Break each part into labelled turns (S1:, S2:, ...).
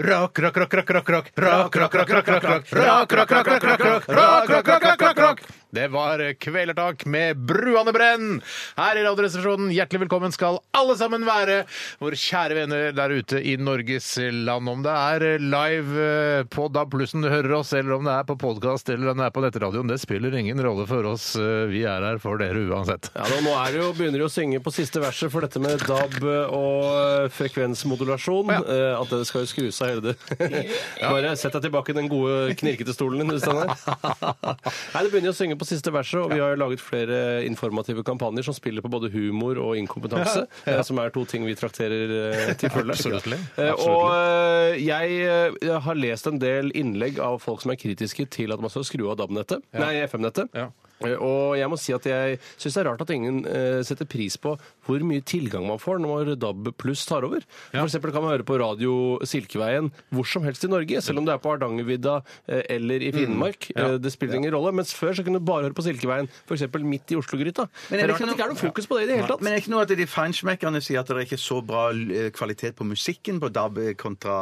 S1: Rock, rock, rock, rock, rock, rock. Rock, rock, rock, rock, rock, rock. Rock, rock, rock, rock, rock, rock. Rock, rock, rock, rock, rock, rock. Det var Kvelertak med Bruane Brenn. Her i Radioresepsjonen, hjertelig velkommen skal alle sammen være. Våre kjære venner der ute i Norges land. Om det er live eh, på DAB plussen du hører oss, eller om det er på podkast eller om det er på nettradioen, det spiller ingen rolle for oss. Eh, Vi er her for dere uansett.
S2: Ja, da, nå er det jo, begynner de å synge på siste verset for dette med DAB og eh, frekvensmodulasjon. eh, At det skal jo skru seg hele det. Bare sett deg tilbake i den gode knirkete stolen din. hvis den er. Nei, Det begynner jo å synge på siste verset, og vi har jo laget flere informative kampanjer som spiller på både humor og inkompetanse, eh, som er to ting vi trakterer eh, til fulle.
S1: Absolutt.
S2: Eh, Og eh, jeg eh, har lest en del innlegg av folk som er kritiske til at man skal skru av DAB-nettet, nei, FM-nettet.
S1: Ja.
S2: Eh, Og jeg må si at jeg syns det er rart at ingen eh, setter pris på hvor mye tilgang man får når DAB pluss tar over. For eksempel kan man høre på radio Silkeveien hvor som helst i Norge, selv om det er på Hardangervidda eh, eller i Finnmark. Eh, Det spiller ingen rolle. Mens før så kunne du bare høre på Silkeveien, f.eks. midt i Oslo-gryta. Det
S3: Men er
S2: er
S3: det
S2: rart at
S3: ikke
S2: det ikke er
S3: noe-
S2: noe fokus på det i det hele tatt.
S3: Men er det ikke noe at de feinschmeckerne sier at det er ikke så bra eh, kvalitet på musikken på DAB kontra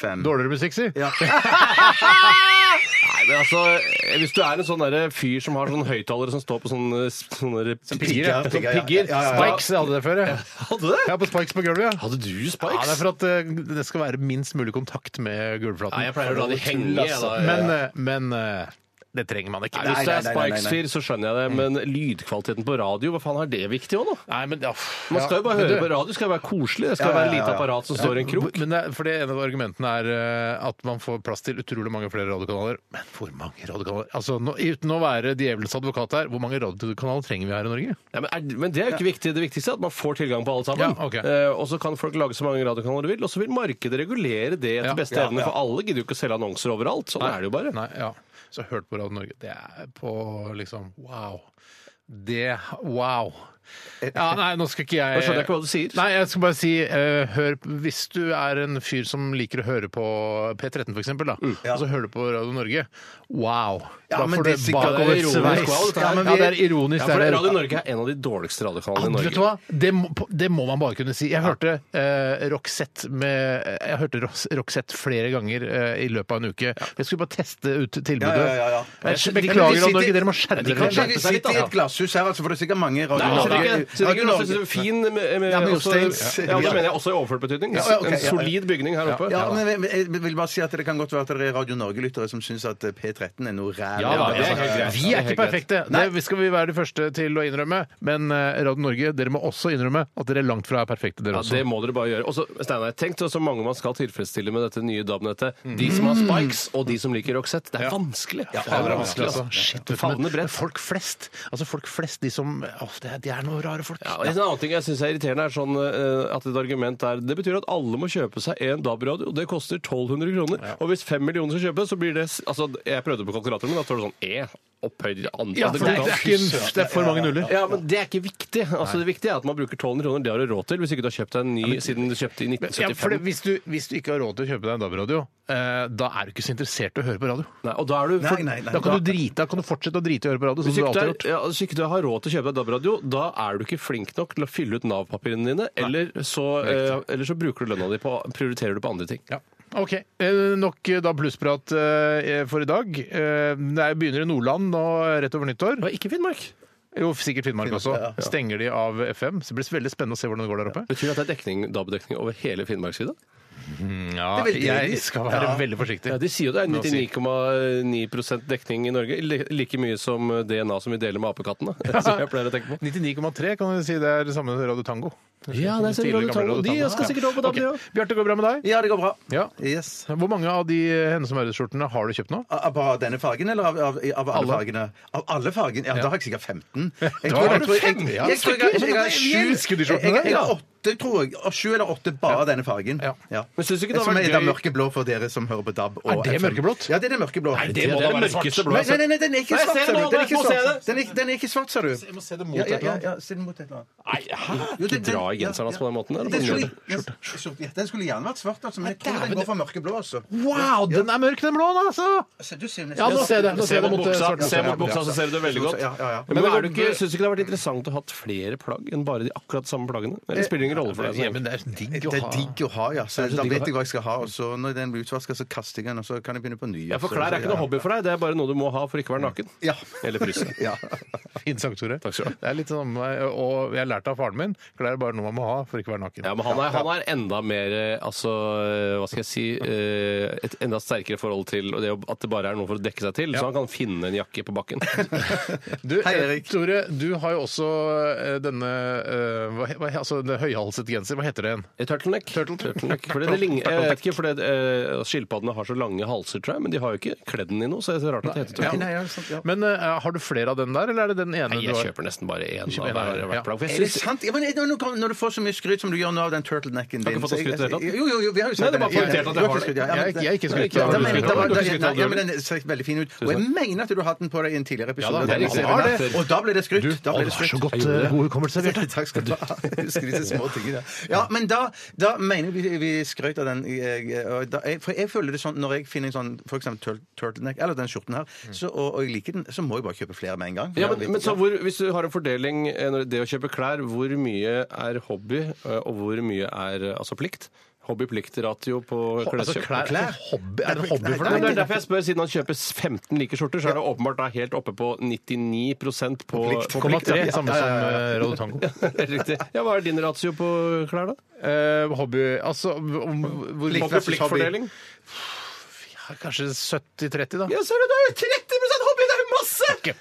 S3: FM?
S1: Dårligere musikk, si.
S3: Ja.
S2: Nei, men altså, Hvis du er en sånn der fyr som har sånn høyttalere som står på sånne, sånne der-
S1: pigger,
S2: ja.
S1: ja.
S2: Som
S3: Ja, ja, ja.
S2: pigger.
S3: Ja, ja, ja.
S1: Spikes jeg hadde det før, jeg.
S2: Hadde du det?
S1: Ja, på Spikes på gulvet, ja.
S2: Hadde du
S1: Ja,
S2: spikes?
S1: det er for at eh, det skal være minst mulig kontakt med gulvflaten.
S2: Nei, jeg pleier å la de henge, jeg, da.
S1: Men, eh, men eh, det trenger man ikke.
S2: Hvis
S3: Nei,
S2: du
S3: nei,
S2: er
S3: nei, nei, Mm. nei.
S2: spikes-fyr, så skjønner jeg det, men lydkvaliteten på radio, hva faen er det viktig òg, nå?
S1: Nei, men, ja,
S2: Man skal jo bare
S1: men
S2: høre
S1: du-
S2: på radio, det skal være koselig, det skal
S3: Ja, ja,
S2: være
S3: ja,
S2: lite
S3: ja.
S2: apparat som står i en krok.
S1: Men det, er- for det ene av argumentene er eh, at man får plass til utrolig mange flere radiokanaler. Men hvor mange radiokanaler? Altså, nå, Uten å være djevelens advokat her, hvor mange radiokanaler trenger vi her i Norge?
S2: Ja, men, er, men det er jo ikke viktig. Det viktigste er at man får tilgang på alle
S1: Ja,
S2: sammen.
S1: ok.
S2: eh, og så kan folk lage så mange radiokanaler de vil, og så vil markedet regulere det etter
S1: Ja,
S2: beste
S3: ja,
S2: evne,
S3: ja.
S2: for alle gidder jo ikke å selge annonser overalt. Sånn er det jo bare.
S1: Nei, ja. Så hørt på Radio Norge. Det er på liksom wow. Det Wow. Ja, nei, nå skal ikke jeg
S2: Da skjønner jeg ikke hva du sier.
S1: Nei, jeg skal bare si eh, hør, Hvis du er en fyr som liker å høre på P13 for eksempel, da, og så hører du på Radio Norge, wow!
S3: Ja,
S1: da
S3: men
S1: får
S3: det er
S1: du
S3: sikkert-
S1: bakover
S3: det er
S2: ironisk,
S1: sveis.
S2: wow, dette her.
S1: Ja, men vi, ja, det er ironisk.
S2: Ja, for
S1: det er det.
S2: Radio Norge er en av de dårligste radiokanalene i
S1: Aldri, vet du
S2: Norge.
S1: hva? Det, må- det må man bare kunne si. Jeg hørte eh, Roxette med Jeg hørte Rox- Roxette flere ganger eh, i løpet av en uke. Jeg skulle bare teste ut tilbudet.
S3: Ja, ja, ja, ja.
S1: Jeg skj-
S3: Men de
S1: Beklager,
S3: sitter-
S1: Radio Norge, dere må skjerpe
S2: kan
S1: dere.
S2: skjerpe
S3: Vi sitter i et glasshus her, altså, for det er sikkert mange
S2: Nei,
S3: radioer.
S2: altså, det er ikke- så det er ikke noe slags fin med, med,
S3: Ja, men
S2: også,
S3: Josteins-
S2: ja, det mener jeg også i overført betydning.
S3: Ja, ja, ok,
S2: en
S3: ja, ja.
S2: solid bygning her oppe.
S3: Ja, men jeg jeg vil bare si at Det kan godt være at det er Radio Norge-lyttere som syns at P13 er noe ræl.
S1: Ja, da,
S2: det er helt greit.
S1: Vi
S2: Ja, det er
S1: er ikke
S2: helt
S1: perfekte. Det skal vi være de første til å innrømme. Men eh, Radio Norge, dere må også innrømme at dere langt fra er perfekte, dere
S2: Ja,
S1: også.
S2: det må dere bare gjøre. Også, Steinar, tenk så så mange man skal tilfredsstille med dette nye DAB-nettet. De som har spikes, og de som liker Roxette. Det er vanskelig.
S1: Ja, det er vanskelig,
S2: altså.
S1: altså. Shit, vet
S2: Det
S1: du, men-
S2: favner
S1: men
S2: bredt.
S1: Folk flest, altså folk flest, de som Åh, det er, de er noen rare folk.
S2: Ja, og en annen ting jeg syns er irriterende, er sånn eh, at et argument er Det betyr at alle må kjøpe seg en DAB-radio, og det koster 1200 kroner. Og hvis fem millioner skal kjøpe, så blir det s- Altså, jeg prøvde på kalkulatoren min, da står det sånn E opphøyd i antall
S1: Ja, for det,
S2: kan-
S1: er ikke en, det er for mange nuller.
S2: Ja, men det er ikke viktig. Altså, det viktige er at man bruker 1200 kroner. Det har du råd til hvis ikke du har kjøpt deg en ny siden du kjøpte i
S1: Ja, for det,
S2: 1975.
S1: hvis, du, hvis du ikke har råd til å kjøpe deg en DAB-radio, eh, da er du ikke så interessert i å høre på radio.
S2: Nei, og da er du for,
S3: Nei, nei, nei.
S1: Eh, Da kan du, drite, da kan du fortsette å drite i å høre på radio, som
S2: Hvis
S1: du
S2: ikke,
S1: alltid
S2: du
S1: har
S2: er,
S1: gjort.
S2: ja, hvis ikke du har råd til å kjøpe deg DAB-radio, da er du ikke flink nok til å fylle ut Nav-papirene dine, eller så, eh, eller så bruker du lønna di på prioriterer du på andre ting.
S1: Ja. OK. eh, Nok eh, da plussprat eh, for i dag. Eh, Det er- begynner i Nordland nå eh, rett over nyttår.
S2: Og ikke Finnmark.
S1: Jo, sikkert Finnmark også. Stenger de av FM? Så det blir veldig spennende å se hvordan det går der oppe.
S2: Betyr det at det er dekning, DAB-dekning over hele Finnmarksvidda?
S1: Ja,
S3: Det er veldig
S1: jeg
S3: deilig.
S1: skal være
S3: Ja.
S1: veldig forsiktig.
S2: Ja, de sier jo det er
S1: Nå sier-
S2: 99,9 dekning i Norge. li- Like mye som DNA som vi deler med apekattene, som jeg pleier å tenke på.
S1: 99,3 kan du si det er det samme som Radio Tango.
S2: Ja, nei, så
S1: Tidligere
S2: Radio
S1: gamle
S2: Tango. De
S1: Tango.
S2: skal
S1: Ja.
S2: sikkert over på DAB,
S1: Ok.
S2: de også.
S1: Bjarte, går det bra med deg?
S3: Ja, det går bra.
S1: Ja.
S3: Yes.
S1: Hvor mange av de eh, Hennes og Maurits-skjortene har du kjøpt nå?
S3: Av av bare denne fargen, eller av, av, av alle,
S1: Alle.
S3: fargene? Av alle fargene? Ja, da har jeg sikkert 15. Jeg
S1: Da har
S3: jeg
S1: du
S3: jeg,
S1: 15,
S3: jeg,
S1: ja.
S3: jeg, tror jeg, jeg, jeg, har
S1: Vi
S3: sju-
S1: elsker de skjortene
S3: Jeg, jeg, jeg
S1: der.
S3: har åt- åtte, tror jeg. Og Sju eller åtte bare denne fargen.
S1: Ja.
S2: Men synes du ikke det
S3: Som
S2: hadde vært
S3: er da
S2: gøy-
S3: mørkeblå for dere som hører på DAB. Og
S1: Er det
S3: FM.
S1: mørkeblått?
S3: Ja, det er det mørkeblå.
S1: Nei,
S2: Det
S1: Det må
S2: er
S1: da
S2: det
S1: være altså. svart.
S2: mørkeste blå
S3: Nei,
S2: jeg
S3: nei,
S2: har
S3: nei, nei, den er ikke
S2: Nei, jeg ser
S3: svart, sa
S2: det nå,
S3: du. Den er
S2: jeg
S3: ikke
S2: må se
S3: svart.
S2: det.
S3: Den er, den er ikke svart, sa du.
S1: Jeg må se det mot
S3: Ja,
S1: et
S3: ja,
S1: eller
S3: ja,
S1: annet.
S3: ja, se den mot et eller annet.
S2: sett.
S3: Jo,
S2: Ikke
S3: den-
S2: dra i
S3: ja,
S2: genseren
S1: altså,
S2: hans
S3: ja.
S2: på den måten. Der,
S3: Den
S2: den
S3: skulle-
S2: gjør det.
S3: den- skjorte, ja, Den skulle gjerne vært svart, altså, men jeg tror den går for mørkeblå. Altså.
S1: Wow, den er mørk, den blåen, altså!
S3: Så du ser nesten-
S1: Ja, nå ser jeg det. Nå
S2: Se
S1: ser jeg det mot
S2: mot
S1: eh,
S2: buksa,
S1: svart.
S2: se mot buksa, så ser du det veldig godt.
S3: Ja, ja, ja.
S2: Men,
S1: Men
S2: er
S1: er
S2: du
S1: du
S2: ikke,
S1: ikke-
S2: synes du ikke det har vært interessant å ha hatt flere plagg enn bare de akkurat samme plaggene? Eller spiller Eh, det ingen rolle for deg?
S1: Ja, men det er digg å
S3: Det er
S1: ha.
S3: digg å ha, ja. Så
S2: Det er så
S3: da
S2: digg å
S3: vet
S2: ha.
S3: jeg hva jeg skal ha. Og så når den blir utvaska, så kaster jeg den, og så kan jeg begynne på ny.
S2: Ja, Mm. for
S3: altså.
S2: klær er ikke noe
S3: Ja.
S2: hobby for deg, det er bare noe du må ha for ikke å være naken.
S3: Ja.
S2: Eller fryse.
S3: Ja.
S1: Fint sagt, Tore.
S2: Takk skal du ha.
S1: Det er litt sånn, eh, og jeg lærte av faren min klær er bare noe man må ha for ikke å være naken.
S2: Ja, men han er, han er enda mer eh, altså, eh, Hva skal jeg si eh, Et enda sterkere forhold til og det, å- at det bare er noe for å dekke seg til, så han kan finne en jakke på bakken.
S1: Du,
S3: Hei,
S1: eh,
S3: Erik.
S1: Tore, du har jo også eh, denne eh, hva, he- hva, he- altså, den høyhalset genser. Hva heter det igjen?
S2: Eh, Turtleneck. Turtleneck. Fordi det ligner, jeg vet ikke, fordi eh, Skilpaddene har så lange halser, tror jeg, men de har jo ikke kledd den i noe, så det er rart at det heter turtleneck.
S3: Nei, ja, sant, ja.
S1: Men eh, har du flere av den der, eller er det den ene
S2: Nei,
S1: du
S2: jeg
S1: har?
S2: kjøper nesten bare én
S1: kjøper en
S2: av hver
S1: av hver,
S2: hvert
S1: ja.
S2: plagg. for jeg
S3: Er det
S2: synes-
S3: sant? Ja, men nå- nå kom- når du får så mye skryt som du gjør nå av den turtlenecken din
S2: ikke fått
S3: så jeg-
S2: noe skryt i det hele tatt?
S3: Jo, jo, jo, vi har jo
S2: Nei,
S3: sett
S2: det var
S3: den.
S2: poengtert at jeg
S3: Du har
S2: har det.
S3: ikke skryt, ja, ja, men-
S1: Jeg- jeg er ikke skryt.
S3: Nei,
S2: Du
S3: da
S2: har
S3: mener-
S2: ikke skryt,
S3: da var-
S2: du har ikke
S3: da-
S2: skryt,
S3: nei,
S2: du
S3: Ja,
S2: har
S3: men Den ser veldig fin ut. Og jeg mener at du har hatt den på deg i en tidligere episode.
S1: Ja, da,
S3: Den
S1: det er
S3: ser
S1: riktig. Ja,
S3: veldig
S1: det-
S3: fin ut. Og da ble det skrytt. Da
S1: Å, det
S3: ble det
S1: er så
S3: skryt.
S1: godt
S2: Jeg gjorde
S1: eh,
S2: det.
S1: god hukommelse, Bjarte.
S3: Takk skal du ha. Du skryter små ting i det. Ja, men da, da mener vi vi skrøt av den jeg, og da, jeg, For jeg føler det sånn når jeg finner en sånn for eksempel tur- turtleneck, eller den skjorten her, så, og, og jeg liker den, så må jeg bare kjøpe flere med en gang.
S2: Ja, men, men så hvor, Hvis du har en fordeling eh, når det å kjøpe klær, hvor mye er hobby eh, og hvor mye er eh, altså plikt? Hobby-plikt-ratio på
S1: Altså,
S2: kleskjøp.
S1: klær,
S3: Klær.
S1: Hobby, er det en hobby
S2: Nei,
S1: for
S2: det
S1: deg?
S2: er derfor jeg spør, Siden han kjøper 15 like skjorter, så er det åpenbart da helt oppe på 99 på, på
S1: Plikt.
S2: plikt.
S1: Komma tre,
S2: ja.
S1: samme som eh, Rollo Tango.
S2: Riktig. Ja, Hva er din ratio på klær, da?
S1: Eh, hobby Altså om, hvor
S3: Plikt
S1: hobby-
S3: versus hobby.
S2: Pliktfordeling?
S1: Ja, Kanskje 70-30, da.
S2: Ja, ser du, det er jo 30 hobby! Det er jo masse!
S1: Ikke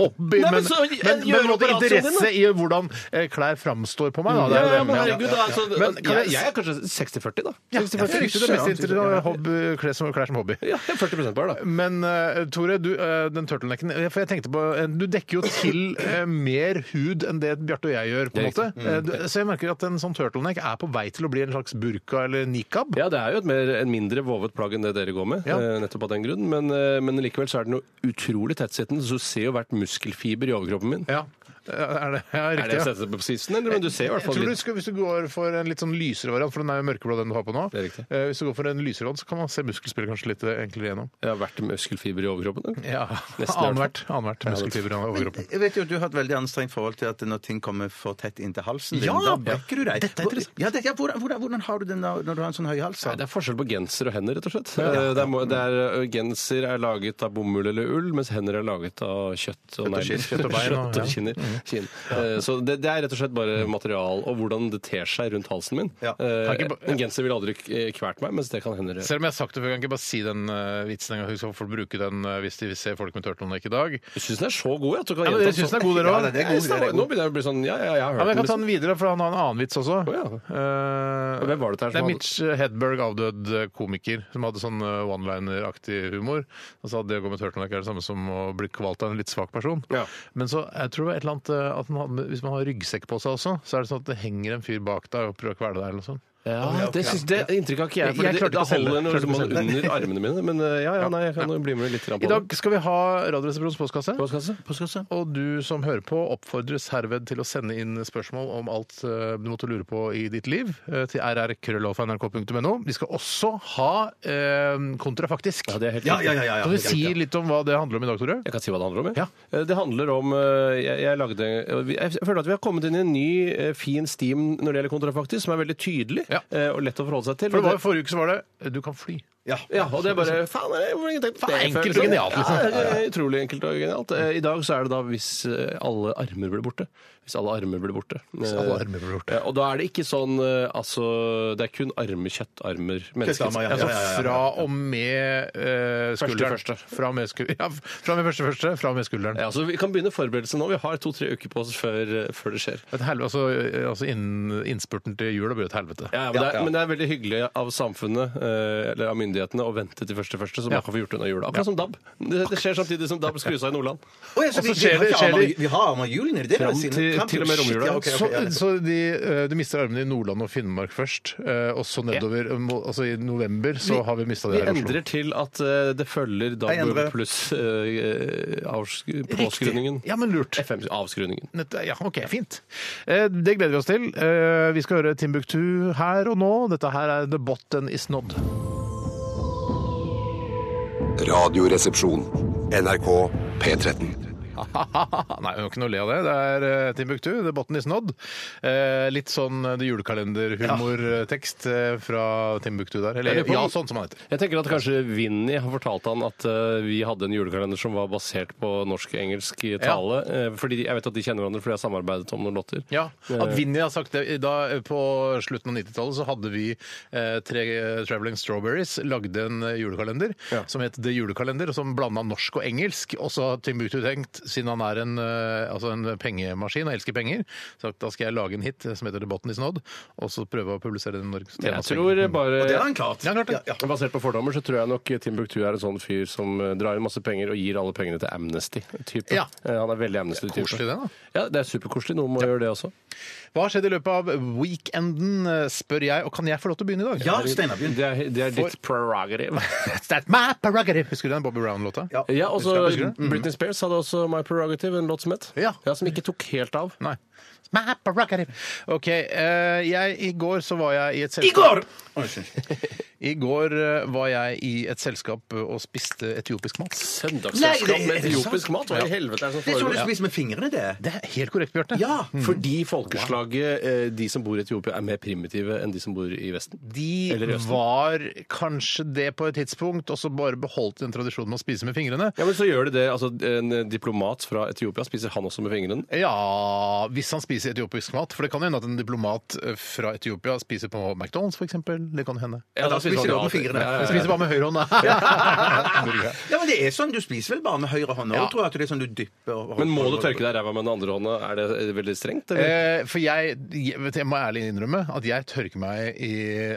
S1: hobby,
S2: Nei, men
S1: men,
S2: så
S1: men,
S2: gjør
S1: men,
S2: du
S1: både
S2: operasjonen din,
S1: interesse i hvordan eh, klær framstår på meg. Da. Det
S2: Ja,
S1: er jo
S2: ja,
S1: det.
S2: men
S1: Ja.
S2: herregud, altså,
S1: Men kan
S2: jeg,
S1: jeg-
S2: jeg er kanskje 60-40,
S1: Ja,
S2: da.
S1: jeg tror ikke det er mest interessant hobby, klær, som, klær som hobby.
S2: Ja, 40 bare, da.
S1: Men eh, Tore, du, eh, den turtlenecken eh, For jeg tenkte på eh, Du dekker jo til eh, mer hud enn det Bjarte og jeg gjør, på en
S2: Det er
S1: måte. Eh, du, så jeg merker at en sånn turtleneck er på vei til å bli en slags burka eller nikab.
S2: Ja, det er jo et mer, en mindre vovet plagg enn det dere går med,
S1: Ja.
S2: eh, nettopp av den grunn. Men, eh, men likevel så er den jo utrolig tettsittende, så du ser jo hvert muskelfiber i overkroppen min.
S1: Ja. Eh, Er det, ja,
S2: Er det
S1: riktig?
S2: å
S1: Ja.
S2: sette på sisten, eller? Men du ser i hvert
S1: Jeg
S2: fall
S1: tror du
S2: litt.
S1: skal, Hvis du går for en litt sånn lysere variant, for den er jo mørkeblå, den du har på nå
S2: Det er riktig.
S1: Eh, Hvis du går for en lysere variant, så kan man se muskelspillet kanskje litt eh, enklere gjennom.
S2: Ja, hvert muskelfiber i overkroppen? eller?
S1: Ja,
S2: Nesten i hvert
S1: Annenhvert annenhvert muskelfiber over kroppen.
S3: Jeg vet jo at Du har et veldig anstrengt forhold til at når ting kommer for tett inntil halsen din,
S1: Ja!
S3: da brekker du deg.
S1: Dette er interessant.
S3: ja, det, ja, hvordan, hvordan, hvordan har du den da, når du har en sånn høy hals? da?
S2: Nei, det er forskjell på genser og hender, rett og slett. Eh, Det er, må- det er, eh, genser er laget av bomull eller ull, mens hender er laget av kjøtt og negler.
S3: skinn, kjøtt
S1: og bein og- Mhm.
S2: Kjøtt og kinner. Kinn. Eh, Så det, det er rett og slett bare material og hvordan det ter seg rundt halsen min.
S3: Ja.
S2: Eh,
S1: Kan ikke ba-
S2: En genser ville aldri eh, kvært meg, mens det kan hender.
S1: Selv om jeg har sagt det før, kan jeg ikke bare si den eh, vitsen en gang. Så får folk bruke den eh, hvis de ser folk med turtleneck i dag.
S2: Jeg syns den er så god, ja, at du kan
S1: Ja, men
S2: gjenta sånn.
S1: Dere syns den er god, dere
S3: Ja,
S1: òg?
S3: det er god, det
S2: Nå
S3: er god.
S2: begynner jeg å bli sånn Ja, ja, jeg har
S1: Ja, men
S2: hørt
S1: jeg kan ta den videre, for han har en annen vits også.
S2: Å, ja.
S1: Eh,
S2: Hvem var det der som
S1: det er
S2: hadde-
S1: Mitch eh, Hedberg, avdød eh, komiker, som hadde sånn eh, one-liner-aktig humor. Han sa at det å gå med turtleneck er det samme som å bli kvalt av en litt svak person.
S2: Ja.
S1: Men så jeg tror det var et eller annet eh, at man hadde, hvis man har ryggsekk på seg også, så er det sånn at det henger en fyr bak deg og prøver å kvele deg eller noe sånt.
S2: Ja, det, synes, det inntrykket har ikke jeg.
S1: Jeg-
S2: For
S1: jeg
S2: det,
S1: klarte ikke å
S2: da
S1: selge det.
S2: holder den
S1: Klarte
S2: liksom
S1: ikke å selge det.
S2: under armene mine. Men eh, ja, ja, nei, jeg kan jo bli med litt grann
S1: I
S2: på den.
S1: dag skal vi ha Radioresepsjonens postkasse.
S2: Postkasse?
S3: Postkasse?
S1: Og du som hører på, oppfordres herved til å sende inn spørsmål om alt eh, du måtte lure på i ditt liv eh, til rrkrøllalfa.nrk.no. Vi skal også ha eh, kontrafaktisk.
S2: Ja, det er helt
S3: Ja,
S2: riktig.
S3: ja, ja. ja, ja.
S1: Kan du si litt om hva det handler om i dag, Tore?
S2: Jeg kan si hva det handler om. jeg.
S1: Ja.
S2: Eh, Det handler om eh, jeg, jeg, lagde, eh, vi- jeg føler at vi har kommet inn i en ny, eh, fin stim når det gjelder kontrafaktisk, som er veldig tydelig
S1: Ja.
S2: eh, og lett å forholde seg til.
S1: For det var jo Forrige uke så var det eh, 'Du kan fly'.
S3: Ja.
S2: ja, og det er bare faen, jeg, hvor lenge tenkte jeg på det
S1: Faen,
S2: før?
S1: enkelt og genialt, liksom.
S2: Ja, det er utrolig enkelt og genialt. Eh, I dag så er det da hvis eh, alle armer ble borte. Hvis alle armer ble borte. Hvis
S1: alle armer ble borte.
S2: Og da er det ikke sånn eh, altså Det er kun armer, kjøttarmer, mennesker.
S3: Kjøttarmer, ja.
S1: Altså fra og med eh, skulderen.
S2: Første, første.
S1: Fra og med, sku ja, fra og med første første, fra og med skulderen.
S2: Ja, så Vi kan begynne forberedelsen nå. Vi har to-tre uker på oss før, eh, før det skjer.
S1: Et helvete, altså eh, altså innen innspurten til jula blir et helvete.
S2: Ja, ja, men, det er, men det er veldig hyggelig av samfunnet eh, eller av myndighetene å vente til første første, så
S1: Ja.
S2: man kan få gjort unna jula. Akkurat som DAB. Det, det skjer samtidig som DAB skrus av i Nordland.
S3: Å, ja,
S1: Og
S3: så
S1: så
S3: vi, vi,
S1: skjer
S3: har
S1: det-
S3: ikke
S1: skjer
S3: armer-
S1: det-
S3: vi har armer i hjulene, er det det
S2: Fram
S3: du sier?
S2: til
S3: fram
S2: til og med romjula.
S3: Ja, ok, ok, ja, ja.
S1: Så, så de, eh, du mister armene i Nordland og Finnmark først, eh, og så nedover eh, mo- altså I november så har vi mista
S2: Vi
S1: det her i Oslo.
S2: endrer til at eh, det følger
S3: Jeg
S2: DAB
S3: endrer.
S2: pluss eh, avsk- påskruningen.
S1: Ja, men lurt.
S2: FM, avskruningen.
S1: Nett- Ja, OK, fint. Eh, Det gleder vi oss til. Eh, Vi skal høre Timbuktu her og nå. Dette her er The Botten Is Nod.
S4: Radioresepsjon. NRK P13.
S1: Nei, vi må ikke noe le av det. Det er eh, Timbuktu, The Botten Is Nod. Eh, Litt sånn eh, The Julekalenderhumortekst eh, fra Timbuktu der. Eller
S2: Jeg lurer på
S1: ja,
S2: om-
S1: sånn som han heter.
S2: Jeg tenker at kanskje Vinni har fortalt han at eh, vi hadde en julekalender som var basert på norsk-engelsk tale. eh, fordi de- Jeg vet at de kjenner hverandre, for de har samarbeidet om noen låter. Eh,
S1: Ja, At Vinni har sagt det da, På slutten av 90-tallet så hadde vi eh, tre eh, Traveling Strawberries lagde en eh, julekalender
S2: Ja.
S1: som het The Julekalender, og som blanda norsk og engelsk. Og så har Timbuktu tenkt, siden han er en, eh, altså en pengemaskin og elsker penger, sagt da skal jeg lage en hit eh, som heter The Botten is Nod, og så prøve å publisere den i Norge.
S2: Men Jeg tror bare
S3: Det har han klart.
S1: Ja, klart det.
S3: Ja, ja.
S2: Basert på fordommer så tror jeg nok Timbuktu er en sånn fyr som eh, drar inn masse penger og gir alle pengene til Amnesty-type.
S1: Ja.
S2: Eh, Han er veldig Amnesty-type.
S1: Koselig det, da.
S2: Ja, det er superkoselig. Noen må gjøre det også.
S1: Hva har skjedd i løpet av weekenden, eh, spør jeg, og kan jeg få lov til å begynne i dag?
S3: Ja, Steinar begynn.
S2: Det er, det er ditt prerogative.
S1: That's my prerogative. Husker du den Bobby Brown-låta?
S3: Ja.
S2: Ja, også
S1: Husker du?
S2: Britney Spears hadde også My Prerogative, en låt som het.
S1: Ja.
S2: Som ikke tok helt av.
S1: Nei. My prerogative. OK. eh, jeg, I går så var jeg i et selskap
S3: Oi, unnskyld.
S1: I går eh, var jeg i et selskap eh, og spiste etiopisk mat.
S3: Nei,
S2: Søndagsselskap
S3: det-
S2: med
S3: er det
S2: etiopisk
S3: sant?
S2: mat? Hva i helvete er det som
S3: Det er sånn du
S2: foregår? Mm.
S3: spiser med fingrene, det.
S1: Det er helt korrekt, Bjarte.
S3: Ja!
S2: Fordi folkeslaget, eh, de som bor i Etiopia, er mer primitive enn de som bor i Vesten.
S1: De
S2: Eller i Østen.
S1: var kanskje det på et tidspunkt, og så bare beholdt den tradisjonen med å spise med fingrene.
S2: Ja, men så gjør det det. Altså, en diplomat fra Etiopia spiser han også med fingrene.
S1: Ja, hvis han spiser etiopisk mat. For det kan jo hende at en diplomat eh, fra Etiopia spiser på McDonald's, f.eks. Det kan hende.
S3: Ja, da spiser
S2: han
S3: du også med fingrene.
S2: Ja, ja,
S1: Han
S2: ja.
S1: spiser bare med høyrehånda.
S3: Ja, men det er sånn, Du spiser vel bare med høyre hånd òg,
S1: Ja.
S3: tror jeg. at Det er sånn du dypper
S2: Men må du tørke deg i ræva med den andre hånda? Er det er det veldig strengt? Eller?
S1: Eh, for jeg, jeg, vet, jeg må ærlig innrømme at jeg tørker meg i,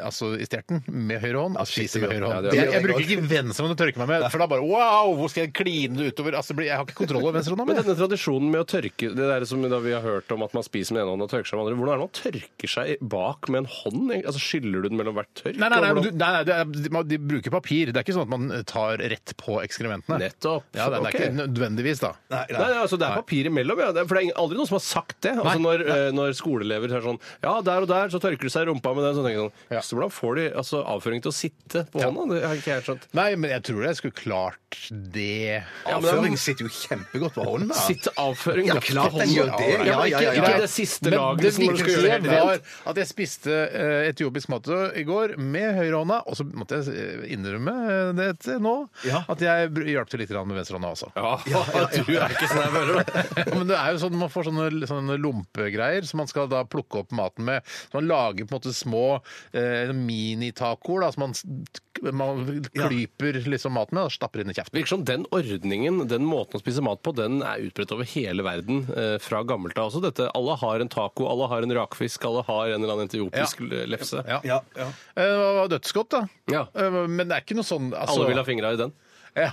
S1: altså, i stjerten med høyre hånd. og spiser med høyre
S2: Ja,
S1: hånd.
S2: det gjør
S1: jeg,
S2: jeg.
S1: jeg bruker ikke venstre hånd å tørke meg med, for da bare wow, hvor skal jeg kline det utover? Altså, det blir- jeg har ikke kontroll over venstre hånd.
S2: Men denne tradisjonen med å tørke det der som da vi har hørt om at man spiser med ene hånden og tørker seg med den andre, hvordan er det man tørker seg bak med en hånd? egentlig? Altså Skyller du den mellom hvert tørk?
S1: Nei, nei, nei,
S2: og
S1: men du,
S2: hvordan-
S1: nei, nei det er, de, man- de bruker papir. Det er ikke sånn at man tar rett på ekskrementene.
S2: Nettopp.
S1: Ja, det, er- det er
S2: Ok.
S1: ikke nødvendigvis, da.
S2: Nei, nei, altså Det er papir imellom, ja. Det er- For det er ingen- aldri noen som har sagt det. Altså
S1: Nei.
S2: Når, eh, når skoleelever er sånn Ja, der og der, så tørker de seg i rumpa med den. Så tenker jeg sånn
S1: Ja.
S2: Så hvordan får de altså, avføring til å sitte på
S1: Ja.
S2: hånda? Det har ikke jeg skjønt.
S1: Nei, men jeg tror jeg skulle klart det.
S2: Ja, men det er-
S3: Avføring sitter jo kjempegodt på hånden. da.
S2: Sitte avføring
S3: Ja,
S2: godt på
S3: klart den
S2: hånda.
S3: gjør det.
S2: Ja, men
S3: Ja,
S2: ikke,
S3: ja, ja,
S2: ikke
S3: ja.
S2: det siste
S1: Men
S2: laget.
S1: det
S2: som når du skal gjøre
S1: viktigste
S2: helt
S1: var
S2: rent.
S1: at jeg spiste eh, etiopisk mat i går med høyrehånda, og så måtte jeg eh, innrømme eh, det til nå,
S3: Ja.
S1: at jeg br- hjalp til litt grann med venstrehånda også.
S2: ja, du er ikke sånn jeg føler det.
S1: Men det er jo sånn man får sånne, sånne lompegreier som man skal da plukke opp maten med. Så man lager på en måte små eh, minitacoer da, som man, s- man klyper liksom maten med og stapper inn i kjeften.
S2: Virker som den ordningen, den måten å spise mat på, den er utbredt over hele verden eh, fra gammelt av. Også dette, alle har en taco, alle har en rakfisk, alle har en eller annen etiopisk lefse.
S1: Ja.
S3: Ja, ja.
S1: Eh, Det var dødsgodt, da.
S2: Ja.
S1: Eh, Men det er ikke noe sånn altså-
S2: Alle vil ha fingra i den.
S1: Ja,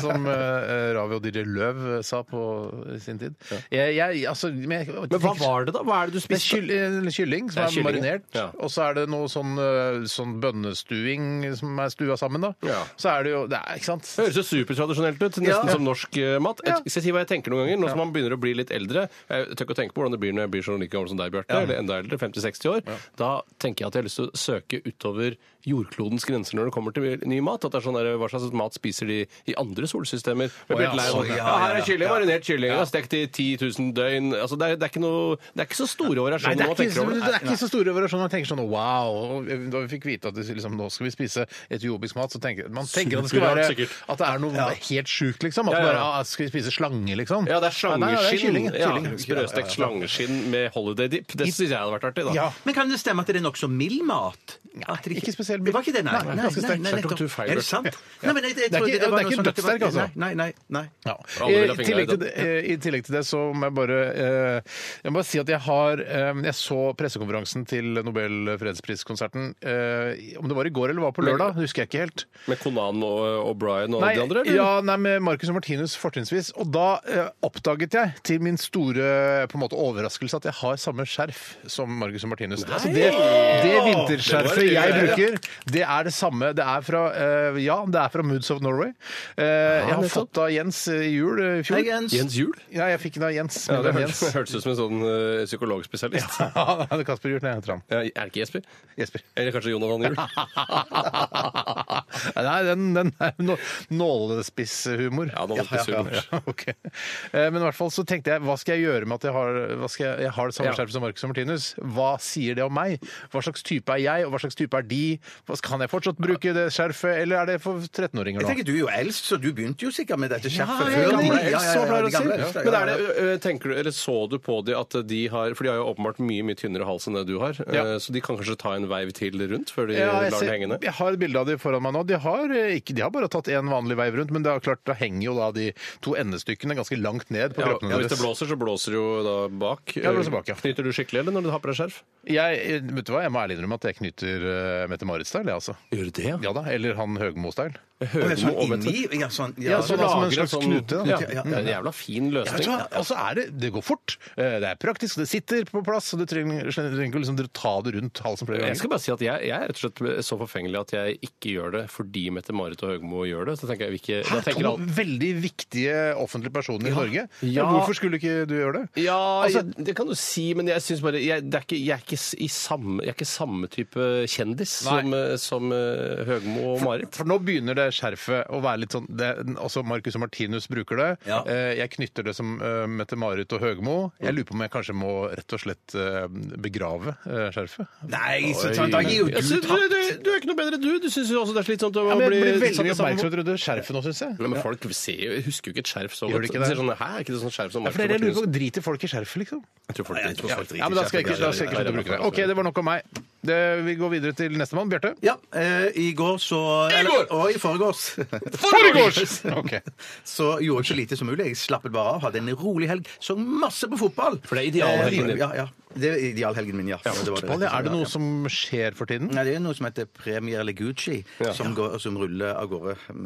S1: som eh, Ravi og DJ Løv eh, sa på i sin tid. Jeg, jeg, altså, men, jeg,
S2: Men hva var det, da? Hva er det du
S1: Det er
S2: spiste?
S1: kyll- eh, kylling som
S2: Det er
S1: er,
S2: kylling,
S1: marinert,
S2: ja.
S1: og så er det noe sånn, eh, sånn bønnestuing som er stua sammen, da.
S2: Ja.
S1: Så er det jo det er, Ikke sant?
S2: Det høres jo supertradisjonelt ut, nesten
S1: Ja.
S2: som norsk eh, mat.
S1: Ja.
S2: Jeg skal si hva jeg tenker noen ganger, nå som man begynner å bli litt eldre. Jeg tør ikke å tenke på hvordan det blir når jeg blir sånn like gammel som deg, Bjarte, eller enda eldre, 50-60 år. Da tenker jeg at jeg har lyst til å søke utover jordklodens grenser når det kommer til ny mat. At det er sånn der, Hva slags mat spiser de i andre solsystemer? Jeg blir
S1: Å, ja,
S2: litt lei av
S3: sånn,
S2: sånn,
S3: ja,
S2: ja,
S3: ja,
S2: her
S3: ja.
S2: er kylling, marinert kylling, ja. stekt i 10 000 døgn. Altså, det, er, det, er ikke noe, det er ikke så store
S1: Nei,
S2: variasjoner
S1: det
S2: når
S1: er,
S2: man
S1: ikke,
S2: tenker over
S1: det
S2: det.
S1: er ikke så store variasjoner. Man tenker sånn wow. og Da vi fikk vite at det, liksom, nå skal vi spise etiopisk mat, så tenker man tenker at det skal
S2: Superrart,
S1: være
S2: sikkert.
S1: at det er noe helt sjukt, liksom. At
S2: Ja, ja,
S1: bare
S2: ja.
S1: ah, skal vi spise slange, liksom.
S2: Ja, det er
S1: Nei, nei, det er
S2: slangeskinn.
S1: kylling,
S2: Ja,
S1: kylling.
S2: Sprøstekt slangeskinn med holiday dip. Det syns jeg hadde vært artig, da.
S1: Ja.
S3: Men kan det stemme at det er nokså mild mat? At det
S1: ikke spesielt mild.
S3: Det var ikke det, nei.
S1: Nei, ganske sterkt.
S2: Der tok du feil,
S3: Er det
S2: Bjørte.
S3: sant? Nei, men jeg, jeg,
S1: Det er
S3: tror
S1: ikke, det
S3: var
S1: er ikke
S3: noe sånn at det var-
S1: dødssterk, altså?
S3: Nei, nei, nei.
S1: Ja.
S2: Alle vil
S1: I,
S2: ha fingre i
S1: tillegg til,
S2: det.
S1: det- eh, I tillegg til det så må jeg bare eh, Jeg må bare si at jeg har eh, Jeg så pressekonferansen til Nobel fredspriskonserten eh, Om det var i går eller var på lørdag, husker jeg ikke helt.
S2: Med Conan og O'Brien og
S1: Nei,
S2: de andre? eller?
S1: ja, nei, med Marcus og Martinus fortrinnsvis. Og da eh, oppdaget jeg, til min store på en måte, overraskelse, at jeg har samme skjerf som Marcus og Martinus. Altså, det, det vinterskjerfet
S2: Det var
S1: jeg
S2: det, ja.
S1: bruker, det er det samme. Det er fra, eh, ja, det er fra Moods of Norway. Eh, jeg har
S2: nettopp.
S1: fått av Jens eh, i jul eh, i
S3: Hei,
S1: fjor.
S3: Jens.
S2: Jens Juel?
S1: Ja, jeg fikk den av Jens.
S2: Ja, det
S1: medlem
S2: hørtes hørtes ut som en sånn eh, psykologspesialist. Ja.
S1: Ja, det er Kasper Hjort, nei, jeg heter han.
S2: er det ikke Jesper?
S1: Jesper.
S2: Eller kanskje Jonathan Juel?
S1: Nei, den, den er nå- nålespisshumor.
S2: Ja, nålespisshumor.
S1: Ja, ja, ja, ok. Eh, Men i hvert fall så tenkte jeg, hva skal jeg gjøre med at jeg har, hva skal jeg, jeg har det samme
S2: Ja.
S1: skjerfet som Marcus og Martinus? Hva sier det om meg? Hva slags type er jeg, og hva slags type er de? Hva, kan jeg fortsatt bruke det skjerfet, eller er det for 13-åringer
S3: Jeg
S1: nå?
S3: tenker Du er jo eldst, så du begynte jo sikkert med dette skjerfet
S1: jeg er
S3: før.
S1: gammel
S3: Ja,
S1: eldst,
S3: ja, ja,
S1: så pleier
S3: de
S1: jeg å si.
S3: gamle eldste,
S2: Men
S3: ja,
S2: er det,
S3: ja.
S2: ø, ø, tenker du, eller så du på de at de har For de har jo åpenbart mye mye tynnere hals enn det du har. ø,
S1: Ja.
S2: Så de kan kanskje ta en veiv til rundt før de
S1: Ja, jeg,
S2: lar
S1: ser,
S2: den henge ned?
S1: jeg har et bilde av de foran meg nå. De har, eh, ikke, de har bare tatt en vanlig veiv rundt, men det er klart, da henger jo da de to endestykkene ganske langt ned på
S2: Ja,
S1: kroppen
S2: og hvis det blåser, så blåser det jo da bak.
S1: Ja, det blåser bak, ja.
S2: Knyter du skikkelig, eller når du har på deg skjerf?
S1: Jeg, vet du hva, jeg må ærlig innrømme at jeg knytter eh, Mette-Marit-style, jeg, altså.
S2: Gjør du det? Ja.
S1: Ja da, eller han Høgmo-style.
S3: Å, det er
S2: Høgmo og
S3: Sånn
S2: Mette.
S3: inni ja, sånn,
S1: Ja,
S3: ja,
S1: sånn
S3: ja.
S1: altså. som en slags knute, da.
S2: Ja,
S3: Ja, ja.
S2: det er en jævla fin løsning.
S1: Ja, og så er det Det går fort. eh, Det er praktisk, det sitter på plass, og du trenger trenger ikke liksom ta det rundt halsen flere
S2: Jeg
S1: ganger.
S2: skal bare si at jeg, jeg er rett og slett så forfengelig at jeg ikke gjør det fordi Mette-Marit og Høgmo gjør det. Så tenker jeg ikke, da
S1: Her er
S2: tenker
S1: to
S2: alle
S1: veldig viktige offentlige personer i Norge.
S2: Ja.
S1: Hvorfor skulle ikke du gjøre det?
S2: Ja,
S1: Altså-
S2: jeg, det kan du si, men jeg synes bare jeg, det er ikke, jeg, er ikke s- i samme, jeg er ikke samme type kjendis
S1: Nei.
S2: som, eh, som eh, Høgmo og Marit.
S1: For nå begynner det skjerfet å være litt sånn det, Også Marcus og Martinus bruker det.
S3: Ja.
S1: Eh, Jeg knytter det som eh, Mette-Marit og Høgmo. Jeg lurer på om jeg kanskje må rett og slett eh, begrave eh, skjerfet.
S3: Nei, så, sånn, da gir jo
S2: Jeg
S3: du
S2: synes-
S3: tapt.
S2: er ikke noe bedre, du. Du syns jo også det er slitsomt å
S1: Ja, men jeg
S2: bli
S1: blir veldig
S2: satt
S1: mye
S2: i samme-
S1: oppmerksomhet rundt det skjerfet nå, syns jeg.
S2: Nei, men folk ser, jo- husker jo ikke et skjerf så
S1: Gjør
S2: godt.
S1: de ikke
S2: De
S1: det?
S2: ser sånn, Hæ, er ikke det sånn skjerf som
S1: Ja, for det er det jeg lurer på. Driter folk i skjerfet, liksom?
S2: Jeg tror folk
S3: Nei, jeg tror folk driter
S1: Ja, men da skal jeg ikke, da skal jeg ikke slutte å bruke det. OK, det var nok om meg. Det, vi går videre til nestemann. Bjarte?
S3: Ja, eh, i går så I
S2: går!
S3: og i forgårs
S1: Foregårs! Ok.
S3: så gjorde jeg så lite som mulig. Jeg slappet bare av, hadde en rolig helg, så masse på fotball.
S2: For det er idealhelgen din.
S3: Eh, Ja, ja. Det er idealhelgen min, ja. Det var det
S1: Fotball, ja.
S3: rette
S1: Er det
S3: som-
S1: noe
S3: ja.
S1: som skjer for tiden?
S3: Nei, det er noe som heter Premier Legucci, som, går, som ruller av gårde eh,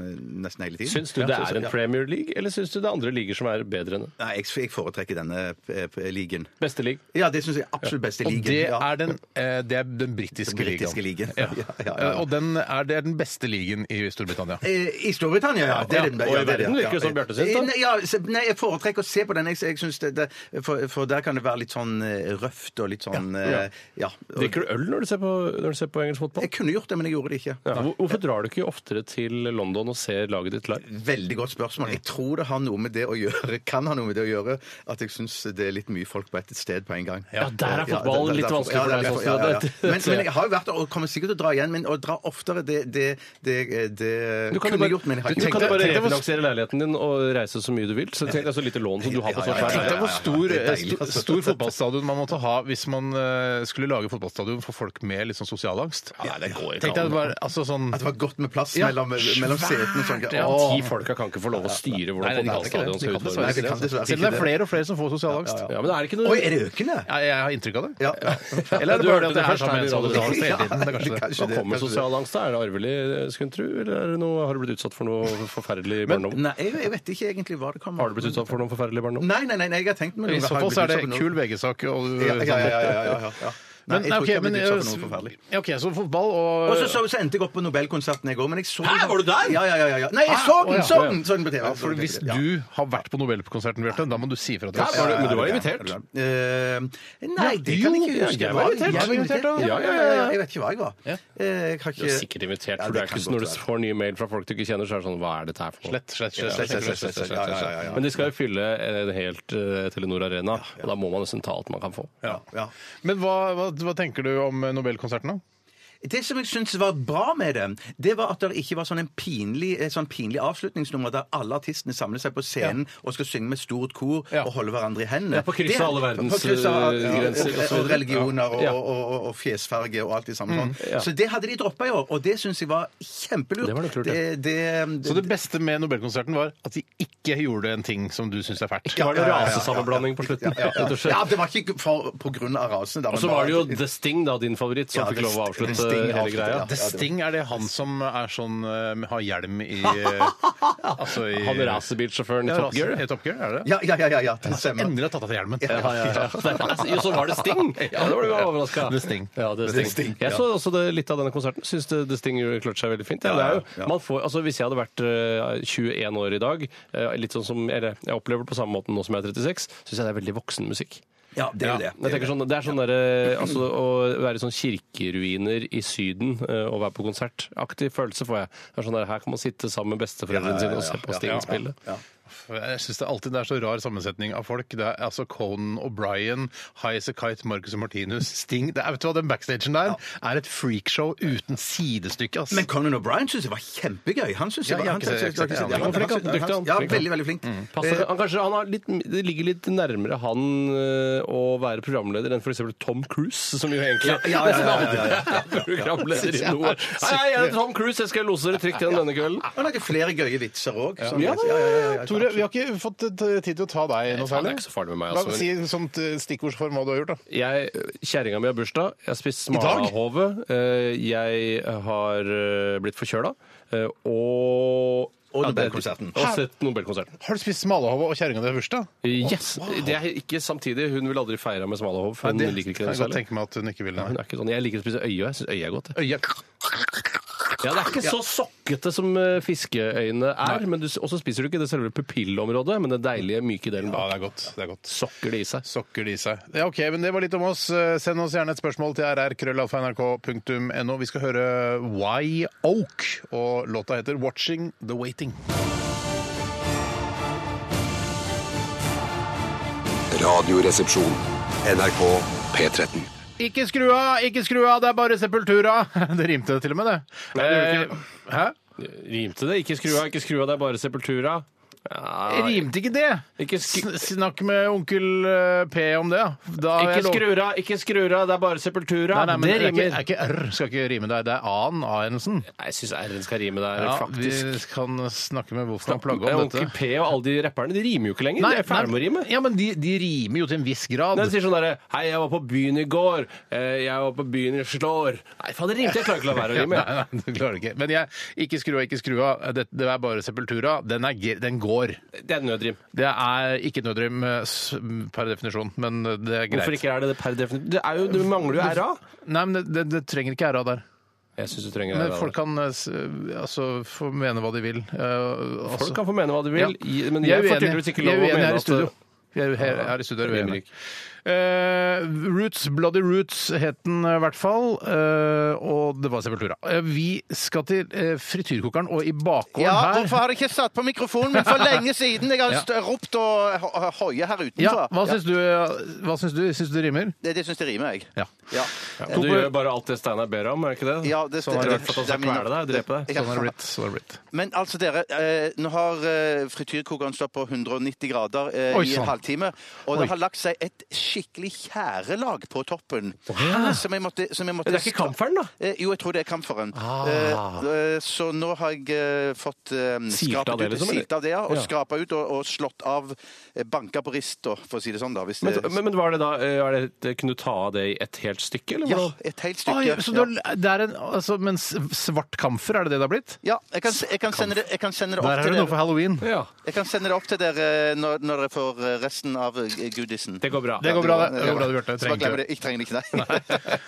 S3: nesten hele tiden.
S2: Syns du
S3: Ja,
S2: det
S3: så-
S2: er en
S3: ja.
S2: Premier League, eller syns du det er andre ligaer som er bedre enn det?
S3: Nei, jeg, jeg foretrekker denne eh, p- ligaen.
S2: Beste league?
S3: Ja, det syns jeg er absolutt beste
S1: Og
S3: ligaen.
S1: det
S3: ja.
S1: er den, eh, det er den britiske
S3: Den britiske
S1: ligaen.
S3: ligaen. Ja, ja, ja.
S1: Eh, Og den er, det er den beste ligaen i Storbritannia.
S3: Eh, I Storbritannia, ja. Det
S2: Ja,
S3: er den,
S2: og i
S3: ja, det er
S2: verden
S3: det,
S2: virker det som Bjarte synes, da.
S3: Eh, Nei, ja, se- nei, jeg foretrekker å se på den. Jeg, jeg synes det, det, for, for der kan det være litt sånn eh, røft og litt sånn eh, Ja. Og,
S2: Drikker du øl når du ser på, når du ser på engelsk fotball?
S3: jeg kunne gjort det, men jeg gjorde det ikke.
S2: Ja. Hvor- Hvorfor drar du ikke oftere til London og ser laget ditt live?
S3: Veldig godt spørsmål. Jeg tror det har noe med det å gjøre kan ha noe med det å gjøre at jeg syns det er litt mye folk på ett sted på en gang.
S2: Ja, der er fotballen litt
S3: derfor-
S2: vanskelig for
S3: ja,
S2: deg,
S3: derfor-
S2: sånn
S3: ja, ja, ja.
S2: sett.
S3: Men, men jeg har jo vært der og kommer sikkert til å dra igjen, men å dra oftere, det, det, det, det
S2: Du kan jo
S3: kunne
S2: bare,
S3: jeg gjort, men jeg har
S2: du
S3: ikke
S2: kan jo
S3: gjort
S2: bare
S3: det.
S2: refinansiere leiligheten din og reise så mye du vil. Så tenk deg så lite lån som du har på så
S3: Ja, ja,
S2: svær
S3: ja,
S1: Tenk
S3: ja,
S1: deg
S3: ja.
S2: leilighet.
S1: hvor stor,
S3: Det er
S1: eh,
S3: deilig,
S1: sto-
S3: altså.
S1: stor fotballstadion man måtte ha hvis man eh, skulle lage fotballstadion for folk med litt sånn sosialangst.
S2: Ja, det går
S1: Tenk deg bare, altså sånn
S3: At det var godt med plass mellom, mellom setene. og Sånn.
S2: Ja,
S3: Åh.
S2: ti folka kan ikke få lov å styre hvordan
S1: Nei, de kan ikke det.
S2: fotballstadion
S1: De kan dessverre
S2: skal
S3: Nei,
S2: utformes.
S3: de kan
S1: ikke det.
S3: dessverre
S1: Selv om det
S3: ikke
S1: er flere og flere som får sosialangst.
S2: Ja, men er det ikke noe
S3: Oi, er det økende?
S1: Ja, jeg har inntrykk av det.
S3: Ja. ja.
S1: Eller er det
S2: Du
S1: bare
S2: hørte
S1: at
S2: det
S1: jeg har
S2: først
S1: sammen
S2: her i
S1: med en sosialangst
S2: Radio
S1: hele tiden? Det er kanskje det.
S3: Kanskje
S2: Hva
S3: det,
S2: kommer
S3: kanskje det.
S2: sosial angst av? Er det arvelig, eh, skulle en tro? Eller er det noe, har du blitt utsatt for noe forferdelig i barndommen?
S3: Nei, jeg, jeg vet ikke egentlig hva det kommer
S2: Har du blitt utsatt for noe forferdelig i barndommen?
S3: Nei, nei, nei, nei, jeg har tenkt meg
S1: I så
S3: Har jeg
S1: fall så er det
S3: blitt utsatt for noe?
S1: kul VG-sak. og-
S3: Ja, ja, ja, ja, ja, ja, ja. eh, sånn- Nei,
S1: Men,
S3: jeg tror
S1: ok,
S3: ikke jeg har
S1: men,
S3: blitt utsatt for noe
S1: eh,
S3: forferdelig.
S1: s- ok, så fotball og
S3: Og så, så, så endte jeg opp på Nobelkonserten i går, men jeg så
S2: Hæ, var du der?
S3: Ja, ja, ja, ja. Nei, jeg så
S1: Å, ja.
S3: den, så den, så den på TV.
S1: ja, for Hvis
S3: Ja.
S1: du har vært på Nobelkonserten, Bjarte, da må du si ifra til
S2: Ja,
S1: oss.
S2: var du- men du var invitert.
S3: Eh, nei, det
S1: Ja,
S3: kan
S1: jo,
S3: jeg ikke huske.
S2: jeg var invitert.
S3: Jeg var invitert,
S1: da.
S3: ja. Ja, ja, ja. Jeg vet ikke hva jeg var. Eh, Jeg har
S2: Du
S3: ikke
S2: er sikkert invitert, for
S3: Ja,
S2: det er
S3: det
S2: ikke
S3: kan
S2: sånn når
S3: godt
S2: du
S3: være.
S2: får nye mail fra folk du ikke kjenner, så er det sånn Hva er dette her for noe?
S1: Slett, slett, slett,
S3: Slett,
S1: slett,
S3: slett, slett, slett. Ja, ja, ja, ja.
S2: Men de skal jo fylle eh, helt eh, Telenor Arena, og da må man nesten ta alt man kan få.
S3: Ja.
S1: Men hva, hva, hva tenker du om Nobelkonserten, da?
S3: Det som jeg syns var bra med det, det var at det ikke var sånn en pinlig, eh, sånn pinlig avslutningsnummer der alle artistene samler seg på scenen og skal synge med stort kor
S1: Ja.
S3: og holde hverandre i hendene.
S2: Ja, på kryss av
S3: Det-
S2: alle verdens,
S3: på kryss av-
S2: eh, grenser og så
S3: Og, og
S2: videre.
S3: religioner og,
S2: Ja. Mm,
S3: og, og, og fjesfarge og alt det samme. sånn.
S2: ja.
S3: Så det hadde de droppa i år, og det syns jeg var kjempelurt.
S2: Det var litt lurt, ja.
S3: Det- det-
S1: Så det beste med Nobelkonserten var at de ikke gjorde en ting som du syns er fælt.
S2: Det var det rasesammenblanding på slutten. rett og slett.
S3: ja, det var ikke for, på grunn av rasen. da, men
S2: Og så var det jo
S3: bare-
S2: The Sting, da, din favoritt, som
S3: Ja,
S2: fikk
S3: The
S2: lov å
S3: Sting- The
S2: avslutte
S3: Sting
S2: hele
S3: avsluttet,
S2: greia.
S3: ja.
S1: The Sting, er det han som er sånn eh, har hjelm i eh, altså i
S2: Han racerbilsjåføren i
S1: Ja,
S2: Top Gear.
S1: raser- i Top Gear, er det det?
S3: Ja, ja, ja, ja, ja, det stemmer.
S1: Endelig har tatt av seg hjelmen.
S2: Ja, ja, ja. Jo, så var det Sting! Ja, da ble du overraska.
S1: The Sting.
S2: Ja, The Sting. Jeg så også det, litt av denne konserten. Syns det, The Sting gjorde- klarte seg veldig fint. Ja, det er jo, man får, altså, hvis jeg hadde vært eh, 21 år i dag, eh, litt sånn som eller, jeg opplever det på samme måten nå som jeg er 36, syns jeg det er veldig voksen musikk.
S3: Ja, det er jo det.
S2: Jeg tenker sånn, det er sånn der, eh, altså, Å være i sånn kirkeruiner i Syden eh, og være på konsert Aktiv følelse får jeg. Det er sånn der, her kan man sitte sammen med besteforeldrene sine og se på Sting spille.
S1: Jeg syns det alltid det er så rar sammensetning av folk. Det er altså Conan O'Brien, Highas a Kite, Marcus og Martinus, Sting det er, Vet du hva, den backstagen der er et freakshow uten sidestykke, ass.
S3: Men Conan O'Brien syns jeg var kjempegøy. Han synes jeg
S1: Ja, jeg har
S3: var, han
S1: ikke
S3: synes jeg-
S1: sett- jeg har ikke sett-
S3: Ja,
S1: han Mm.
S2: var flink, han.
S3: synes-
S2: Dyktig, han.
S3: Ja,
S2: Flink, han.
S3: veldig, veldig flink.
S2: Passer,
S3: Eh,
S2: han, kanskje han har litt, det ligger litt nærmere han eh, å være programleder enn f.eks. Tom Cruise, som jo egentlig
S3: ja, ja, ja, ja, ja, ja.
S2: er programleder i noe. Hei, hei, jeg heter Tom Cruise, jeg skal lose dere trygt gjennom denne kvelden.
S3: Han lager flere gøye vitser òg.
S1: Ja, Tore, vi har ikke fått eh, tid til å ta deg noe
S2: faen, det
S1: særlig.
S2: er ikke så farlig med meg,
S1: Hva-
S2: altså.
S1: Si som t- stikkordsform hva du har gjort, da.
S2: Jeg, Kjerringa mi har bursdag, jeg har spist
S1: dag?
S2: smalahove, eh, jeg har eh, blitt forkjøla, eh, og
S3: Og
S2: Ja, det er-
S3: Nobelkonserten.
S2: Og sett Nobelkonserten.
S1: Har du spist smalahove og kjerringa di har bursdag?
S2: Yes! Det er ikke samtidig. Hun ville aldri feira med smalahove, for hun
S1: Det
S2: liker ikke
S1: kan
S2: det
S1: jeg godt
S2: særlig.
S1: tenke meg at hun ikke vil.
S2: Hun
S1: Nei.
S2: er ikke sånn. Jeg liker å spise øye, og jeg syns øye er godt. jeg.
S1: Øya.
S2: Ja, Det er ikke så sokkete som eh, fiskeøyne er. men du- Og så spiser du ikke det selve pupillområdet, men den deilige, myke
S1: Ja,
S2: delen bak.
S1: det er godt. Det er godt.
S2: Sokker det i seg.
S1: Sokker de seg. Ja, ok, men Det var litt om oss. Eh, Send oss gjerne et spørsmål til rrkrøllalfa.nrk.no. Vi skal høre Why Oak, og låta heter 'Watching The Waiting'.
S4: Radioresepsjon. NRK P13.
S1: Ikke skru av, ikke skru av, det er bare Sepultura! Det rimte til og med, det.
S2: det gjorde
S1: Eh, Hæ?
S2: Rimte det? Ikke skru av, ikke skru av, det er bare sepultura. Ja,
S1: Rimte ikke det?
S2: ikke
S1: S
S2: skru...
S1: snakk med onkel eh, P om det, da. da har jeg
S2: Ikke
S1: lov-
S2: skrura, ikke skrura, det er bare sepultura.
S1: Nei, nei, men
S2: det
S1: er ikke,
S2: rimer.
S1: er ikke R skal ikke rime der. Det er A-en, A-endelsen.
S2: Nei, Jeg syns R-en skal rime der,
S1: Ja, vi
S2: faktisk.
S1: kan snakke med Wolfgang Plagge om dette.
S2: Onkel P og alle de rapperne de rimer jo ikke lenger. de er ferdig med å rime.
S1: Ja, men de, de rimer jo til en viss grad.
S2: Nei, de sier sånn derre Hei, jeg var på byen i går. eh, Jeg var på byen i slår. Nei, faen, det rimte. Jeg klarer ikke å la være å
S1: Ja,
S2: rime.
S1: nei, nei, du klarer det ikke. Men jeg, ikke skru av, ikke skru av. Det, det er bare Sepultura. Den, er, ge- den går.
S2: Det er nødrim.
S1: Det er ikke et nødrim eh, s- per definisjon, men det er greit.
S2: Hvorfor ikke er det det per definisjon? Det, er jo, det mangler jo RA.
S1: Nei, men det, det, det trenger ikke æra der.
S2: Jeg syns du trenger
S1: Men
S2: RA.
S1: folk kan eh, s- altså, få mene hva de vil. Eh, altså.
S2: folk kan få mene hva de vil,
S1: Ja.
S2: i- men
S1: Vi er
S2: jeg får
S1: uenige.
S2: tydeligvis ikke
S1: Vi er
S2: lov å
S1: uenige
S2: mene
S1: her i
S2: at eh,
S1: studio. Vi er her, her i studio er vi
S2: Rimer
S1: uenige.
S2: ikke.
S1: Eh, Roots, Bloody Roots het den eh, i hvert fall. eh, og det var Sepultura. Eh, vi skal til eh, frityrkokeren, og i bakgården
S5: Ja,
S1: her
S5: hvorfor har jeg ikke satt på mikrofonen min for lenge siden? Jeg har
S1: Ja.
S5: st- ropt og ho- ho- hoie her utenfor.
S1: Ja, hva syns du? eh, Hva syns du? Syns du det rimer?
S5: Det, det syns jeg rimer, jeg.
S1: Ja.
S5: Ja,
S2: Du gjør bare alt det Steinar ber om, er ikke det?
S5: Ja, det-
S2: sånn er det
S5: det-
S2: for at han skal
S5: det er min-
S2: kvele deg og drepe deg.
S5: Ja.
S1: Sånn har det blitt. Sånn har det blitt.
S5: Men altså, dere, eh, nå har eh, frityrkokeren stått på 190 grader eh,
S1: Oi,
S5: i en
S1: sann.
S5: halvtime. Og
S1: Oi.
S5: det har lagt seg et skikkelig tjærelag på toppen. Som jeg måtte, som jeg måtte
S2: Det er ikke kamferen, da?
S5: Eh, jo, jeg tror det er kamferen.
S1: Ah.
S5: Eh, eh, så nå har jeg eh, fått eh,
S2: Silt av
S5: skrapet
S2: det,
S5: ut-
S2: liksom, eller?
S5: silt av det, ja, og
S2: Ja.
S5: skrapet ut og, og slått av eh, banka på rist, og, for å si det sånn, da. Hvis
S2: Men,
S5: det,
S2: men, men var det da eh, er det, Kunne du ta av det i et helt stykke, eller?
S5: ja,
S2: hvordan?
S5: et helt stykke.
S1: Oi, Ah, så
S5: ja.
S1: du har, det er en, altså, men s- svart kamfer, er det det det har blitt?
S5: Ja, jeg kan, jeg kan sende det, jeg kan sende det
S1: Der
S5: opp
S1: er
S5: til
S1: det noe for
S5: dere.
S1: halloween.
S2: ja.
S5: Jeg kan sende det opp til dere eh, når, når dere får resten av eh, goodiesen.
S2: Det går bra.
S1: Det går bra, det. Det går bra, det, Bjarte. Jeg
S5: Så bare
S1: trenger
S5: glem
S1: ikke
S5: det. Jeg trenger det ikke, nei.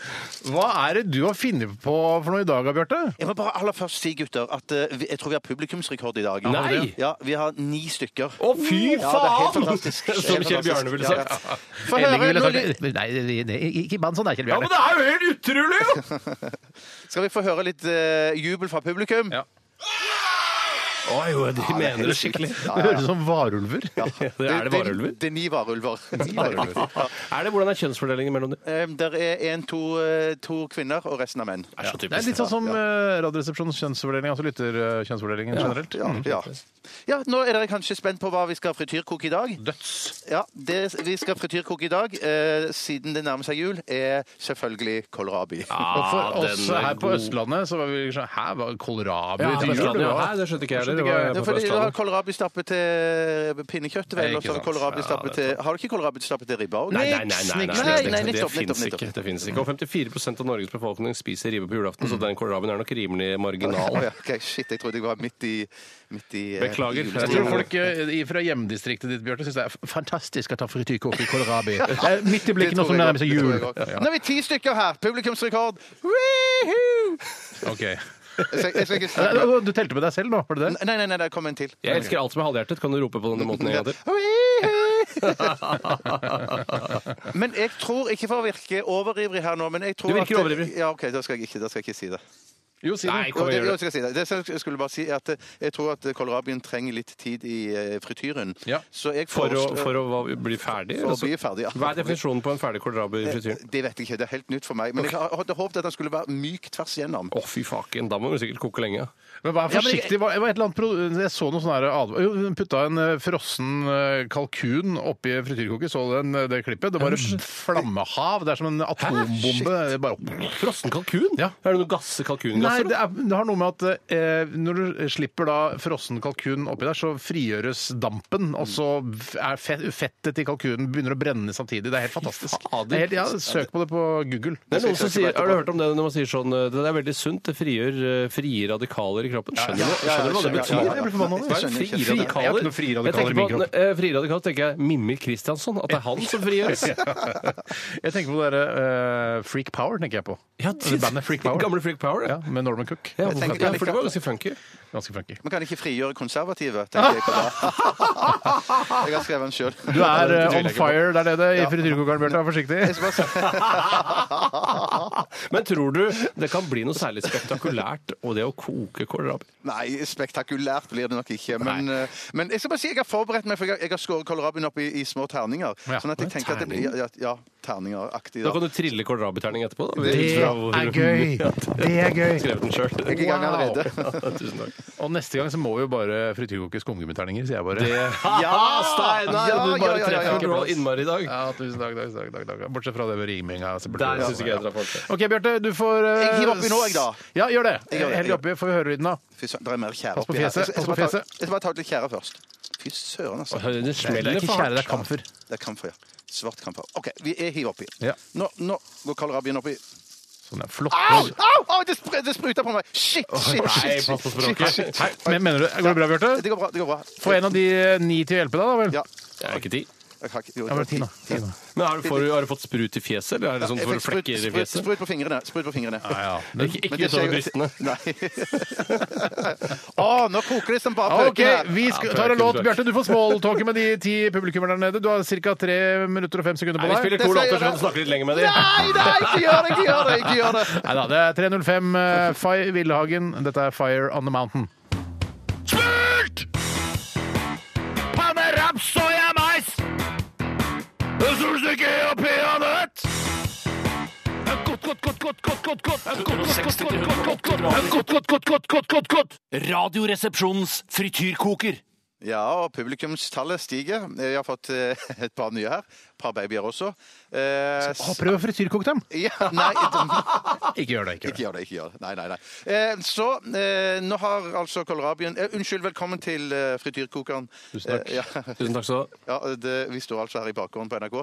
S1: Hva er det du har funnet på for noe i dag, Bjarte?
S5: Jeg må bare aller først si, gutter, at eh, vi- jeg tror vi har publikumsrekord i dag.
S2: Nei!
S5: Ja, vi har ni stykker.
S2: Å, fy
S5: Ja, det er helt
S2: faen!
S5: fantastisk.
S2: Som Kjell Bjarne ville sagt.
S1: Få
S5: Elling
S1: høre!
S5: ville
S1: Nå,
S5: sagt-
S1: nei, det- det- ikke bann sånn, det er Kjell
S2: Ja, men
S1: Bjarne.
S2: det er jo helt utrolig, jo!
S5: Skal vi få høre litt eh, jubel fra publikum?
S1: Ja.
S2: Oi, jo, de mener det skikkelig.
S1: Det høres ut som varulver.
S2: Ja, det er det varulver?
S3: Det er ni varulver.
S2: Er det, hvordan er kjønnsfordelingen mellom dem?
S3: Det er en, to, eh, to kvinner og resten av menn.
S2: Er så
S1: Det er litt sånn som eh, Radioresepsjonens kjønnsfordeling, altså lytterkjønnsfordelingen generelt.
S3: Ja,
S2: Mm.
S3: ja. ja, nå er dere kanskje spent på hva vi skal frityrkoke i dag.
S1: Døds.
S3: Ja, det vi skal frityrkoke i dag, eh, siden det nærmer seg jul, er selvfølgelig kålrabi.
S1: Og
S2: Ah,
S1: for
S2: den
S1: oss
S2: er
S1: her på
S2: god.
S1: Østlandet så var vi sånn Hæ, hva kålrabi
S2: Ja,
S1: til
S2: på
S1: jul?
S2: Østlandet, ja.
S1: hva?
S2: Nei, det skjønte ikke jeg heller.
S1: Skjønte
S2: Det var-
S1: jeg.
S3: Det er fordi du har kålrabistappe til eh, pinnekjøtt,
S1: Nei,
S3: vel, og
S1: ikke
S3: så har du
S1: sant.
S3: kålrabistappe
S1: Ja, det er
S3: til Har du ikke kålrabistappe til ribba òg?
S2: Nei, nei, nei, nei, nei,
S3: Nei,
S2: det-
S3: nei,
S2: det-
S3: nettopp,
S2: Det
S3: nettopp,
S2: fins
S3: nettopp.
S2: ikke. Det finnes ikke. Og 54 av Norges befolkning spiser ribbe på julaften, så den kålrabien er nok rimelig marginal.
S3: Å ja, ok, shit, jeg trodde jeg var midt i, midt i eh,
S2: Beklager.
S3: i
S1: Jeg
S3: julestemningen.
S1: tror folk eh, i- fra hjemdistriktet ditt, Bjarte, syns det er f- fantastisk at han frityrkoker kålrabi. Det er Eh, Midt i
S3: Det
S1: blikket nå
S3: tror
S1: som
S3: jeg
S1: nærmer
S3: også,
S1: seg
S3: det
S1: jul.
S3: tror jeg også.
S1: Ja,
S3: Nå er vi ti stykker her! Publikumsrekord! Woohoo!
S1: ok.
S3: Jeg skal- jeg skal ikke
S1: Eh,
S3: snakke
S1: og Du telte med deg selv nå, var det det?
S3: Nei, nei, nei, der kom en til.
S2: Jeg elsker alt som er halvhjertet. Kan du rope på denne måten en gang til?
S3: Men jeg tror, ikke for å virke overivrig her nå men jeg tror
S2: Du virker
S3: at-
S2: overivrig.
S3: Ja, OK, da skal jeg ikke, da skal jeg ikke si det.
S1: Jo, si
S2: Nei,
S1: det.
S2: kom
S3: Jo, det,
S2: igjen.
S3: jo,
S2: gjør
S3: jeg, skal si det. det som jeg skulle bare si er at eh, jeg tror at kålrabien trenger litt tid i eh, frityren.
S1: Ja.
S3: Så jeg
S2: det. For å,
S3: foreslår-
S2: for å hva- bli ferdig?
S3: For å
S2: altså.
S3: bli ferdig, ja.
S2: Hva er definisjonen på en ferdig kålrabi i frityren?
S3: Eh, Det vet jeg ikke, det er helt nytt for meg. Men jeg har- hadde håpet at den skulle være myk tvers igjennom.
S2: Å, fy faken. Da må du sikkert koke lenge.
S1: Men vær
S3: Ja, men jeg-
S1: forsiktig. Hva- hva et eller annet pro- Jeg så noe sånn her advar- Jo, Hun putta en eh, frossen eh, kalkun oppi frityrkoker. Så du den, eh, det klippet? Det var et flammehav. Det er som en atombombe. Det Bare...
S2: Frossen kalkun?
S1: Ja.
S2: Er det noe gasse
S1: Nei,
S2: kalkungasser?
S1: det, er, det har noe med at eh, når du slipper da frossen kalkun oppi der, så frigjøres dampen, og så er fett, fettet i kalkunen begynner å brenne samtidig. Det er helt fantastisk.
S2: Fader.
S1: Det er helt, ja, søk på det på Google.
S2: Det er noen som
S3: Jeg skal
S2: sier,
S3: ikke
S2: har du hørt om det når man sier sånn eh, Det er veldig sunt, det frigjør, eh, frigir radikaler i kroppen. Skjønner du
S3: ja, ja,
S2: skjønner du hva det
S3: ja,
S2: betyr?
S3: ja, ja, ja.
S1: Jeg blir forbanna.
S2: Hva er
S3: skjønner ikke.
S2: frie
S3: Jeg
S1: har ikke noen frie radikaler i min kropp.
S2: eh, Frie radikaler tenker jeg Mimmi Kristiansson. At det er han som frigjøres.
S1: Jeg tenker på det der, eh, Freak Power, tenker jeg på. det bandet Freak Power.
S2: Gamle Freak Power, ja.
S1: Ja, med Norman Cook.
S2: Ja,
S3: tenker-
S2: hvorfor- ja, for det var ganske funky.
S1: Ganske funky.
S3: Man kan ikke frigjøre konservative, tenker jeg på det. Jeg har skrevet den sjøl.
S1: Du er eh, on fire der nede i frityrkokeren, Bjarte. Vær forsiktig.
S2: Men tror du det kan bli noe særlig spektakulært og det å koke kålrabi?
S3: Nei, spektakulært blir det nok ikke. Men, eh, men jeg skal bare si jeg har forberedt meg, for jeg har- jeg har skåret kålrabien opp i, i små terninger.
S1: Ja.
S3: Sånn at jeg tenker at det blir ja, ja, terningeraktig.
S2: Da
S3: da.
S2: kan du trille kålrabiterning etterpå. Da.
S1: Det
S2: Ut fra hvor-
S1: er gøy! Det er gøy!
S2: Skrevet den
S3: Jeg er i
S2: sjøl.
S3: gang
S1: Wow.
S3: allerede.
S2: Tusen takk.
S1: Og neste gang så må vi jo bare frityrkoke skumgummiterninger, sier jeg bare.
S2: Ja, Steinar!
S3: Ja,
S2: du bare
S3: ja, ja, ja, ja.
S2: treffer bra innmari i dag.
S1: Ja, tusen takk, takk, takk, takk, takk. Bortsett fra det med riminga. så burde
S2: Der
S1: det-
S2: syns ikke jeg traff ordentlig.
S1: OK, Bjarte, du får eh,
S3: Jeg hiver oppi nå, jeg, da.
S1: Ja, gjør det.
S3: Jeg gjør det,
S1: Hell
S3: jeg
S1: oppi, får vi høre lyden, da.
S3: Fy søren, det er mer tjære
S1: Pass på
S3: oppi her.
S1: fjeset,
S3: Jeg skal- jeg skal
S1: pass på
S3: bare ta-
S1: fjeset.
S3: Jeg skal bare ta ut litt tjære først. Fy søren, altså.
S2: Det
S1: Det er
S2: smeller
S1: ikke
S2: for
S1: kjære, det
S2: hardt.
S1: er kamfer.
S3: Det er kamfer, ja. Svart kamfer. OK, vi er hiv oppi.
S1: Ja.
S3: Nå, nå går kålrabien oppi.
S1: Sånn, ja. Flott.
S3: Au! Au! Au! Det, spr det spruter på meg! Shit, shit, shit!
S1: pass på
S3: shit,
S1: språket.
S3: shit, shit.
S1: Hei, men mener du, Går det bra, Bjarte?
S3: Det går bra. det går bra.
S1: Få en av de eh, ni til å hjelpe deg, da vel?
S3: Ja.
S2: Det er ikke ti.
S3: Jeg har ikke jo,
S1: Ja, men ti nå. Ti nå.
S2: Men har du, får du, har du fått sprut i fjeset, eller er det sånn
S3: Jeg
S2: for
S3: fikk
S2: du flekker i
S3: sprut, sprut,
S2: fjeset?
S3: sprut på fingrene. Sprut på fingrene.
S1: Ja, ja.
S2: Men Ikke,
S3: Men
S2: ikke sånn
S3: det
S2: utover
S3: skjer jo-
S2: brystene.
S3: Nei. Å, nå koker det som bare
S1: OK,
S3: pøken her.
S1: vi skal,
S2: Ja,
S1: tar en
S2: pøken,
S1: låt.
S2: pøken.
S1: Bjarte, du får smalltalke med de ti publikummerne der nede. Du har ca. tre minutter og fem sekunder
S2: Nei, vi
S1: på deg.
S2: spiller
S3: Det
S2: to
S3: skal jeg
S2: låter, så
S3: gjøre.
S2: kan du snakke litt lenger med dem.
S3: Nei, nei, ikke gjør det! Ikke gjør det! ikke gjør det.
S1: Nei da, det er 305 eh, Fay Villehagen. Dette er Fire on the Mountain. Smurt! Panne, raps, soya, mais! Solstykke og peanøtt! Godt, godt, godt, godt, godt, godt, godt. Godt, godt, godt, godt, godt, godt, godt, godt, godt, godt, godt.
S6: Radioresepsjonens frityrkoker.
S3: Ja, og publikumstallet stiger. Jeg har fått eh, et par nye her. Et par babyer også. Eh,
S1: Å, Prøv å frityrkoke dem.
S3: ja, nei,
S1: Ikke gjør det. ikke
S3: ikke gjør det. ikke gjør det. Nei, nei, nei. Eh, så eh, nå har altså kålrabien eh, Unnskyld, velkommen til eh, frityrkokeren. Tusen takk. ja,
S2: Tusen takk skal du ha.
S3: ja, det, vi står altså her i bakgården på NRK,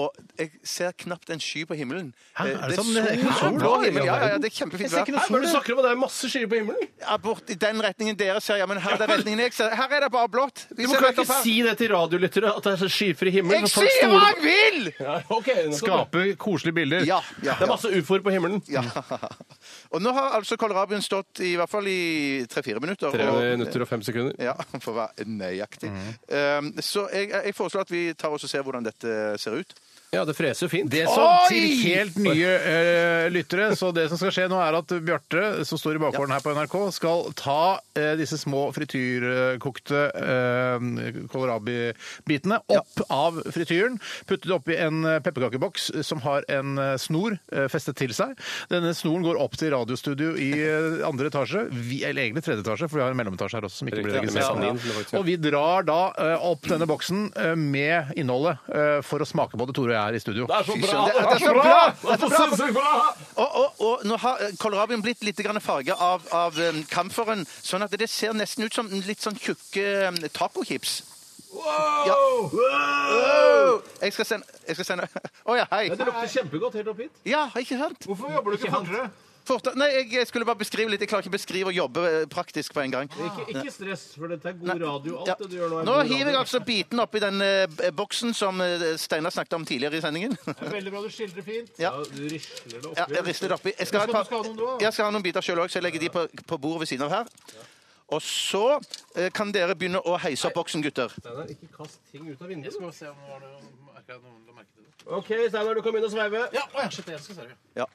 S3: og jeg ser knapt en sky på himmelen.
S1: Hæ, er det
S3: Eh,
S1: sånn-
S3: sol,
S1: er det sol?
S3: blå himmel. Ja, ja, ja, det er kjempefint vær.
S2: Hva er det du snakker om? Det er masse skyer på himmelen.
S3: Ja, bort i den retningen dere ser, ja, men her er det retningen jeg ser. Her er det bare blått. Vi
S2: Du
S3: ser
S2: kan
S3: nettopp
S2: ikke
S3: her.
S2: si det til radiolyttere at det er så skyfri himmel.
S3: Jeg
S2: for folk
S3: sier hva
S2: stoler-
S3: jeg vil!
S2: Ja, ok, nå skal du ha.
S1: Skape koselige bilder.
S3: Ja, ja,
S2: Det er
S3: ja.
S2: masse ufoer på himmelen.
S3: Ja. Og nå har altså kålrabien stått i hvert fall i tre-fire minutter.
S2: Tre
S3: og-
S2: minutter Mhm. og fem sekunder.
S3: Ja, for å Ehm, være nøyaktig. Um, så jeg, jeg foreslår at vi tar oss og ser hvordan dette ser ut.
S2: Ja, det freser jo fint.
S1: Det som til helt nye eh, lyttere, så det som skal skje nå er at Bjarte, som står i bakgården her på NRK, skal ta eh, disse små frityrkokte uh, kålrabi-bitene opp av frityren, putte det oppi en eh, pepperkakeboks som har en eh, snor eh, festet til seg. Denne snoren går opp til radiostudio i eh, andre etasje, vi, eller egentlig tredje etasje, for vi har en mellometasje her også som ikke blir
S2: Riktig, ja,
S1: registrert.
S2: med sandin, faktisk, ja.
S1: Og vi drar da eh, opp denne boksen eh, med innholdet eh, for å smake på det, Tore og jeg, her i studio.
S2: Det er så bra!
S3: Det er- det er så bra!
S2: Det er så sinnssykt bra!
S3: Og, og, og nå har eh, kålrabien blitt litt farga av, av eh, kamferen, sånn at det ser nesten ut som litt sånn tjukke eh, tacochips. Ja. Wow! Jeg skal sende jeg skal sende- Å ja, hei.
S2: lukter kjempegodt helt opp hit.
S3: Ja, ikke sant?
S2: Hvorfor jobber du ikke fortere?
S3: Forta Nei, jeg, jeg skulle bare beskrive litt. Jeg klarer ikke å beskrive og jobbe eh, praktisk på en gang.
S2: Ikke, stress, for dette er god radio.
S3: Ja. Nå hiver jeg altså biten oppi den eh, b- boksen som eh, Steinar snakket om tidligere i sendingen.
S1: Veldig bra, du skildrer fint.
S3: Ja.
S2: Du risler det
S3: Ja, jeg rister det oppi. Jeg skal ha,
S1: Du
S3: et
S1: skal ha noen du
S3: par,
S1: også.
S3: jeg skal ha noen biter sjøl òg, så jeg legger de på, på bordet ved siden av her. Og så eh, kan dere begynne å heise opp boksen, gutter.
S2: Ikke kast ting ut av vinduet.
S1: se om det var noen la merke til det.
S2: OK, Steinar, du kan begynne å sveive.
S1: Ja, å, ja, shit, jeg skal serve.
S3: Ja.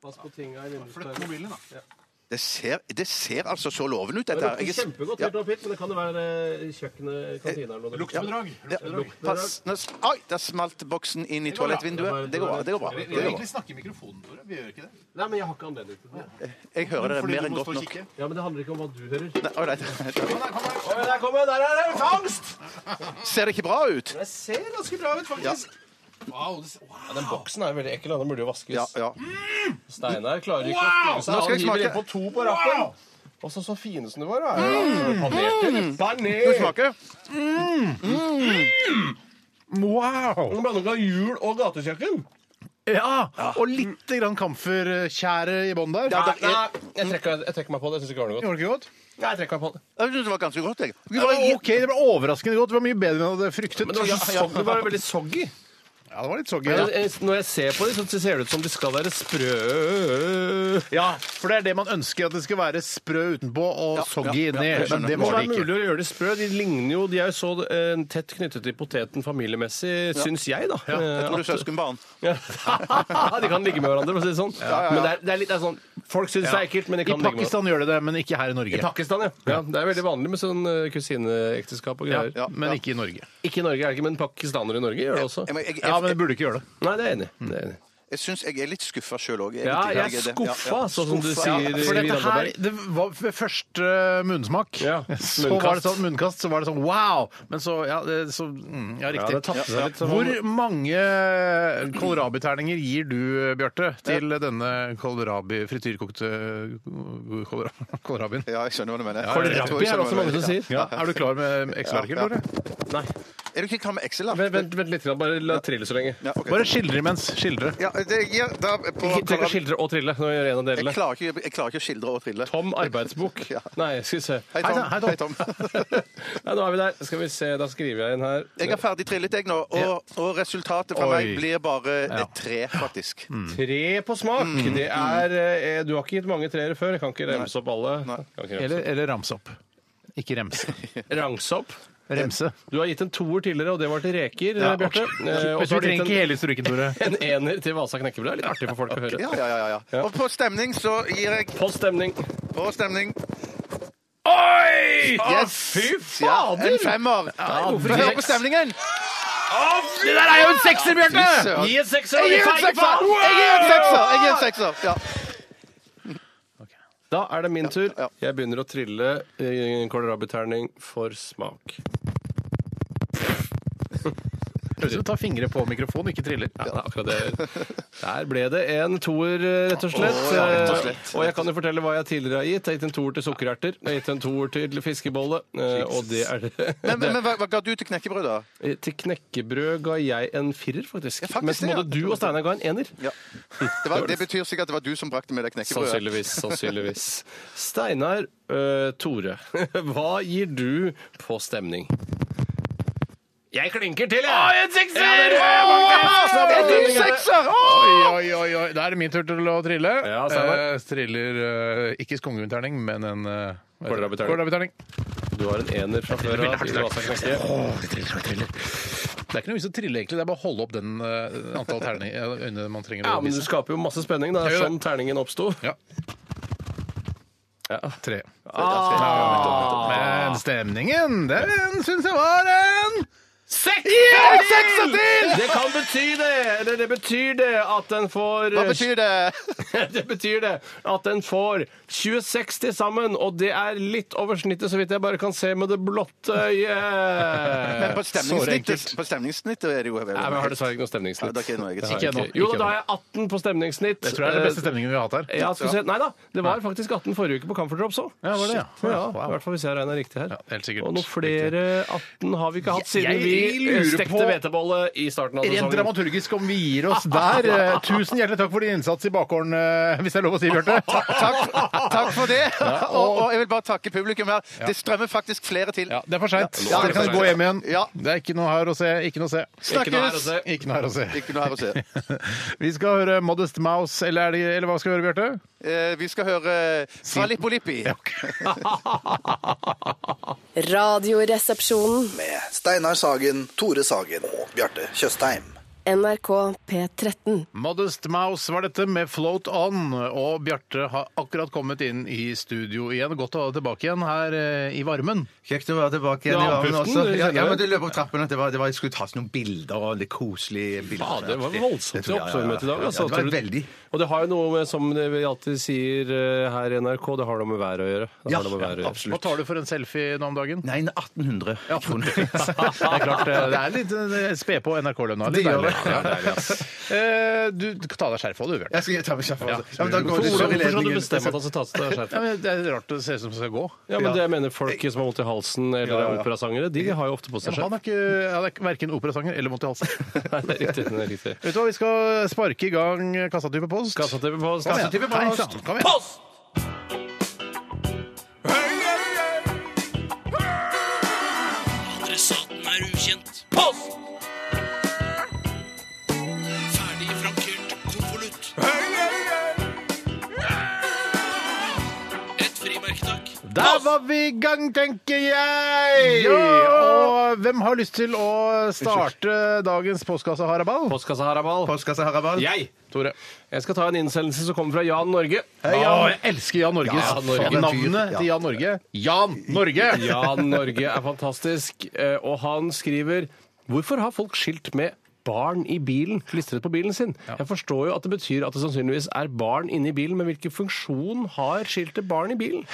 S2: Pass på tinga i
S1: Flytt
S2: vinduskarmen.
S1: mobilen, da.
S3: Det ser, det ser altså så lovende ut,
S2: Det
S3: dette her.
S2: lukter
S3: Jeg-
S2: kjempegodt helt opp hit, men det kan jo være eh, kjøkkenet, kantina eller noe.
S1: Luktebedrag.
S3: Ja, pass. Nå, s- oi, der smalt boksen inn i toalettvinduet. Det går bra. det går bra,
S1: Vi
S3: det
S1: vil
S3: går bra.
S1: egentlig snakke i mikrofonen, Tore. Vi gjør ikke det.
S2: Nei, men jeg har ikke anledning til det.
S3: Jeg hører dere
S1: Fordi
S3: mer
S1: du
S3: enn
S1: må
S3: godt
S1: stå og
S3: nok.
S1: kikke.
S2: Ja, men det handler ikke om hva du hører.
S3: Nei, å, nei.
S1: Kom her, kom her.
S2: Oi, der kommer Der er det fangst!
S3: Ser det ikke bra ut?
S2: Det ser ganske bra ut, faktisk.
S1: Wow, det ser- wow.
S2: Den boksen er veldig ekkel. Den burde jo vaskes.
S3: Ja, ja.
S2: Steinar klarer ikke å styre seg.
S3: Nå skal
S2: Han
S3: jeg
S2: hiver
S3: smake.
S2: en på to på rappen. Og så så fine som de var. da. Mm. Panert. Panert.
S3: Smake.
S1: Wow!
S2: En blanding av jul og gatekjøkken.
S1: Ja, og litt grann kamfertjære i bånn der.
S2: Nei, jeg trekker, jeg trekker meg på det. Jeg syns ikke det var noe godt.
S1: Gjorde det ikke godt?
S2: Nei, jeg trekker meg på det.
S3: Jeg syns det var ganske godt, jeg.
S1: Det var OK, det var overraskende godt. Det var mye bedre enn jeg hadde fryktet. sånn
S2: Men det var, så soggy, det var veldig soggy.
S1: Ja, det var litt soggy.
S2: Jeg- jeg- Når jeg ser på dem, så ser det ut som de skal være sprø.
S1: Ja, for det er det man ønsker, at det skal være sprø utenpå og soggy inni. men det
S2: må
S1: var det
S2: være mulig
S1: ikke.
S2: å gjøre det sprø. De ligner jo, de er jo så eh, tett knyttet til poteten familiemessig, syns jeg, da.
S3: Jeg tror du er
S2: Eh, at-
S3: søskenbarn.
S2: Ja. de kan ligge med hverandre, for å si det sånn. Men det er, det er litt det er sånn Folk syns det er ekkelt, men de
S1: I
S2: kan ligge med hverandre.
S1: Pakistan gjør det det, men ikke her i
S2: I
S1: Norge.
S2: Pakistan, ja. ja. Det er veldig vanlig med sånn eh, kusineekteskap og
S1: Ja,
S2: greier.
S1: ja, men ikke i Norge.
S2: Ikke i Norge, er det ikke, men pakistanere i Norge gjør det også.
S3: Jeg,
S1: Ja,
S3: jeg,
S1: men
S3: jeg,
S1: du burde ikke gjøre det.
S2: Nei, det er jeg enig. i. Det er jeg enig. i.
S3: jeg syns jeg er litt skuffa sjøl òg.
S2: Ja, jeg er skuffa, sånn som du
S3: Skuffa, ja.
S2: sier.
S1: For dette
S2: Vidar
S1: her,
S2: Dahlberg.
S1: det var ved første eh, munnsmak.
S2: Ja,
S1: Så
S2: munnkast.
S1: var det sånn munnkast, så var det sånn wow! Men så Ja, det, så, mm, ja riktig.
S2: det tapte seg litt, så
S1: Hvor
S2: man-
S1: mange kålrabiterninger gir du, Bjarte, til denne kålrabi, frityrkokte kålra- kålrabien?
S3: Ja, jeg skjønner hva du mener.
S1: Kålrabi
S3: Jeg tror jeg
S2: er
S3: skjønner
S2: også
S3: hva du
S2: mange som
S3: mener.
S2: sier.
S1: Ja. Er du klar med Excel-arket,
S3: Ja, ja.
S1: Tore?
S2: Nei.
S3: Er du ikke klar med Excel? da?
S2: Vent, vent, vent litt, grann, bare la trille så lenge.
S3: Ja, ok.
S1: Bare skildre imens. Skildre.
S3: ja, det gir da på
S2: Ikke trenger å skildre og trille. Nå gjør jeg en av
S3: jeg
S2: delene.
S3: klarer, ikke, jeg klarer ikke å skildre og trille.
S2: Tom arbeidsbok.
S3: Ja.
S2: Nei, skal vi se.
S3: Hei, Tom.
S1: Hei, Tom.
S3: Hei, Tom.
S2: Nei, nå er vi der. Skal vi se, da skriver jeg inn her.
S3: Jeg er ferdig trillet, jeg nå, og, og resultatet fra
S1: Oi.
S3: meg blir bare et tre, faktisk.
S2: Tre på smak.
S3: Mm.
S2: Det er eh, Du har ikke gitt mange treere før. Jeg kan ikke remse opp alle. Kan ikke
S1: Eller, eller ramse opp. Ikke remse.
S2: remse- Ramse opp.
S1: Remse.
S2: Du har gitt en toer tidligere, og det var til reker,
S1: Ja,
S2: eh, Bjarte.
S1: ok.
S2: Eh, Og
S1: Vet du,
S2: så har
S1: vi
S2: du gitt
S1: trenger ikke
S2: en,
S1: hele historikken, Tore.
S2: en ener til Vasa knekkebrød. Litt artig for folk å høre.
S3: Ja, ja, ja, ja. Og på stemning så gir jeg
S2: På stemning.
S3: På stemning.
S2: Oi!
S3: Yes!
S2: Fy
S3: Ja,
S2: fader!
S3: en femmer. Få høre på stemningen!
S2: Det der er jo en sekser, Bjarte!
S3: Fy søren.
S2: Gi en sekser! gi
S3: Jeg gir en
S2: feil
S3: sekser!
S2: faen!
S3: Jeg gir en sekser! Jeg gir en sekser. Ja.
S2: Da er det min tur.
S3: ja.
S2: Jeg begynner å trille eh, kålrabiterning for smak.
S1: Høres ut som du tar fingre på mikrofonen, ikke triller.
S2: Ja, det er akkurat det. jeg gjør. Der ble det en toer, eh, rett og slett.
S3: Å, ja, rett og slett.
S2: Eh, Og jeg kan jo fortelle hva jeg tidligere har gitt. Jeg har gitt en toer til sukkererter. Jeg har gitt en toer til fiskebolle. eh, Og det er det.
S3: Men, men, men hva, hva ga du til knekkebrød, da?
S2: Eh, Til knekkebrød ga jeg en firer, faktisk.
S3: faktisk,
S2: Mens
S3: ja.
S2: både du og Steinar ga en ener.
S3: Ja. Det, var, det betyr sikkert at det var du som brakte med deg knekkebrødet.
S2: Sannsynligvis. sannsynligvis. Steinar eh, Tore, hva gir du på stemning? Jeg klinker til, jeg! Å, en sekser!
S3: En ny sekser! Åh!
S1: Oi, oi, oi, oi. Da er det min tur til å trille.
S2: Ja, Steinar.
S1: Eh, triller eh, ikke skongeunterning, men en uh,
S2: Kålrabi-terning.
S1: kålrabiterning.
S2: du har en ener fra før av. i Vasaknekke.
S1: Åh, det triller og triller. Det er ikke noe vits å trille, egentlig. Det er bare å holde opp den eh, antall terning, eh, øyne man trenger
S2: Ja,
S1: å
S2: men du
S1: vise.
S2: skaper jo masse spenning. Det
S1: Jeg
S2: er
S1: gjør
S2: sånn terningen oppsto.
S1: Ja.
S2: Ja.
S1: Tre. Ah. Men stemningen, den syns jeg var en Seks! Ja, seks av ti!
S2: Det kan bety det! Eller det betyr det at den får
S5: Hva betyr det?
S2: Det betyr det at den får 26 til sammen, og det er litt over snittet, så vidt jeg bare kan se med det blotte øyet.
S5: Men på stemningssnittet, på stemningssnittet er det jo
S2: Nei, men jeg har dessverre ikke
S5: Ja,
S2: noe
S5: det
S2: stemningssnitt.
S5: er ikke noe eget.
S2: Det har
S1: Ikke
S2: jeg
S1: ennå,
S2: Jo,
S1: ikke
S2: da har jeg 18 på stemningssnitt. Eh,
S1: Jeg tror det er den beste stemningen vi har hatt her.
S2: Ja, skal vi se. Nei da, det var faktisk 18 forrige uke på Comfort Drops òg.
S1: Ja, var det, ja. Wow.
S2: I hvert fall hvis jeg regner riktig her.
S1: Ja, helt sikkert.
S2: Og noen flere 18 har vi ikke hatt siden
S1: Jeg- jeg
S2: vi
S1: lurer
S2: stekte
S1: på-
S2: hvetebolle i starten av
S1: Rent
S2: sesongen.
S1: dramaturgisk om vi gir oss der. Eh, Tusen hjertelig takk for din innsats i bakgården, eh, hvis det er lov å si, Bjarte.
S5: Takk, takk for det. Og, og jeg vil bare takke publikum her. Det strømmer faktisk flere til.
S1: Ja, det er for seint.
S5: Ja,
S1: Dere
S5: det er for
S1: kan
S5: sent.
S1: gå hjem igjen.
S5: Ja.
S1: Det er ikke noe her å se. Ikke noe å se.
S2: Ikke noe her å
S5: Snakkes!
S2: se.
S1: Ikke noe her å se.
S5: Ikke noe her å se.
S1: Vi skal høre Modest Mouse, eller, er det, eller hva skal vi høre, Bjarte?
S5: Eh, Vi skal høre fra Lippolippi.
S7: Radioresepsjonen.
S8: Med Steinar Sagen, Tore Sagen og Bjarte Tjøstheim.
S7: NRK P13.
S1: Modest Mouse var dette med Float On, og Bjarte har akkurat kommet inn i studio igjen. Godt å ha deg tilbake igjen her eh, i varmen.
S3: Kjekt å være tilbake igjen i
S2: Ja,
S3: varmen
S2: pusten,
S3: også.
S2: du
S3: Ja,
S2: kjenner
S3: jeg
S2: det.
S3: måtte løpe opp trappene. Det var, det var, jeg skulle tas noen bilder og litt koselige bilder.
S2: Ja, det var voldsomt i
S3: Ja, ja, ja.
S2: oppsvømmet i dag. Altså,
S3: Ja, det
S2: Tror
S3: var
S2: du-
S3: veldig.
S2: Og det har jo noe med, som det vi alltid sier eh, her i NRK, det har noe med været å gjøre. Det
S3: Ja,
S2: har noe med været å gjøre.
S3: absolutt.
S1: Hva tar du for en selfie nå om dagen?
S3: Nei, 1800 kroner.
S1: Det er klart, eh, det er litt eh, spe på NRK-lønna. Litt
S3: Det gjør
S1: deilig.
S3: det.
S1: Ja, deilig, ass. Eh, Du ta deg skjerfet av, du, Bjarte.
S3: Jeg skal jeg tar meg sjef, altså. Ja, men da går
S2: Hvorfor
S3: det
S2: hvorfor
S3: sånn i
S2: skal du
S3: ledningen.
S2: bestemme at han skal ta seg av
S1: Ja,
S2: skjerfet?
S1: men det er rart det ser ut som det skal gå.
S2: Ja, men det jeg mener folk som har vondt i halsen eller
S3: Ja, ja, ja.
S2: er operasangere, de har jo ofte på seg
S1: Han
S2: skjerf.
S1: er, ikke, han er verken operasanger eller vondt i halsen.
S2: Nei, det er riktig. Det er riktig.
S1: Vet du hva, vi skal sparke i gang Kassatype post.
S2: Kassatype på oss.
S1: Kom igjen. Nei, sant. Kom igjen.
S9: Adressaten er ukjent. Post! Ferdig frankert konvolutt. Et frimerke, takk.
S1: Der var vi i gang, tenker jeg! Og hvem har lyst til å starte dagens postkasse Haraball?
S2: Postkassa Harabal.
S3: Postkasse Harabal.
S2: Jeg!
S1: Tore.
S2: Jeg skal ta en innsendelse som kommer fra Jan Norge.
S1: Å, jeg elsker Jan Norge.
S2: Ja, Jan Norge.
S1: Faen, Navnet til Jan Norge. Jan Norge!
S2: Jan Norge er fantastisk, eh, og han skriver Hvorfor har folk skilt med barn i bilen, klistret på bilen sin? Jeg forstår jo at det betyr at det sannsynligvis er barn inni bilen, men hvilken funksjon har skiltet barn i bilen?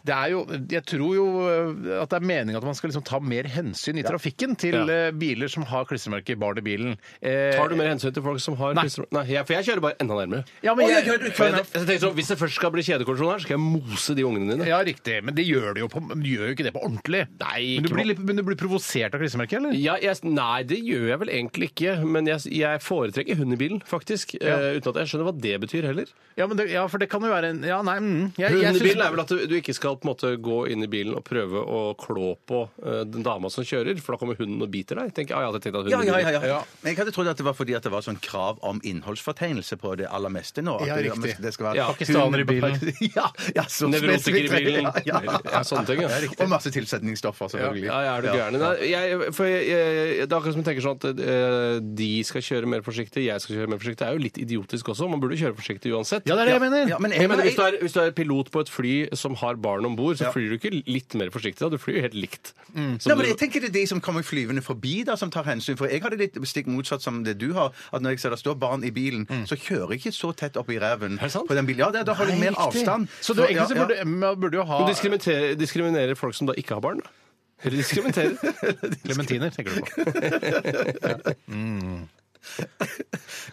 S1: Det er jo, jeg tror jo eh, at det er meningen at man skal liksom ta mer hensyn i trafikken til
S2: Ja.
S1: eh, biler som har klistremerker barn i bilen. Eh,
S2: Tar du mer hensyn til folk som har
S1: Nei.
S2: klistret- Nei, jeg- for jeg kjører bare enda nærmere.
S1: Ja, men jeg,
S2: Men jeg tenkte sånn, Hvis det først skal bli kjedekollisjon her, skal jeg mose de ungene dine.
S1: Ja, riktig. Men det gjør det jo på, de gjør jo ikke det på ordentlig.
S2: Nei,
S1: men, du
S2: ikke
S1: blir
S2: på-
S1: litt, men du blir provosert av klistremerket, eller?
S2: Ja, jeg, nei, det gjør jeg vel egentlig ikke. Men jeg, jeg foretrekker hund i bilen, faktisk. eh, uten at jeg skjønner hva det betyr heller.
S1: Ja, men det, ja, for det kan jo være en Ja, nei mm, jeg, jeg
S2: Hund i
S1: synes-
S2: bilen er vel at du, du ikke skal på en måte gå inn i bilen og prøve å klå på eh, den dama som kjører, for da kommer hunden og biter deg. Tenker, jeg, ah, jeg hadde tenkt at hunden
S3: Ja, ja, ja,
S2: biter.
S3: ja. Men jeg hadde trodd at det var fordi at det var sånn krav om innholdsfortegnelse på det aller meste nå. At
S1: Ja,
S3: det-
S1: riktig.
S3: Det skal være
S2: Ja,
S1: pakistanere i bilen.
S3: Ja, ja, så
S2: Nevrotiker i
S3: spesifikt.
S2: bilen.
S3: Ja, ja.
S2: Ja, sånne ting, ja.
S3: Og masse tilsetningsstoffer, selvfølgelig.
S2: Ja, ja, er du gæren? Nei, jeg- for jeg- jeg- Det er akkurat som jeg tenker sånn at eh, de skal kjøre mer forsiktig, jeg skal kjøre mer forsiktig. Det er jo litt idiotisk også. Man burde kjøre forsiktig uansett.
S1: Ja, det er det jeg mener.
S3: Ja, men jeg,
S2: Jeg mener,
S3: jeg,
S2: hvis, du er, hvis du er pilot på et fly som har barn om bord, så
S3: Ja.
S2: flyr du ikke litt mer forsiktig. da, Du flyr jo helt likt.
S3: Nei, men jeg tenker det er de som kommer flyvende forbi, da, som tar hensyn. For jeg har det litt stikk motsatt som det du har. At når jeg ser det står barn i bilen, så kjører jeg ikke så tett opp i ræven
S2: Mm. det sant?
S3: på den bilen. Ja, det- da har du mer avstand.
S1: Så du, egentlig
S3: ja,
S1: så
S3: ja.
S1: burde, man burde jo ha
S2: Du diskriminerer, diskriminerer folk som da ikke har barn? da. Eller diskriminerer?
S1: Clementiner, tenker du på.
S3: Diskriminerer.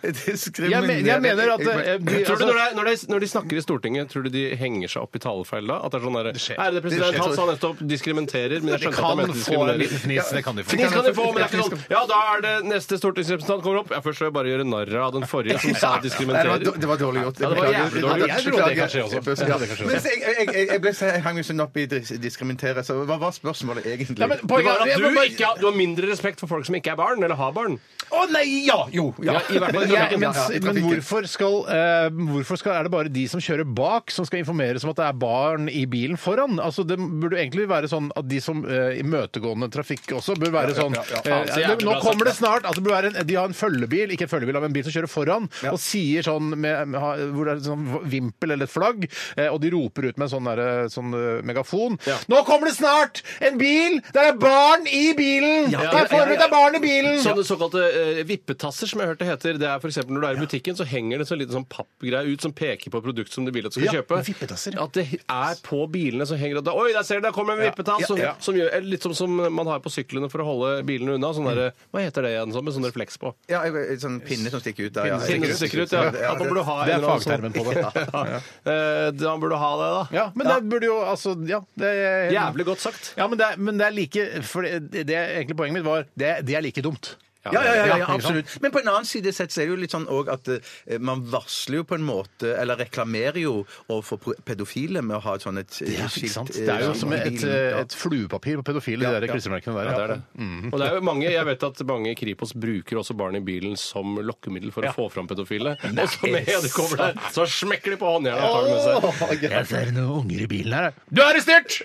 S1: Jeg, men, jeg mener at
S3: Jeg-
S1: eh, de,
S2: Tror du
S1: altså,
S2: når, det er, når, de, når de snakker i Stortinget, tror du de henger seg opp i talefeil da? At det er sånn derre
S1: skjer.
S2: Ærede president, han sa nettopp diskrimenterer, men
S1: de
S2: jeg skjønte at han
S1: kan få
S2: mente
S1: en
S2: diskriminerer.
S1: liten fnis. Det kan de få.
S2: Fnis kan de få, men det er ikke
S3: liksom-
S2: sånn Ja, da er det neste stortingsrepresentant kommer opp. Ja, først skal jeg bare gjøre narr av den forrige som sa
S3: Nei, det, var,
S2: diskrimenterer.
S3: det var dårlig gjort.
S2: Ja, det var
S3: Beklager.
S2: jævlig dårlig gjort.
S3: Ja,
S2: Jeg
S1: trodde det
S3: beklager.
S1: kanskje også. Jeg trodde det kanskje også.
S3: Men jeg, jeg, jeg, jeg ble så, jeg hang meg sånn opp i dis- diskrimentere, så hva var spørsmålet egentlig?
S1: Ja, men
S2: Det
S1: poenget er
S2: var at
S1: jeg må
S2: du,
S1: bare-
S2: ikke, har- du har mindre respekt for folk som ikke er barn, eller har barn.
S3: Å nei, ja, Ja, jo. Ja.
S1: Ja, i hvert fall i trafikken. Men,
S3: Ja, ja, ja, i
S1: men
S3: trafikken.
S1: hvorfor, skal, eh, hvorfor skal, er det bare de som kjører bak, som skal informeres om at det er barn i bilen foran? Altså, det burde egentlig være sånn at de som eh, imøtegående trafikk også bør være sånn eh,
S2: så jævlig
S1: det- Nå
S2: bra sagt,
S1: kommer det snart at det burde være en, de har en følgebil, ikke en følgebil, men en bil som kjører foran, og sier sånn med, med, ha- hvor det er sånn vimpel eller et flagg, eh, og de roper ut med en sånn, derre- sånn eh, megafon Nå kommer det snart en bil! Det er barn i bilen!
S2: Ja,
S1: det
S2: ja,
S1: er forut,
S2: ja, ja.
S1: det er barn i bilen!
S2: Sånne såkalte eh, vippetasser som jeg har hørt det heter. Det er for eksempel Når du er i butikken, så henger det en sånn liten sånn pappgreie ut som peker på produktet som du vil at du skal
S1: Ja,
S2: kjøpe.
S1: vippetasser, ja.
S2: At det er på bilene så henger det Oi, der ser du, der kommer en vippetass! som-
S1: ja.
S2: Som gjør, eller litt som, som man har på syklene for å holde bilene unna. Sånn
S1: Mm.
S2: der, Hva heter det igjen? Sånn, med sånn refleks på.
S3: Ja, jeg vet, sånn pinne som stikker ut der. Ja.
S2: Pinne som stikker ut, ja. At man burde ha
S1: Det er
S2: en eller annen sånn-
S1: fagtermen på det.
S2: Ja. Eh, Da burde du ha det, da.
S1: Ja, men det burde jo altså Ja, det er
S2: Jævlig godt sagt.
S1: Ja, men det er, men det er like for det, det er egentlig Poenget mitt var det, det er like dumt.
S3: Ja, ja, ja, ja,
S1: ikke sant?
S3: absolutt. Men på en annen side sett så er det jo litt sånn òg at eh, man varsler jo på en måte, eller reklamerer jo overfor pro- pedofile med å ha et sånn et eh,
S1: Ja, ikke sant?
S3: skilt eh,
S1: Det er jo
S3: skilt
S1: som
S3: i
S1: et, eh,
S3: bilen. Ja.
S1: et fluepapir på pedofile, de der klistremerkene der.
S2: Ja, det er det. Mm. Og det er jo mange, jeg vet at mange i Kripos bruker også barn i bilen som lokkemiddel for å få fram pedofile. Og så med du kommer der, så smekker de på håndjernet og tar det med seg.
S1: Jeg ser noen unger i bilen her. Du er arrestert!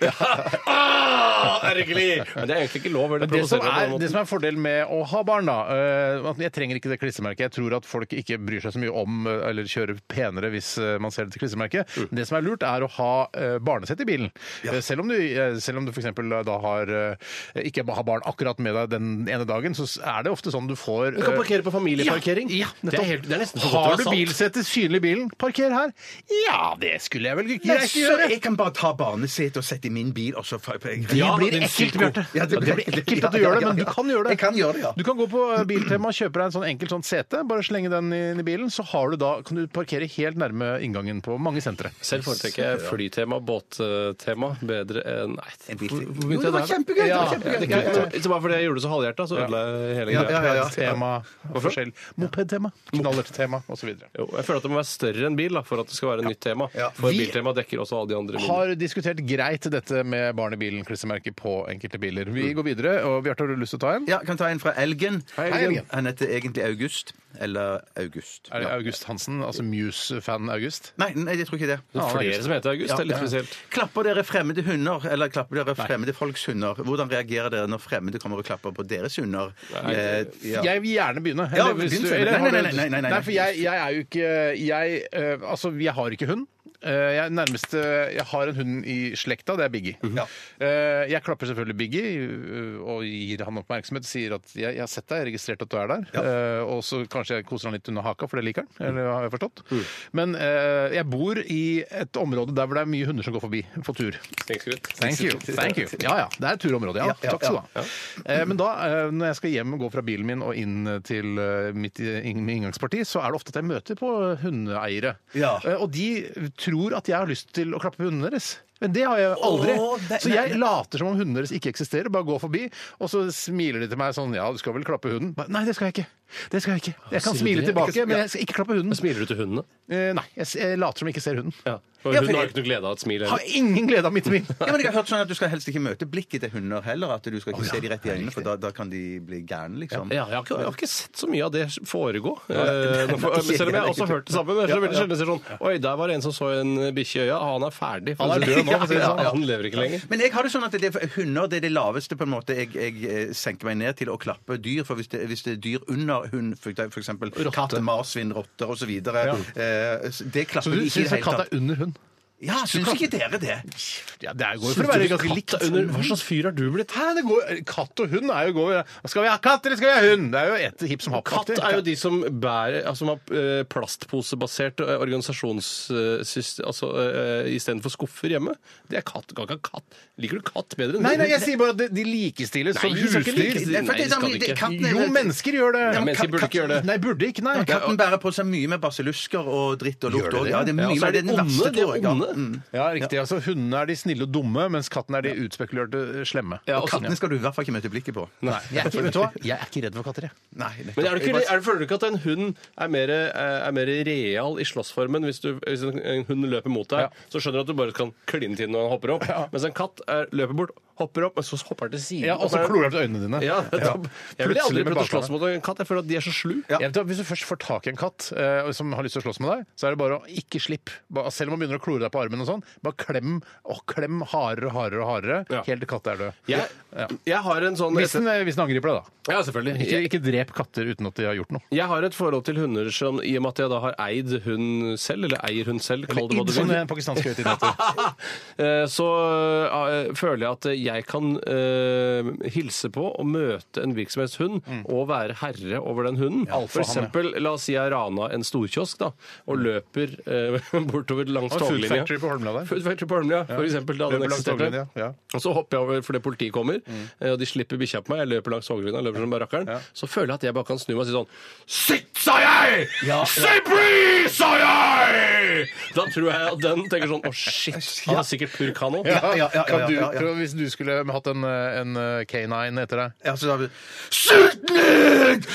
S2: Ah, ergerlig! Men det er egentlig ikke lov. eller
S1: Men det som,
S2: provoserer på den
S1: er,
S2: måten.
S1: det som er fordelen med å ha barn, da eh, at Jeg trenger ikke det klistremerket. Jeg tror at folk ikke bryr seg så mye om eh, eller kjører penere hvis eh, man ser det klistremerket.
S2: Mm.
S1: Det som er lurt, er å ha eh, barnesett i bilen. Eh, Selv om du, eh, selv om du f.eks. da har eh, ikke har barn akkurat med deg den ene dagen, så er det ofte sånn du får
S2: Du kan
S1: eh,
S2: parkere på familieparkering.
S1: Ja, ja,
S2: det, er helt, det er nesten for
S1: Har du
S2: godt til å være sant.
S1: bilsete synlig i bilen, parker her. Ja, det skulle jeg vel ikke
S3: Nei,
S1: greit å
S3: så
S1: gjøre.
S3: jeg kan bare ta barnesetet og sette i min bil, og så fa-
S1: Det
S2: Ja,
S1: blir
S2: din
S1: ekkelt,
S2: psyko.
S1: Bjarte.
S3: Ja,
S1: det, blir ekkelt at du
S3: ja,
S1: gjør det,
S3: ja,
S1: men du
S3: ja.
S1: kan gjøre det.
S3: Jeg kan gjøre det, ja.
S1: Du kan gå på Biltema og kjøpe deg en sånn enkel sånn sete, bare slenge den inn i bilen, så har du da, kan du parkere helt nærme inngangen på mange sentre.
S2: Selv foretrekker jeg flytema, båttema, bedre enn Nei.
S3: En bil til.
S2: hvor begynte jeg
S3: Jo, det var
S2: der?
S3: kjempegøy, det
S2: Ja,
S3: var kjempegøy.
S2: det er kult. Så bare fordi jeg gjorde det så halvhjerta, så ødela jeg hele greia.
S3: ja, ja.
S1: Tema, forskjell. Mopedtema, knallerttema osv.
S2: Jo, jeg føler at det må være større enn bil da, for at det skal være nytt tema. For
S1: Vi-
S2: biltema dekker også alle de andre bilene.
S1: Har diskutert greit dette med barnebilen-klistremerket på enkelte biler. Vi
S2: Mm.
S1: går videre, og Bjarte, har du lyst til å ta en?
S3: Ja, kan ta en fra Elgen.
S1: Elgen.
S3: Han heter egentlig August. Eller August.
S1: Er det
S3: Ja.
S1: August Hansen, altså Muse-fan August?
S3: Nei, nei, jeg tror ikke det.
S2: Det er flere som heter August. det er litt spesielt.
S3: Klapper dere fremmede hunder, eller klapper dere fremmede folks hunder? Hvordan reagerer dere når fremmede kommer og klapper på deres hunder? Eh, ja.
S1: Jeg vil gjerne begynne.
S3: Ja,
S1: Eller hvis
S3: begynn
S1: du-
S3: selv.
S1: eller
S3: Nei,
S1: har
S3: nei,
S1: du-
S3: nei, nei, nei, nei.
S1: for jeg, jeg er jo ikke jeg, eh, Altså, jeg har ikke hund. Eh, Jeg, er nærmest, eh, jeg har en hund i slekta, det er Biggie.
S3: Mhm.
S1: Eh, Jeg klapper selvfølgelig Biggie eh, og gir han oppmerksomhet. Sier at jeg, 'jeg har sett deg, jeg har registrert at du er der'. Eh, Og så kanskje jeg koser han litt under haka, for det liker han.
S3: Mhm.
S1: Eller har jeg forstått. Men eh, jeg bor i et område der hvor det er mye hunder som går forbi på tur. Thank you. Thank you. Ja, ja. Det er et turområde, ja. Takk skal du ha. Eh, Men da, eh, når jeg skal hjem og gå fra bilen min og inn til eh, mitt i- inn- inngangsparti, så er det ofte at jeg møter på hundeeiere.
S3: Ja.
S1: Eh, Og de tror at jeg har lyst til å klappe hundene deres. Men det har jeg aldri.
S3: Åh, det-
S1: så jeg later som om hundene deres ikke eksisterer, bare går forbi, og så smiler de til meg sånn Ja, du skal vel klappe hunden? Bare, Nei, det skal jeg ikke. Det skal jeg ikke. Jeg kan
S2: sier du
S1: smile
S2: det?
S1: tilbake, men jeg skal ikke klappe hunden.
S2: Smiler du til hundene?
S1: Eh, Nei, jeg s- jeg later som jeg ikke ser hunden.
S2: Ja. For
S3: Ja,
S2: hun
S3: for-
S2: har ikke noe glede av et smil.
S1: Har
S2: heller.
S1: ingen glede av mitt smil.
S3: Ja, men jeg har hørt sånn at Du skal helst ikke møte blikket til hunder heller. At du skal ikke se de rett i øynene, for da, da kan de bli gærne, liksom.
S2: Ja, jeg, har ikke, jeg har ikke sett så mye av det foregå. Eh, nå får-
S3: nei,
S2: Selv om jeg
S3: nei,
S2: også har hørt det samme. Men jeg er så veldig sjelden jeg ser sånn Oi, der var det en som så en bikkje i øya. Han er ferdig.
S1: Han er død nå, for å si det
S2: Ja,
S1: sånn.
S2: ja, Han lever ikke lenger.
S3: Men jeg har det sånn at det, hunder det er det laveste på en måte jeg, jeg eh, senker meg ned til å klappe dyr. For hvis det, hvis det er dyr under hund, f.eks. katt, marsvin, rotter osv. Ja. eh, Det
S1: Så
S3: klapper
S1: du
S3: de ikke i
S1: syns
S3: det
S1: at
S3: hele
S1: katt
S3: tatt.
S1: er under hund?
S3: Ja, syns ikke dere det?
S1: Ja, det er- går jo for
S2: Synes
S1: å være
S2: du
S1: ganske likt.
S2: katt er under- Hva slags fyr er du blitt?
S1: Hæ, det går, katt og hund er jo går, Skal vi ha katt, eller skal vi ha hund? Det er jo et hipp som happ.
S2: Katt er jo de som bærer altså, som har eh, plastposebasert eh, organisasjonssystem altså, eh, istedenfor skuffer hjemme. Det er katt. Kan ikke ha katt. Liker du katt bedre enn
S1: Nei, nei,
S2: hund?
S1: jeg sier bare at de- de likestilles som
S2: Nei, de skal ikke
S1: husdyr.
S2: likestilles.
S3: Nei, for
S2: Nei, det skal
S3: men
S2: de ikke.
S3: katten er-
S1: Jo, mennesker gjør det.
S2: Ja, mennesker burde ikke gjøre det.
S1: Nei, burde ikke, nei.
S3: Katten bærer på seg mye mer basillusker og dritt og lukt.
S1: det
S3: og-
S1: det?
S3: Ja, det er
S2: Ja,
S3: mye
S2: og så
S3: mer
S2: er de
S3: det er den verste,
S2: onde, de er
S3: tror jeg. ja.
S2: onde.
S3: Mm.
S1: Ja, riktig. Altså, Hundene er de snille og dumme, mens katten er de utspekulerte slemme.
S2: Ja, altså,
S3: Og
S2: og så-
S3: kattene skal du i hvert fall ikke møte blikket på.
S2: Nei.
S1: Jeg er ikke, vet du hva? Jeg er ikke redd for katter, jeg.
S3: Nei,
S2: Men er du ikke, er, føler du ikke at en hund er mer, eh, er mer real i slåssformen hvis, du, hvis en- en hund løper mot deg?
S1: Ja.
S2: Så skjønner du at du bare kan kline til når han hopper opp. Mens en katt er, løper bort hopper opp, men så hopper han til siden.
S1: Ja, og så klorer han til øynene dine.
S2: Ja,
S1: Ja.
S2: nettopp. Jeg ville
S1: Plutselig
S2: aldri
S1: med
S2: prøvd å
S1: bakbeina.
S2: slåss mot en katt. Jeg føler at de er så slu.
S1: Jeg vet, at hvis du først får tak i en katt eh, som har lyst til å slåss med deg, så er det bare å ikke slipp. Bare, selv om han begynner å klore deg på armen, og sånn, bare klem og klem hardere og hardere og hardere
S2: Ja.
S1: helt til katta er død.
S2: Jeg, jeg har en sånn
S1: Hvis den, eh, hvis den angriper deg, da.
S2: Ja, selvfølgelig.
S1: Ikke, ikke drep katter uten at de har gjort noe.
S2: Jeg har et forhold til hunder som i og med at jeg da har eid hund selv, eller eier hund selv, kall det hva
S1: Id,
S2: du
S1: som
S2: vil,
S1: den pakistanske høytiden heter.
S2: eh, så eh, føler jeg at jeg kan eh, hilse på og møte en virksomhetshund
S1: Mm.
S2: og være herre over den hunden.
S1: alfahann,
S2: For eksempel, la oss si jeg rana en storkiosk da, og løper eh, bortover langs
S1: Mm. Og Food
S2: toglinja.
S1: Factory på Holmlia der.
S2: Food Factory på Holmlia, for eksempel, da den
S1: Løper langs
S2: eksisterte.
S1: toglinja, ja.
S2: Og så hopper jeg over fordi politiet kommer, eh, og de slipper bikkja på meg. Jeg løper langs toglinja, løper som bare rakkeren. Så føler jeg at jeg bare kan snu meg og si sånn Sitt, sa jeg! Se bry, sa jeg! Da tror jeg at den tenker sånn Å, shit. Han er sikkert purk, han òg.
S3: Ja, ja, ja,
S1: Kan du,
S3: ja, ja.
S1: tror du Hvis du skulle hatt en, eh, en eh, canine etter deg
S3: Ja, så da har vi Skyt ned!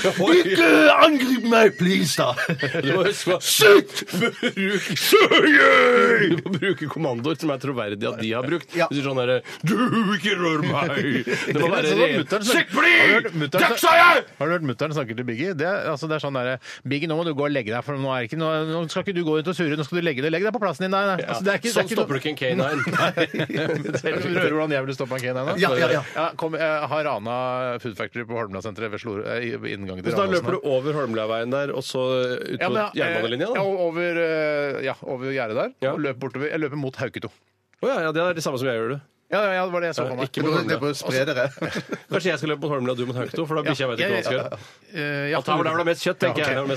S3: Ikke angrip meg, please, da!
S2: Du må huske på
S3: Skyt!
S2: Bruk
S3: Skyt!
S2: Du må bruke kommandoer som er troverdige at de har brukt.
S3: Ja.
S2: Du sier sånn herre Du ikke rør meg! Det må
S1: er
S2: være
S1: sånn at mutteren
S2: rent.
S1: snakker-
S2: Sitt bli!
S1: Har du hørt mutteren
S2: Takk,
S1: snak-
S2: sa jeg!
S1: Har du hørt mutter'n snakke til Biggie? Det, er- altså, det er sånn derre Biggie, nå må du gå og legge deg, for nå, er ikke, nå, nå skal ikke du gå rundt og sure, nå skal du legge deg. Legg deg på plassen din. Nei, nei.
S2: Ja.
S1: Altså, det er ikke, det er
S2: sånn
S1: ikke
S2: stopper du ikke en K9.
S1: Vil du høre hvordan jeg ville stoppa en canine?
S3: Ja, ja, ja.
S1: kom, eh, har rana Food Factory på Holmlia-senteret ved Slor, eh, i- ved inngangen til
S2: Så da
S1: Randåsen
S2: løper
S1: her.
S2: du over Holmlia-veien der, og så ut
S1: Ja,
S2: på
S1: men, eh,
S2: jernbanelinja?
S1: Ja,
S2: da?
S1: over, eh, ja, over gjerdet der.
S2: Ja.
S1: Og løper bortover. Jeg løper mot Hauketo.
S2: Å ja, ja, det er det samme som jeg gjør, du.
S1: Ja, ja, ja, det var det jeg så for meg.
S2: Eh, Ikke mot
S3: Det er
S2: Holmlia.
S3: på å spre dere.
S2: Kanskje jeg skal løpe mot Holmlia og du mot Haukto, for da
S1: Ja,
S2: bikkja vet ikke
S1: ja,
S2: hva han skal gjøre.
S1: Eh, ja,
S2: At her var der hvor det er mest kjøtt, tenker
S1: Ja,
S2: jeg. Her
S1: ok.
S2: var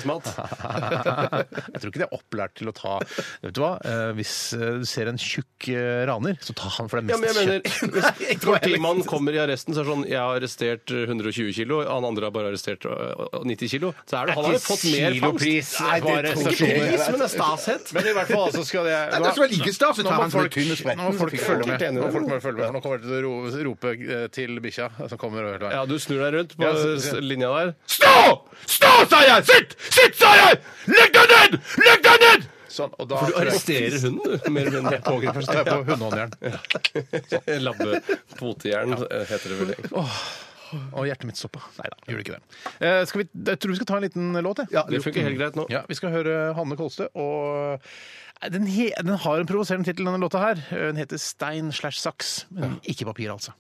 S2: det mest mat.
S1: jeg tror ikke de er opplært til å ta Vet du hva? Eh, Hvis eh, du ser en tjukk eh, raner, så ta han for det
S2: Ja,
S1: er
S2: men jeg
S1: mest
S2: mener,
S1: kjøtt.
S2: Hvis politimannen kommer i arresten så er det sånn 'Jeg har arrestert 120 kilo, han andre har bare arrestert øh, 90 kilo', så er det, han har jo fått mer fangst.
S1: Kilopris var
S2: Ikke pris, men det er stashet.
S1: Men i hvert fall altså skal det
S3: det skal være like stas å ta han som er tynn og spretten,
S1: Nå må
S3: så
S1: folk
S3: fikk
S1: følge
S2: jeg
S1: med.
S2: helt enig i
S1: Nå må
S2: det.
S1: folk bare følge med. for Nå kommer jeg til å ro- rope eh, til bikkja som kommer over veien.
S2: Ja, du snur deg rundt på
S1: Ja, så-
S2: s- linja der.
S1: Stå! Stå, sa jeg! Sitt! Sitt, sa jeg! Legg deg ned! Legg deg ned! Sånn, og da
S2: Du arresterer hunden, du. Mer eller mindre. Sånn,
S1: Da er jeg på hundehåndjern.
S2: Labbe potejern eh, heter det vel. egentlig.
S1: Og hjertet mitt stoppa. Nei da, gjorde ikke det. Eh, skal vi, jeg tror vi skal ta en liten låt, jeg.
S2: Det funker helt greit nå.
S1: Ja, vi skal høre Hanne Kolstø, og Nei, den, he, den har en provoserende tittel, denne låta her. Den heter Stein slash saks, men ikke papir, altså.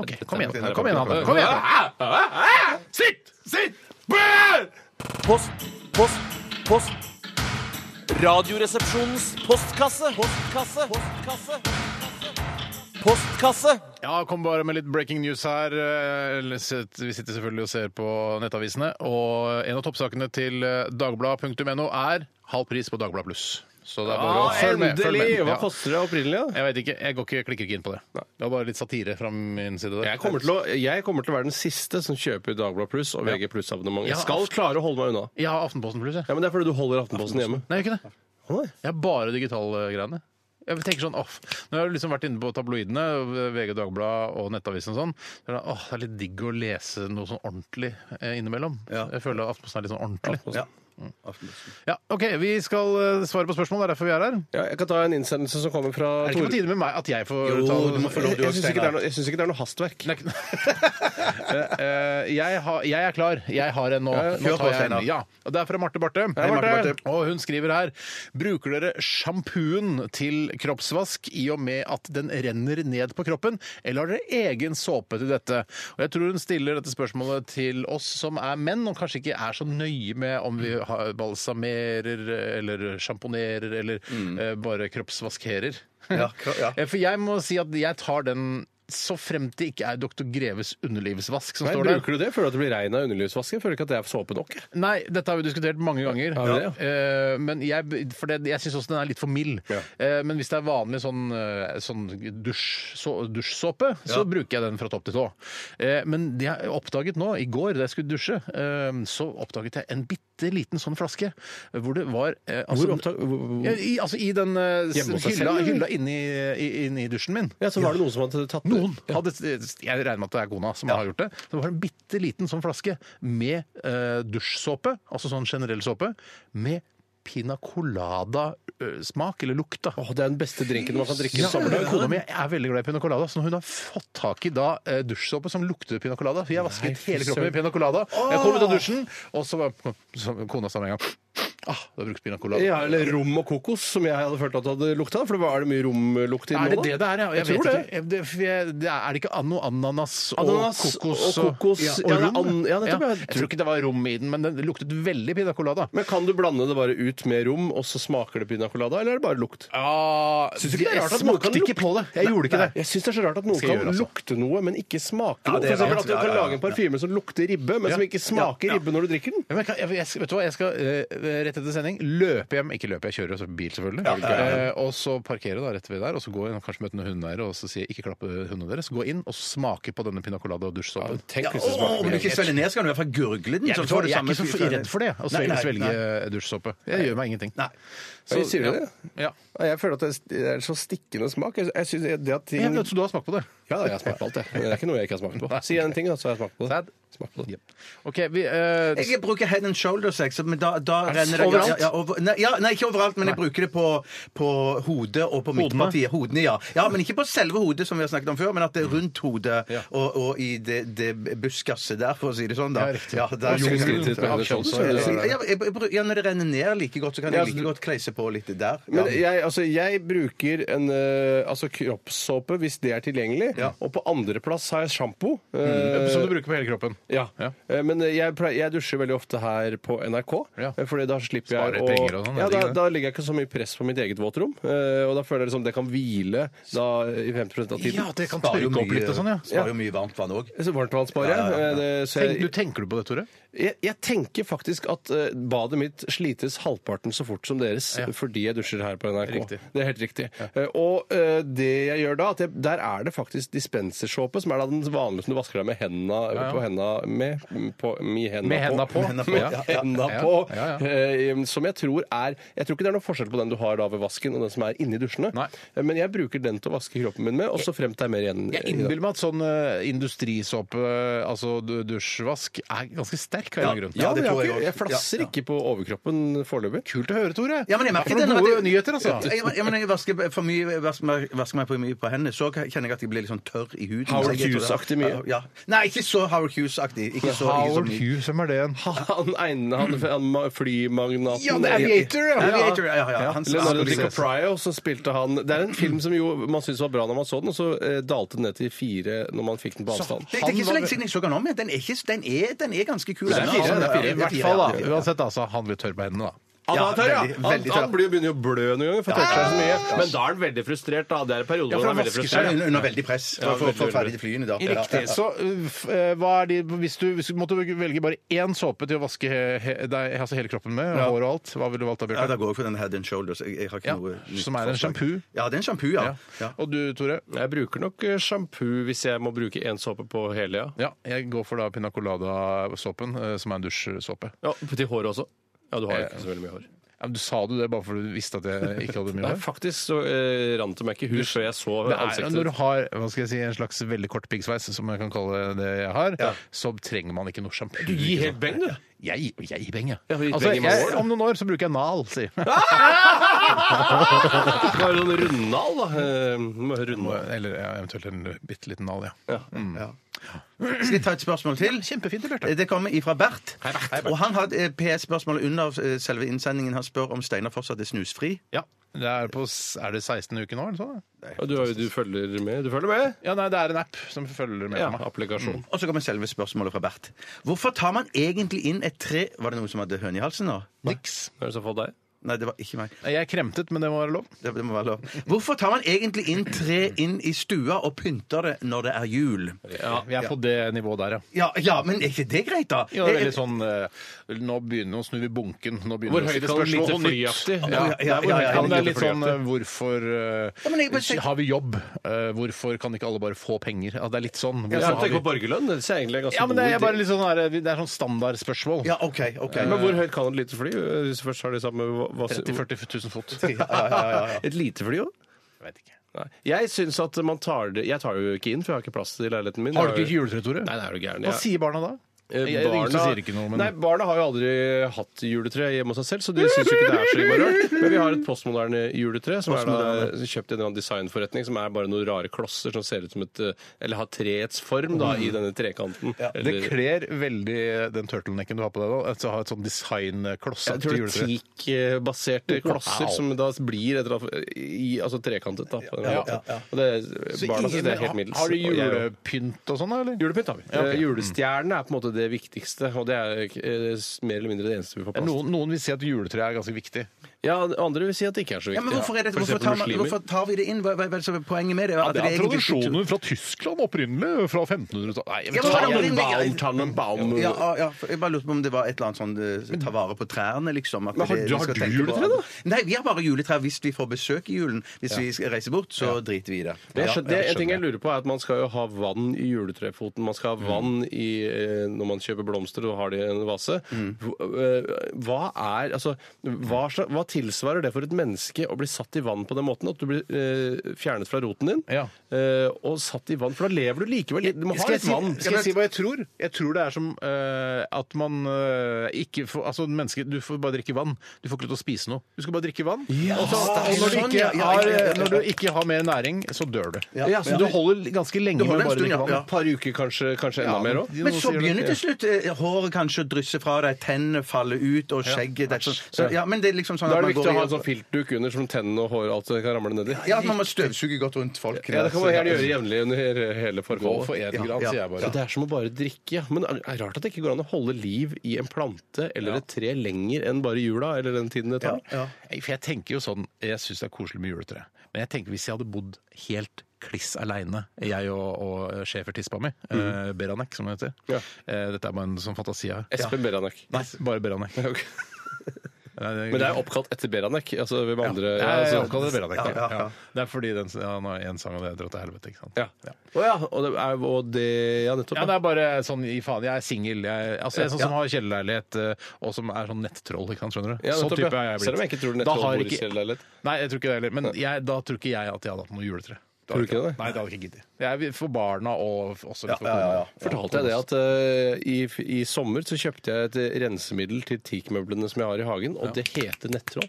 S1: OK, kom igjen, kom igjen, Hanne. Kom igjen. Sitt! Sitt!
S10: Post, post, post. Radioresepsjonens postkasse. Postkasse. Postkasse. Postkasse.
S1: Ja, kom bare med litt breaking news her. Eh, Vi sitter selvfølgelig og ser på nettavisene. Og en av toppsakene til eh, dagbladet.no er halv pris på Dagbladet Pluss. Så det er bare å følge med. Følg med.
S2: Endelig! Hva
S1: Ja.
S2: koster det opprinnelig? da?
S1: Jeg vet ikke, jeg går ikke, klikker ikke inn på det. Det var bare litt satire fra min side. der.
S2: Jeg kommer, til å, jeg kommer til å være den siste som kjøper Dagbladet Pluss og VG Pluss-abonnement.
S1: Ja,
S2: Jeg skal
S1: aft-
S2: klare å holde meg unna.
S1: Jeg har Aftenposten Pluss, jeg.
S2: Ja, men Det er fordi du holder Aftenposten hjemme.
S1: Nei, jeg gjør ikke det.
S2: Å, nei.
S1: Jeg har bare digitalgreiene. Jeg tenker sånn, off. Når jeg har liksom vært inne på tabloidene, VG, Dagbladet og Nettavisen og sånn, så er det, åh, det er litt digg å lese noe sånn ordentlig eh, innimellom.
S3: Ja.
S1: Jeg føler at Aftenposten er litt sånn ordentlig.
S3: Ja.
S1: Ja, ok, Vi skal eh, svare på spørsmål, det er derfor vi er her.
S2: Ja, jeg kan ta en innsendelse som kommer fra
S1: Er det ikke på
S2: Tore.
S1: tide med meg at jeg får
S2: Jo,
S1: ta
S2: du må få lov, du
S1: Jeg
S2: også,
S1: synes ikke det er noe-
S2: Jeg syns ikke det er noe hastverk.
S1: Nei, ikke- Eh, jeg, har- jeg er klar. Jeg har en nå. nå
S3: kjør
S1: tar
S3: på,
S1: jeg en.
S3: Steinar.
S1: Ja. Og det er fra Marte Barthe.
S3: Marte Barthe.
S1: Og hun skriver her Bruker dere sjampoen til kroppsvask i og med at den renner ned på kroppen, eller har dere egen såpe til dette? Og jeg tror hun stiller dette spørsmålet til oss som er menn, og kanskje ikke er så nøye med om vi har- balsamerer eller sjamponerer eller eh, bare kroppsvaskerer.
S3: Ja, kro- ja.
S1: Eh, For jeg må si at jeg tar den så fremt det ikke er Dr. Greves underlivsvask som
S2: Nei,
S1: står der.
S2: bruker du det? Føler du at det blir rein av underlivsvasken? Føler du ikke at det er såpe nok?
S1: Nei, dette har vi diskutert mange ganger.
S2: Har vi det,
S1: Eh, Men jeg, for det, jeg syns også den er litt for mild.
S2: Ja.
S1: Eh, Men hvis det er vanlig sånn, eh, sånn dusj, så, dusjsåpe, så bruker jeg den fra topp til tå. Eh, Men det jeg oppdaget nå, i går da jeg skulle dusje, eh, så oppdaget jeg en bitte liten sånn flaske hvor det var eh, altså- Ja,
S2: opptak...
S1: i, altså i den eh,
S2: Hjemme hos deg
S1: hylla,
S2: selv, eller?
S1: hylla inni, i- inni dusjen min.
S2: Ja, så var det noen som hadde tatt
S1: Noen hadde, Jeg regner med at det er kona som har gjort det. Det var en bitte liten sånn flaske med eh, dusjsåpe, altså sånn generell såpe, med pina colada-smak, eller lukta.
S2: Åh, det er den beste drinken man kan drikke
S1: Ja,
S2: i sommerdag.
S1: Kona mi er veldig glad i pina colada, så når hun har fått tak i da eh, dusjsåpe som lukter pina colada For jeg vasket
S2: Nei, fy
S1: hele kroppen med
S2: søren.
S1: pina colada. Jeg kom ut av dusjen, og så var så, kona sa med en gang Ah, du har brukt pina colada.
S2: Ja, eller rom og kokos, som jeg hadde følt at det hadde lukta. For det var det mye romlukt i
S1: er det
S2: nå, da?
S1: det det er? Ja? Jeg,
S2: Jeg tror
S1: vet
S2: det.
S1: ikke. Jeg- Det, for jeg, det er, er det ikke anno ananas og
S2: Ananas
S1: kokos
S2: og kokos.
S1: ja,
S2: Ja,
S1: og
S2: det er
S1: rom?
S2: an- ja, nettopp, ja.
S1: Jeg tror ikke det var rom i den, men den luktet veldig pina colada.
S2: Men kan du blande det bare ut med rom, og så smaker det pina colada, eller er det bare lukt?
S1: Ja,
S2: Syns du ikke det er
S1: jeg
S2: rart at noen
S1: smakte
S2: kan
S1: ikke på det. Jeg gjorde ikke det.
S2: Jeg syns det er så rart at noen
S1: Skal
S2: kan
S1: jeg gjøre, altså.
S2: lukte noe, men ikke smake
S3: Ja,
S2: noe. For
S3: det er
S2: eksempel
S3: sant.
S2: at du
S3: Ja,
S2: kan
S3: ja, ja.
S2: lage en parfyme som lukter ribbe, men som ikke smaker ribbe når du drikker den.
S1: Ja, men jeg, kan- jeg, jeg, vet du hva, jeg skal eh, rett etter sending løpe hjem Ikke løpe, jeg kjører også bil, selvfølgelig. Eh, og så parkere da, rett ved der, og så gå inn og kanskje møte noen hundeeiere og så si ikke klappe hundene deres. Gå inn og smake på denne pina colada og dusjsåpen.
S2: Tenk hvis det
S3: Å, Om du
S2: smaker
S3: ikke svelger ned, skal du i hvert fall gurgle den.
S1: Jeg,
S3: så
S1: vet du
S3: får
S1: hva,
S3: du
S1: jeg er
S3: samme
S1: ikke så
S3: fyr-
S1: f- redd for det, å
S3: Nei,
S1: svelge,
S3: nei,
S1: svelge
S3: nei.
S1: eh, dusjsåpe. Det gjør meg ingenting.
S3: Nei.
S1: Så-
S2: Sier du det?
S1: Ja.
S2: Jeg føler at det er så stikkende smak. Jeg synes det at ting...
S1: ja. men Så du har smakt på det?
S2: Ja, da, jeg har smakt på alt, jeg. Det er ikke noe jeg ikke har smakt på. Si en ting, da, så har jeg smakt på det.
S1: Sad.
S2: Smakt på det.
S1: OK, vi eh,
S3: Jeg bruker head and shoulder sex, men da, da
S1: det
S3: renner det
S1: overalt?
S3: Ja, ja, over, nei, ja, nei, ikke overalt, men jeg bruker det på, på hodet og på midtpartiet. Hodene, ja. ja. Men ikke på selve hodet, som vi har snakket om før, men at
S1: Mm.
S3: det er rundt hodet og, og i det, det buskaset der, for å si det sånn. da.
S1: Ja, riktig.
S3: der,
S2: Jeg skulle skrive litt på
S3: ja,
S2: head and shoulders,
S3: så er det-
S2: ja, ja, ja.
S3: ja, jeg bru- ja, når det renner ned like godt, så kan jeg like godt kleise på litt der. Ja.
S2: Men jeg, altså, jeg bruker en eh, altså, kroppssåpe hvis det er tilgjengelig. Og på andreplass har jeg sjampo. eh,
S1: Som Mm. du bruker på hele kroppen.
S2: Ja.
S1: Ja.
S2: Eh, Men jeg, pleier, jeg dusjer veldig ofte her på NRK.
S1: Ja.
S2: eh, Fordi da slipper
S1: Sparer
S2: jeg å
S1: penger og sånn,
S2: ja,
S1: er det
S2: da,
S1: ikke det?
S2: da legger jeg ikke så mye press på mitt eget våtrom. eh, Og da føler jeg liksom det kan hvile da, i 50 av tiden.
S1: Ja, det kan
S3: Sparer jo
S1: tørke opp
S3: mye-
S1: litt og sånn, ja.
S3: Sparer jo mye varmt vann òg.
S2: Så varmtvann sparer jeg. eh, det- så
S1: Tenk,
S2: jeg-
S1: du, tenker du på det, Tore?
S2: jeg, jeg tenker faktisk at eh, badet mitt slites halvparten så fort som deres
S1: Ja.
S2: fordi jeg dusjer her på NRK.
S1: Riktig.
S2: Det er helt riktig. Eh, og eh, det jeg gjør da, at jeg, der er det faktisk dispensersåpe, som er da den vanlige som du vasker deg med henda
S1: Ja, ja.
S2: på henda med på, mi henda
S1: Med henda på.
S2: Med
S1: Ja,
S2: henda på.
S1: ja, ja.
S2: Henda
S1: Ja,
S2: på
S1: ja, ja.
S2: Eh, som jeg tror er Jeg tror ikke det er noen forskjell på den du har da ved vasken og den som er inni dusjene,
S1: Nei.
S2: Eh, men jeg bruker den til å vaske kroppen min med, og så frem til det er mer igjen.
S1: Jeg innbiller meg at sånn eh, industrisåpe, altså du- dusjvask, er ganske sterk av en eller annen grunn.
S2: Ja, men
S3: det
S2: jeg,
S3: tror
S2: har
S3: jeg
S2: ikke,
S3: også.
S2: jeg flasser
S3: Ja, ja.
S2: ikke på overkroppen foreløpig.
S1: Kult å høre, Tore.
S3: Ja, men jeg merker
S1: Det er
S3: det
S1: noen
S3: når
S1: gode
S3: jeg-
S1: nyheter, altså.
S3: Jeg, jeg, men jeg vasker for mye, vasker, meg- vasker meg for mye på hendene, så kjenner jeg at jeg blir litt sånn tørr i huden.
S2: Howard
S3: Så jeg-
S2: Hughes-aktig mye.
S3: Ja. Nei, ikke så Howard Hughes-aktig. Ikke så, ikke så
S1: Howard
S3: mye.
S1: Hughes, hvem er det igjen?
S2: Han ene, han, han ma- flymagnaten
S1: Ja, det er Aviator, ja.
S3: Aviator, ja, ja, ja. Han-
S2: Leonardo
S3: han-
S2: DiCaprio, så spilte han Det er en film som jo man syntes var bra når man så den, og så eh, dalte den ned til fire når man fikk den på avstand.
S3: Det, det er ikke så lenge siden jeg så den om. men Den er, ikke, den er, den er ganske kul.
S2: er fire,
S3: Ja,
S2: det er fire.
S3: ja,
S1: I
S3: ja,
S1: hvert
S3: ja,
S1: fall,
S3: ja,
S1: da.
S3: ja.
S1: Uansett, altså. Han blir tørr på hendene, da.
S2: Han,
S3: Ja,
S2: han, tør, ja.
S3: veldig-
S2: han,
S3: veldig
S2: han
S3: tørr.
S2: blir- begynner jo å blø noen ganger, for han tørker seg så mye. Men da er han veldig frustrert, da. Det er perioder
S1: Ja, for
S2: hvor
S1: han
S2: han er veldig
S1: vasker
S3: Ja,
S1: seg.
S2: frustrert.
S3: ja. Under veldig press for, for, for å få ferdig de flyene, da. Ja, ja, ja.
S1: Så uh, f- uh, hva er de Hvis du, hvis du måtte velge bare én såpe til å vaske he, he, deg, altså hele kroppen med, og hår og alt, hva ville du valgt da,
S3: Ja, da
S1: Bjarte?
S3: går jeg for den head and shoulders. Jeg, jeg har ikke
S1: Ja,
S3: noe nytt
S1: som er en
S3: forslag.
S1: shampoo.
S3: Ja, det er en shampoo, ja. ja.
S1: Og du, Tore?
S2: Jeg bruker nok eh, sjampo hvis jeg må bruke én såpe på hele, ja.
S1: Ja, jeg går for da pina colada-såpen, eh, som er en dusjsåpe.
S2: ja. Til håret også. Ja, du har jo ikke så veldig mye hår.
S1: Ja, men du Sa du det bare fordi du visste at jeg ikke hadde mye
S2: Nei,
S1: hår?
S2: faktisk så eh, rant det meg ikke hus før jeg så
S1: Det er,
S2: ansiktet.
S1: når du har hva skal jeg si, en slags veldig kort piggsveis, som jeg kan kalle det jeg har, så trenger man ikke noe sjampo.
S2: Du gir helt beng, du.
S1: Jeg, jeg gir beng, ja.
S2: Ja, vi gir
S1: Altså,
S2: beng i mange
S1: jeg,
S2: år, da.
S1: om noen år så bruker jeg nal, sier jeg.
S2: Bare sånn rundnal, da. Eh, må høre rundnal.
S1: Eller ja, eventuelt en bitte liten nal, ja.
S3: Skal jeg ta et spørsmål til?
S1: Kjempefint, Bjarte.
S3: Det kommer ifra Bert. Og han har et eh, PS-spørsmål under eh, selve innsendingen. Han spør om Steinar fortsatt er snusfri.
S1: Ja. Det er, på, s- er det 16. uke nå, eller sånn?
S2: Ja, Du, har jo- du følger med? Du følger med?
S1: Ja, nei, det er en app som følger med
S2: Ja,
S1: på meg.
S2: applikasjon.
S3: Og så kommer selve spørsmålet fra Bert. Hvorfor tar man egentlig inn et tre Var det noen som hadde høne i halsen nå?
S1: Niks.
S2: Er det så for deg?
S3: Nei, det var ikke meg.
S1: Jeg er kremtet, men det må være lov.
S3: Det, det må være lov. Hvorfor tar man egentlig inn tre inn i stua og pynter det når det er jul?
S1: Ja, Vi er på det nivået der, ja.
S3: Ja, ja men er ikke det greit, da?
S1: Jo, det er veldig sånn eh, Nå begynner nå snur vi bunken. Nå begynner
S2: Hvor
S1: det å
S2: høyt
S1: stille
S2: kan den
S1: spørsmål
S2: lyte
S1: og nytt.
S2: flyaktig?
S1: Ja,
S3: Ja,
S1: det
S3: ja,
S1: er hvor
S3: ja,
S1: høyt
S3: ja,
S1: kan
S3: ja,
S1: det er litt
S2: flyaktig.
S1: sånn eh, Hvorfor eh,
S3: Ja, men jeg bare tenker-
S1: har vi jobb? Eh, Hvorfor kan ikke alle bare få penger? Ja, det er litt sånn.
S2: Jeg
S1: Hvorfor har
S2: tenker
S1: vi-
S2: på borgerlønn. Det er egentlig en ganske
S1: Ja, men det er
S2: god
S1: bare litt sånn her, det er sånn standardspørsmål.
S3: Ja, OK. ok.
S2: Men hvor høyt kan et lite fly? eh, Hvis du først har de samme hva- hva-
S1: 30 000-40 000 fot.
S2: Et lite fly, jo?
S1: Vet ikke.
S2: Nei. Jeg syns at man tar det Jeg tar jo ikke inn, for jeg har ikke plass til leiligheten min.
S1: Har du
S2: Jeg
S1: ikke juletre, Tore?
S2: Nei, det er du gæren.
S1: Hva
S2: Jeg-
S1: sier barna da?
S2: Eh,
S1: Jeg- det er ingen som sier ikke noe, men-
S2: Nei, barna har jo aldri hatt juletre hjemme hos seg selv, så de syns jo ikke det er så innmari rart. Men vi har et postmoderne juletre som er da kjøpt i en eller annen designforretning som er bare noen rare klosser som ser ut som et eh, Eller har treets form, da, i denne trekanten.
S1: Det
S2: Eller-
S1: kler veldig den turtlenecken du har på deg nå. Altså, ha et sånn
S2: jeg
S1: designklossete
S2: tror det er
S1: juletre.
S2: teakbaserte klosser
S1: Wow.
S2: som da blir et eller annet i, altså trekantet. da, på den
S1: Ja,
S2: måten. Og det, barna syns det er helt middels.
S1: Har du
S2: og jeg også.
S1: julepynt og sånn, da, eller?
S2: Julepynt har vi.
S1: Ja, ok.
S2: Eh, Julestjernene er på en måte det viktigste, og det er eh, s- mer eller mindre det eneste vi får plass til.
S1: Noen, noen vil si at juletreet er ganske viktig.
S2: Ja, andre vil si at det ikke er så viktig.
S3: Ja, men hvorfor, er det,
S2: For
S3: hvorfor,
S2: eksempel
S3: tar man,
S2: muslimer.
S3: hvorfor tar vi det inn? Hva, hva, hva er poenget med det? At
S1: det er
S3: egentlig ikke-
S1: tradisjonen fra Tyskland opprinnelig, fra 1500-tallet. Nei, jeg vet
S3: Ja, men
S1: ikke.
S3: hva er det-
S2: Tannenbaum, Tannenbaum.
S3: Ja, ja, ja, for jeg bare lurte på om det var et eller annet sånn eh, ta vare på trærne, liksom. At
S2: Men har
S3: det-
S2: du-
S3: vi
S2: har
S3: skal
S2: du
S3: tenke på-
S2: juletre, da?
S3: Nei, vi har bare juletrær hvis vi får besøk i julen. Hvis vi skal reise bort, så driter vi i det.
S2: Men jeg
S3: Ja,
S2: skjønner, det, en ting jeg lurer på er at Man skal jo ha vann i juletrefoten. Man skal
S3: Mm.
S2: ha vann i, eh, når man kjøper blomster og har det i en vase.
S3: Mm.
S2: Hvor- eh, Hva er, altså, hva, sla- hva tilsvarer det for et menneske å bli satt i vann på den måten? At du blir eh, fjernet fra roten din
S1: Ja.
S2: eh, og satt i vann? For da lever du likevel. Du må ha
S1: Skal jeg,
S2: litt
S1: si,
S2: vann.
S1: skal jeg si hva jeg tror? Jeg tror det er som eh, at man eh, ikke får Altså, mennesker, du får bare drikke vann. Du får ikke lov til å spise noe. Du skal bare drikke vann. og så, og når, du
S3: Sånn,
S1: ikke
S3: ja, ja,
S1: har,
S3: ja, ja, ja.
S1: når du ikke har mer næring, så dør du.
S3: Ja,
S2: ja,
S1: så du holder ganske lenge
S3: holder
S1: med å
S3: en
S1: bare
S3: stund,
S1: drikke
S3: ja,
S1: vann.
S3: ja.
S2: Et par uker, kanskje, kanskje enda mer òg.
S3: Men så begynner til slutt eh, håret kanskje å drysse fra deg, tennene faller ut, og skjegget det er sånn. så, ja, men det er liksom sånn
S2: Da
S3: at
S2: er
S3: man
S2: det viktig å
S3: går
S2: ha en
S3: i-
S2: sånn filtduk under som tennene og håret og alt det kan ramle nedi.
S3: Ja, at man må støvsuge godt rundt folk.
S2: Ja, det kan man gjerne gjøre jevnlig under hele
S1: Gå
S2: forfallet.
S1: for én
S3: Ja,
S1: grad,
S3: ja.
S1: sier jeg bare.
S2: Så det er som å bare drikke. ja. Men det er rart at det ikke går an å holde liv i en plante eller et tre lenger enn bare jula eller den tiden det tar.
S1: Jeg- For jeg tenker jo sånn, jeg syns det er koselig med juletre, men jeg tenker hvis jeg hadde bodd helt kliss aleine, jeg og, og schæfertispa mi, eh, Beranek som det heter
S2: Ja.
S1: Eh, Dette er bare en sånn fantasi jeg har.
S2: Espen Beranek.
S1: Nei, bare Beranek.
S2: Ok.
S1: Nei,
S2: Men det er oppkalt etter Beranek. Altså hvem
S1: Ja,
S2: andre ja,
S1: jeg
S2: altså-
S1: oppkaller det Beranek.
S3: Ja,
S1: Ja,
S3: ja, ja.
S1: Det er fordi den, ja, han har en sang, og det er 'Dra til helvete'. ikke sant?
S2: ja. Å ja. Og det er og det Ja, nettopp.
S1: Ja, det er bare sånn i faen, jeg er singel. Jeg, altså, jeg er sånn som har kjellerleilighet, eh, og som er sånn nettroll, ikke sant, skjønner du?
S2: Ja,
S1: sånn
S2: nettopp,
S1: type
S2: ja.
S1: er jeg blitt.
S2: Selv om jeg ikke tror
S1: Da har
S2: nettroll bor i
S1: ikke-
S2: kjellerleilighet.
S1: Nei, jeg tror ikke det heller. Men jeg, da tror ikke jeg at jeg hadde hatt noe juletre. Da
S2: Tror du
S1: hadde jeg
S2: ikke det?
S1: Nei, det hadde jeg ikke giddet. Jeg er for barna og også litt for kona.
S2: Fortalte jeg det at eh, i, i sommer så kjøpte jeg et eh, rensemiddel til teakmøblene som jeg har i hagen, og det heter nettroll.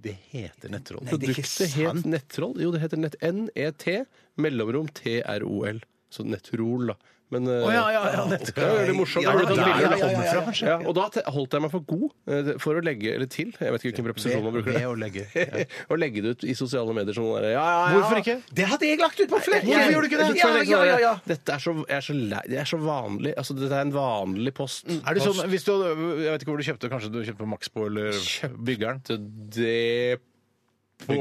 S1: Det heter nettroll.
S3: det er ikke
S2: Produktet het
S3: sant.
S2: nettroll. Jo, det heter nett NET mellomrom TROL. Så nettrol, da. Men eh,
S1: Å, ja, ja, ja, nettroll.
S2: Det er jo veldig morsomt.
S3: Ja,
S2: Det er jo tatt
S3: ja, ja,
S2: bilder
S3: ja,
S2: av.
S3: ja, ja, ja.
S2: Ja, og da te- holdt jeg meg for god eh, for å legge eller til, jeg vet ikke hvilken preposisjon man bruker,
S1: Ved
S2: det,
S1: å legge. Ja.
S2: å legge det ut i sosiale medier som sånn der, ja, ja, ja.
S1: Hvorfor ikke?
S3: Det hadde jeg lagt ut på flekken!
S2: Hvorfor gjorde du ikke det?
S3: Ja, ja, ja, ja.
S2: Dette er så, jeg er så, lei, det er så vanlig. Altså, dette er en vanlig post.
S1: Er det sånn, hvis du, hadde- jeg vet ikke hvor du kjøpte, kanskje du kjøpte på Maxbo eller Byggeren?
S2: Så det på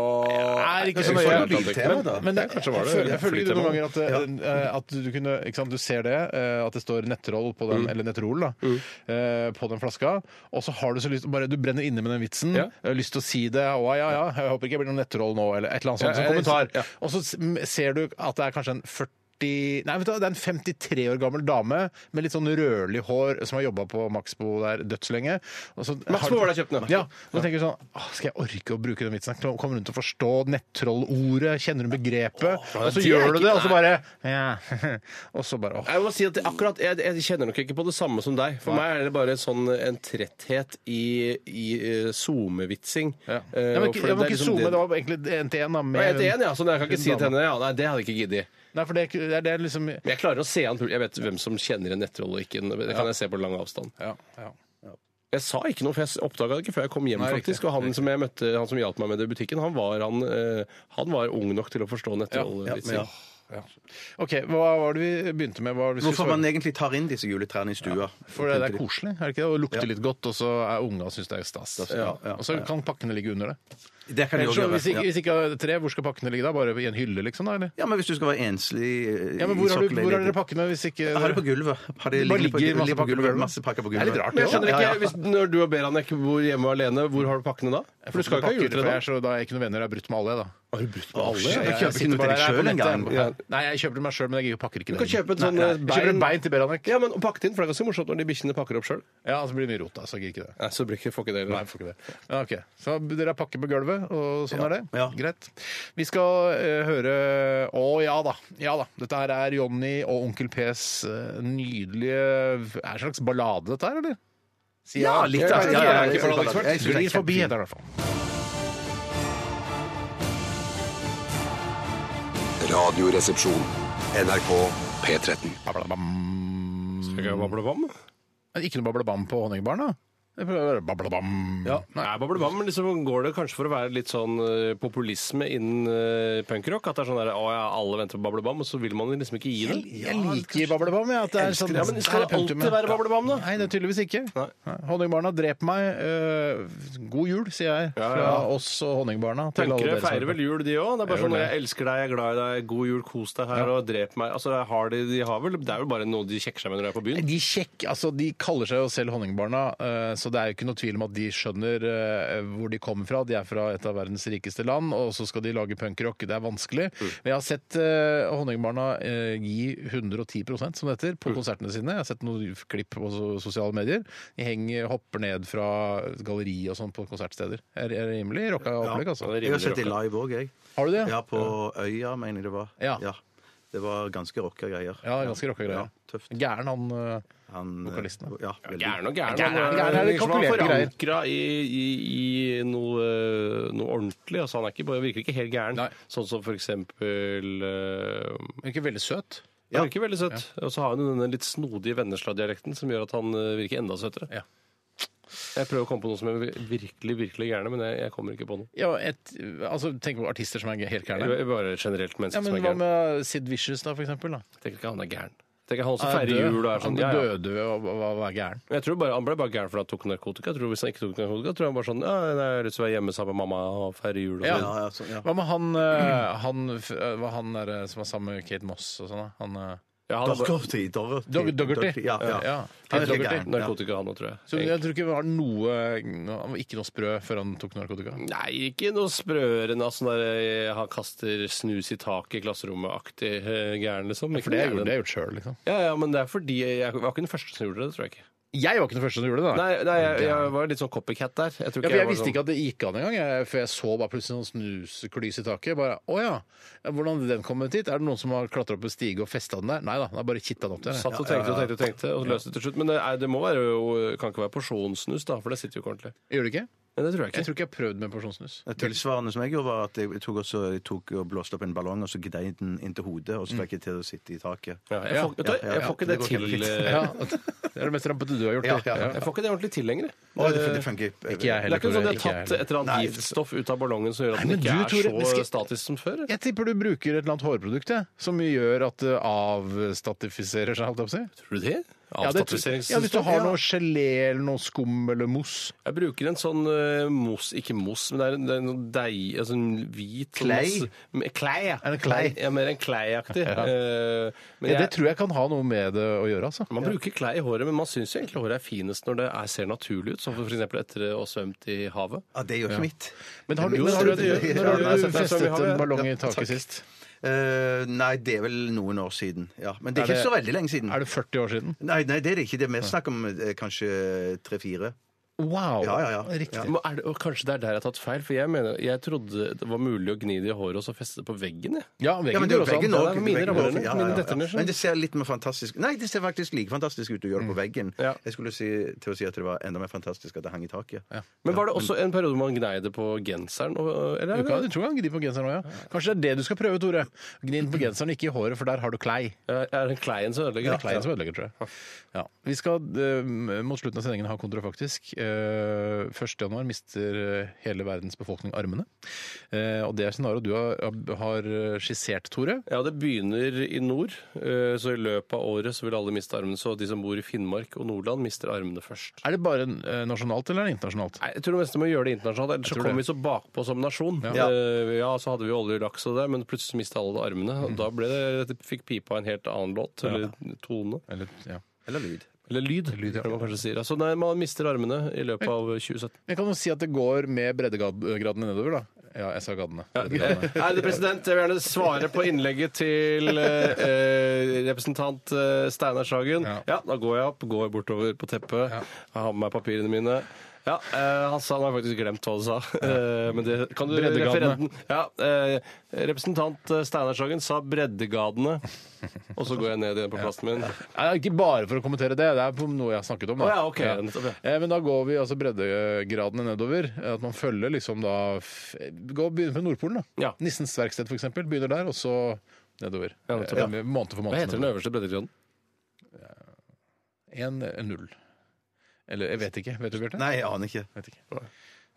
S1: Er ikke så
S2: Jeg
S1: nøye.
S2: synes det var
S3: biltema, da.
S1: Men det,
S2: Ja, kanskje var det
S1: jeg føler, jeg føler ikke
S2: flytema.
S1: noen ganger at, det- eh, at du kunne ikke sant, Du ser det, eh, at det står nettroll på
S2: Mm.
S1: den, eller nettrol, da, eh, på den flaska, og så har du så lyst bare, Du brenner inne med den vitsen,
S2: Ja.
S1: eh, lyst til å si det, og ja, ja, jeg håper ikke jeg blir noen nettroll nå, eller et eller annet sånt
S2: Ja,
S1: som
S2: jeg-
S1: kommentar.
S2: ja.
S1: Og så s- ser du at det er kanskje en 40 Nei, vet du, hva, det er en 53 år gammel dame med litt sånn rødlig hår som har jobba på Maxbo der dødslenge. og så har-
S2: Maxbo var det jeg kjøpte,
S1: Ja, og da tenker du sånn «Åh, Skal jeg orke å bruke den vitsen? Kommer hun til å forstå nettrollordet? Kjenner hun begrepet? og så
S2: det er
S1: gjør du
S2: ikke-
S1: det, og så bare ja. Og så bare åh.
S2: Jeg må si at det- akkurat, jeg, jeg kjenner nok ikke på det samme som deg. For meg er det bare en sånn eh, en tretthet i, i eh, SoMe-vitsing.
S1: Ja. Nei,
S2: Eh,
S1: men,
S2: og
S1: ikke-
S2: for
S1: jeg må
S2: er
S1: ikke
S2: liksom
S1: zoome, det var egentlig en til en. da, med
S2: Jeg er helt enig, ja, sånn, jeg
S1: hun
S2: kan ikke si til
S1: dama.
S2: henne ja, nei, det hadde jeg ikke giddet.
S1: Nei, for det er, ikke- det er, det er liksom
S2: Men jeg klarer å se han, jeg vet hvem som kjenner en nettroll og ikke. Det kan jeg se på lang avstand.
S1: ja, ja.
S2: Jeg sa ikke noe, for jeg oppdaga det ikke før jeg kom hjem.
S1: Nei, riktig.
S2: faktisk, og Han som jeg møtte, han som hjalp meg med det i butikken, han var, han, eh, han var ung nok til å forstå nettrollvitser.
S1: OK, hva var det vi begynte med? Hva var det
S2: sånn-
S1: vi skulle
S3: Hvorfor man
S1: svare?
S3: egentlig tar inn disse juletrærne i stua.
S1: For det, det er koselig, er det ikke det? Å lukte litt godt, og så er unga syns det er stas.
S3: ja,
S1: Og så kan pakkene ligge under det.
S3: Det kan jeg
S1: Ellers,
S3: også
S1: så,
S3: gjøre.
S1: hvis ikke,
S3: ja.
S1: hvis ikke tre, hvor skal pakkene ligge da? Bare i en hylle, liksom? da, eller?
S3: Ja, men hvis du skal være enslig eh,
S1: Ja, men
S3: i
S1: hvor har, du, hvor har
S3: sokkelleiligheten.
S1: dere pakkene hvis ikke
S3: Jeg har det på gulvet. Har det
S1: Det bare
S3: liggende på,
S1: ligger masse
S3: ligger på
S1: pakker på
S3: gulvet.
S1: gulvet.
S3: Masse pakker på
S1: Det
S3: gulvet.
S1: er litt rart,
S2: Men jeg skjønner
S3: Ja,
S2: ikke,
S3: ja, ja.
S2: hvis, Når du og Beranek bor hjemme alene, hvor har du pakkene da? For du skal ikke ha
S1: pakker,
S2: juletre
S1: for
S2: da?
S1: jeg er så, da er jeg ikke noen venner, jeg har brutt med alle, jeg, da.
S2: Har du brutt med alle?
S3: shit.
S2: Ja,
S3: Jeg
S2: ja.
S3: kjøper ikke noe til deg selv engang.
S1: Ja. Nei, jeg kjøper det meg sjøl, men jeg pakker ikke
S2: Du
S1: det.
S2: kan kjøpe et sånn
S1: Nei,
S2: eh,
S1: Jeg kjøper et bein til Beranek.
S2: Ja, men og pakket inn, for det er ganske morsomt når de bikkjene pakker opp sjøl.
S1: Ja, så blir det mye rot, da. Så jeg gidder ikke det.
S2: Nei, så blir ikke, får ikke det.
S1: Nei, får ikke det. Ja, ok. Så dere har pakke på gulvet, gave, og sånn er det.
S3: Ja.
S1: Greit. Vi skal eh, høre Å ja da. Ja da. Dette her er Jonny og Onkel P's eh, nydelige Er det en slags ballade, dette her, eller? Sier
S3: Ja,
S1: jeg.
S3: litt,
S1: Jeg
S3: da.
S1: vet ikke,
S3: Ja, ja, ja,
S1: jeg er ikke
S3: jeg synes det er
S1: balladeekspert.
S3: kjempefint. Jeg synes det er
S1: Glis forbi
S3: kjempefint.
S1: heter den i hvert fall.
S4: Radioresepsjon. NRK P13.
S1: Bablabam.
S2: Skal jeg bablebam?
S1: Ikke noe bablabam på honningbaren, da? Jeg prøver å være Bablabam.
S2: Ja, Nei, bablebam, men liksom går det kanskje for å være litt sånn eh, populisme innen eh, punkrock? At det er sånn der, å ja, alle venter på bablebam, og så vil man liksom ikke gi det?
S1: Jeg liker bablebam. Ja, at det er sånn,
S2: Ja, men
S1: Her
S2: skal
S1: er
S2: det alltid
S1: punktumet.
S2: være bablebam, da?
S1: Nei, det er tydeligvis ikke.
S2: Nei.
S1: Honningbarna, drep meg. Eh, god jul, sier jeg.
S2: Ja,
S1: Fra
S2: ja.
S1: oss og honningbarna. til alle
S2: Punkere
S1: dere som
S2: feirer
S1: hører på.
S2: vel jul, de òg. Det er bare
S1: Jeg gjør
S2: sånn
S1: det.
S2: 'jeg elsker deg, jeg er glad i deg, god jul, kos deg her', og 'drep meg'. Altså, har de, de har vel, Det er vel bare noe de sjekker seg med når de er på byen.
S1: De kjekk, altså de kaller seg jo selv honningbarna, eh, så det er jo ikke noe tvil om at de skjønner eh, hvor de kommer fra. De er fra et av verdens rikeste land, og så skal de lage punkrock. Det er vanskelig.
S3: Mm.
S1: Men jeg har sett eh, honningbarna eh, gi 110 som det
S3: Mm.
S1: heter, på konsertene sine. Jeg har sett noen klipp på so- sosiale medier. De henger, hopper ned fra galleri og sånn på konsertsteder. Er, er rimelig rocka opplegg, altså.
S2: Ja, det er
S3: Jeg har
S2: rimelig
S3: sett det
S2: rocka.
S3: live òg, jeg.
S1: Har du det?
S3: Ja, på Øya, mener jeg det var.
S1: Ja.
S3: Det var ganske rocka greier.
S1: Ja, ganske rocka greier.
S3: Ja, tøft.
S1: Gæren han eh,
S3: Han, eh,
S1: Vokalisten, da.
S3: Ja, veldig.
S2: Gæren og gæren.
S1: Gæren,
S2: men,
S1: gæren er
S2: eh,
S1: det
S2: liksom, han er
S1: kalkulerte greier.
S2: forankra i, i, i noe, eh, noe ordentlig. Altså, han er ikke, bare- virker ikke helt gæren.
S1: Nei.
S2: Sånn som for eksempel eh,
S1: er ikke veldig søt.
S2: Han virker veldig søt. Og så har han jo denne litt snodige Vennesla-dialekten som gjør at han eh, virker enda søtere.
S1: Ja.
S2: Jeg prøver å komme på noe som er virkelig virkelig gærne, men jeg, jeg kommer ikke på noe.
S1: Ja, et, altså, tenk på artister som er helt gærne.
S2: Jeg- jeg Bare generelt mennesker
S1: Ja, men
S2: som er
S1: Hva
S2: gærne.
S1: med Sid Vicious, da, for eksempel? Da?
S2: Tenker ikke han er gæren. Tenker han også
S1: Han er
S2: feirer
S1: død.
S2: jul og er sånn.
S1: Han
S2: Ja, ja.
S1: døde ved å å- å være gæren.
S2: Men Jeg tror bare, Han ble bare gæren fordi han tok narkotika. Jeg tror Hvis han ikke tok narkotika, tror jeg han bare sånn ja, nei, jeg har lyst til å være hjemme sammen med mamma og feire jul. Og
S1: Ja.
S3: Ja, ja, sånn, ja.
S1: Hva med han, eh, han, f- eh, hva han der, eh, som var sammen med Kate Moss og sånn? da? Han, eh,
S2: Ja, han er bare
S3: Doggerty. Doggerty.
S1: Dog- Dougherty?
S3: Ja,
S1: Ja.
S3: ja. Han er
S1: Kate
S3: helt
S1: Dougherty.
S3: gæren.
S2: narkotika, han òg, tror jeg.
S1: Så jeg tror ikke det var noe Han var ikke noe sprø før han tok narkotika.
S2: Nei, ikke noe sprøere enn at sånn der eh, han kaster snus i taket i klasserommet-aktig eh, gæren, liksom. Ikke
S1: For det har jeg gjort-
S2: noe
S1: det har
S2: gæren.
S1: jeg gjort sjøl, liksom.
S2: Ja, ja, men det er fordi jeg, jeg var ikke den første som gjorde det, tror jeg ikke.
S1: Jeg var ikke den første som gjorde det, da.
S2: Nei, nei jeg, jeg var litt sånn copycat der. Jeg, tror
S1: Ja,
S2: ikke
S1: for jeg
S2: var
S1: visste
S2: sånn-
S1: ikke at det gikk an engang, jeg- for jeg så bare plutselig sånn snusklys i taket. Jeg Bare, å ja, hvordan den kom hit? Er det noen som har klatra opp en stige og festa den der? Nei da, det er bare kitta den opp der. jeg.
S2: Satt og tenkte og tenkte og tenkte, og så løste det til slutt. Men det, er, det må være jo, kan ikke være porsjonssnus, da, for det sitter jo ikke ordentlig.
S1: Gjør det ikke?
S2: Men det tror jeg
S1: Jeg
S2: ikke.
S1: tror ikke jeg har prøvd med porsjonssnus.
S3: Det Tilsvarende som jeg gjorde, var at jeg tok, også, jeg tok og blåste opp en ballong og så gnei den inntil hodet, og så fikk jeg til å sitte i taket.
S2: Ja, jeg, får, vet du,
S3: Ja,
S2: hva,
S3: ja,
S2: jeg
S3: ja,
S2: får ikke
S3: det
S2: det,
S3: går
S2: til
S3: helt fint.
S2: eh,
S1: Ja, det er det mest rampete du har gjort.
S3: Ja, ja.
S2: Jeg får ikke det ordentlig til lenger. jeg.
S3: Å, det, det funker
S1: Ikke jeg
S2: Det er
S1: heller,
S2: ikke
S1: Tore.
S2: sånn at de
S1: Ikke
S2: har
S1: jeg
S2: tatt et
S1: heller.
S2: eller
S3: Nei,
S2: annet giftstoff ut av ballongen som gjør at
S1: Nei,
S2: den
S1: men
S2: ikke
S1: du,
S2: er
S1: Tore, vi
S2: så
S1: skal-
S2: statisk som før.
S1: Jeg tipper du bruker et eller annet hårprodukt jeg, som gjør at det avstatifiserer seg. holdt jeg på å si.
S2: Tror du det?
S1: Ja, det tror jeg. ja, Hvis du har noe gelé eller noe skum eller mousse.
S2: Jeg bruker en sånn eh, mos, ikke mos, men det er, en- det er noe deig, altså en hvit sånn
S3: Klei?
S2: masse- m- Klei, ja.
S1: Er det klei?
S2: Ja, mer enn kleiaktig.
S1: Ja.
S2: Eh, men
S1: Ja, det
S2: jeg,
S1: tror jeg kan ha noe med det å gjøre. altså.
S2: man bruker klei i håret, men man syns jo egentlig håret er finest når det er, ser naturlig ut, som for eksempel etter å ha svømt i havet.
S3: Ja, det gjør ikke mitt.
S1: Men har du,
S2: Jo,
S1: men har
S2: det
S1: du,
S2: tror jeg det gjør.
S1: når har
S2: Ja, det
S1: du
S2: er sant, det er
S1: festet
S2: sånn vi har
S1: en
S2: det.
S1: ballong i
S3: Ja,
S1: taket
S3: takk.
S1: sist?
S3: Eh, nei, det er vel noen år siden. Ja. Men det er,
S1: Er
S3: ikke
S1: det-
S3: så veldig lenge siden.
S1: Er det 40 år siden?
S3: Nei, nei, det er det ikke. Det er mest snakk om eh, kanskje tre-fire.
S1: Wow!
S3: Ja, ja, ja.
S1: Riktig.
S2: Men Er det, og kanskje det er der jeg har tatt feil, for jeg mener, jeg trodde det var mulig å gni det i håret og så feste det på veggen. Jeg.
S1: Ja,
S3: Ja,
S1: veggen
S3: men det er jo
S1: går også
S3: veggen
S1: an.
S3: også,
S2: det er mine
S3: veggen
S2: rammer,
S3: også. Ja,
S2: mine
S3: ja,
S2: detter ned,
S3: ja.
S2: skjønner
S3: Men det ser litt mer fantastisk Nei, det ser faktisk like fantastisk ut å gjøre det på veggen.
S2: Ja.
S3: Jeg skulle si, til å si at det var enda mer fantastisk at det hang i taket.
S2: Men var det også en periode hvor man gnei det på genseren? og- Eller? er
S1: Du
S2: det-
S1: kan, jeg tror han gnir på genseren òg, ja. Kanskje det er det du skal prøve, Tore. Gni den på genseren, ikke i håret, for der har du klei.
S2: Ja, Er det kleien som
S1: Det
S2: ødelegger?
S1: er kleien som ødelegger, tror jeg. Ja. Vi skal eh, mot slutten av sendingen ha kontrafaktisk. Uh, 1.1 mister eh, hele verdens befolkning armene. Eh, og det er scenarioet du har, har eh, skissert, Tore.
S2: Ja, det begynner i nord, eh, så i løpet av året så vil alle miste armene. Så de som bor i Finnmark og Nordland mister armene først.
S1: Er det bare eh, nasjonalt eller er det internasjonalt?
S2: Nei, jeg tror nesten vi må gjøre det internasjonalt, ellers så
S1: tror
S2: kommer vi
S1: det.
S2: så bakpå som nasjon.
S3: Ja.
S2: Eh, ja, så hadde vi jo olje, laks og det, men plutselig mista alle armene.
S1: Mhm.
S2: Og da ble det, det fikk pipa en helt annen låt, eller tone.
S1: Eller, ja.
S3: Eller lyd.
S2: Eller lyd,
S1: Lyd, ja.
S2: er det man kanskje sier. Altså, nei, man mister armene i løpet av 2017.
S1: Jeg kan jo si at det går med breddegradene nedover, da. Ja, jeg sa gadene. Breddegradene.
S2: Ærede president, jeg vil gjerne svare på innlegget til eh, representant eh, Steinar Sagen. Ja.
S1: Ja.
S2: da går jeg opp, går bortover på teppet, jeg har med meg papirene mine. Ja, eh, han sa, nå har jeg faktisk glemt hva du sa. Eh, men det kan du
S1: Breddegadene.
S2: referenten. Ja, eh, representant eh, Steinar Sagen sa 'Breddegadene', og så går jeg ned igjen på plassen min.
S1: Nei, ikke bare for å kommentere det. Det er på noe jeg har snakket om. Da.
S2: Å ja, ok. Nettopp, ja.
S1: Eh, Men da går vi altså breddegradene nedover. Eh, At man følger liksom da f- Gå og begynner med Nordpolen, da.
S2: Ja.
S1: Nissens verksted, f.eks. Begynner der, og så nedover.
S2: Ja, nettopp, ja.
S1: Eh, Måned for måned.
S2: Hva heter den øverste breddegraden?
S1: En, en null. Eller jeg vet ikke. Vet du, Bjarte?
S3: Nei, jeg aner ikke.
S1: Vet ikke.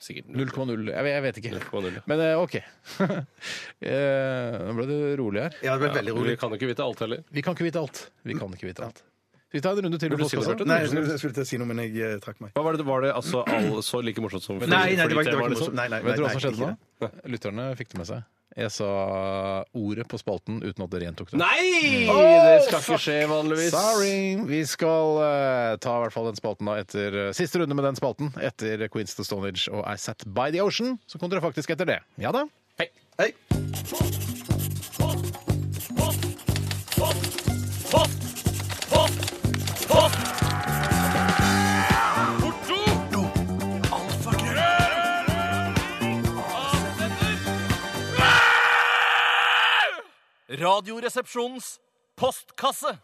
S1: Sikkert 0,0. Jeg, vet- jeg vet ikke.
S2: 0,0, ja.
S1: Men eh, OK. Eh, Nå ble det rolig her.
S3: Ja, det ble veldig
S2: Vi
S3: rolig.
S2: kan jo ikke vite alt heller.
S1: Vi kan ikke vite alt. Vi kan ikke vite alt. Skal vi ta en runde til? med
S2: Vil du si noe,
S1: postkassen?
S2: Bjarte?
S3: Nei, jeg skulle, jeg skulle til å si noe, men jeg eh, trakk meg.
S2: Hva var det, var det altså, all, så like morsomt som
S3: Nei, nei, det var ikke- det
S2: temaet,
S3: var ikke
S2: liksom?
S3: morsomt. Nei, nei, nei,
S1: Vet du hva som
S3: nei,
S1: skjedde
S3: ikke
S1: nå? Lytterne fikk det med seg. Jeg sa ordet på spalten uten at dere gjentok det.
S2: Nei!
S1: Mm.
S2: Det skal ikke skje vanligvis.
S1: Sorry! Vi skal eh, ta i hvert fall den spalten da etter eh, siste runde med den spalten. Etter Queens to Stonehenge og I Sat By The Ocean. Så kom dere faktisk etter det. Ja da.
S3: Hei.
S10: Radioresepsjonens postkasse.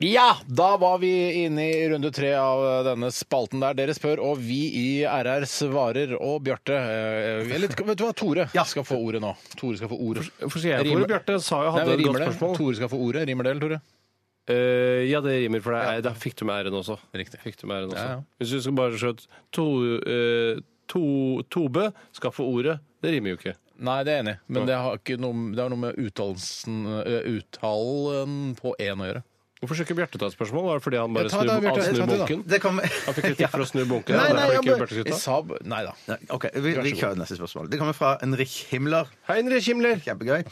S1: Ja, da var vi inne i runde tre av eh, denne spalten der dere spør, og vi i RR svarer. Og Bjarte eh, Eller vet du hva, Tore skal få ordet nå. Tore skal få ordet.
S2: Hvorfor skal jeg få
S1: Rimer-
S2: ordet? Bjarte sa jo hadde
S1: Nei,
S2: et
S1: rimer
S2: godt
S1: det.
S2: spørsmål.
S1: Tore skal få ordet. Rimer det, eller, Tore?
S2: Eh, ja, det rimer, for det er, da fikk du med æren også.
S1: Riktig.
S2: Fikk du med æren også.
S1: Ja, ja.
S2: Hvis du skal bare skjøte to, eh, to, Tobe skal få ordet, det rimer jo ikke.
S1: Nei, det er jeg enig. i. Men det har, ikke noe, det har noe med uttalelsen ø, uttalen på én å gjøre.
S2: Hvorfor skal ikke Bjarte ta et spørsmål? Var det fordi han bare
S1: Ja, ta det,
S2: snur,
S1: Bjarte.
S2: han snur
S1: Ta det, da.
S2: bunken?
S3: Det kom
S2: Han fikk kritikk for å snu bunken.
S1: Nei, nei,
S2: og derfor
S1: jeg
S2: ikke
S1: bare-
S2: Bjarte skulle ta.
S1: jeg sa b- Nei da.
S3: Nei, OK, vi, vi kjører neste spørsmål. Det kommer fra Henrik Himmler.
S2: Heinrich Himmler!
S3: Kjempegøy.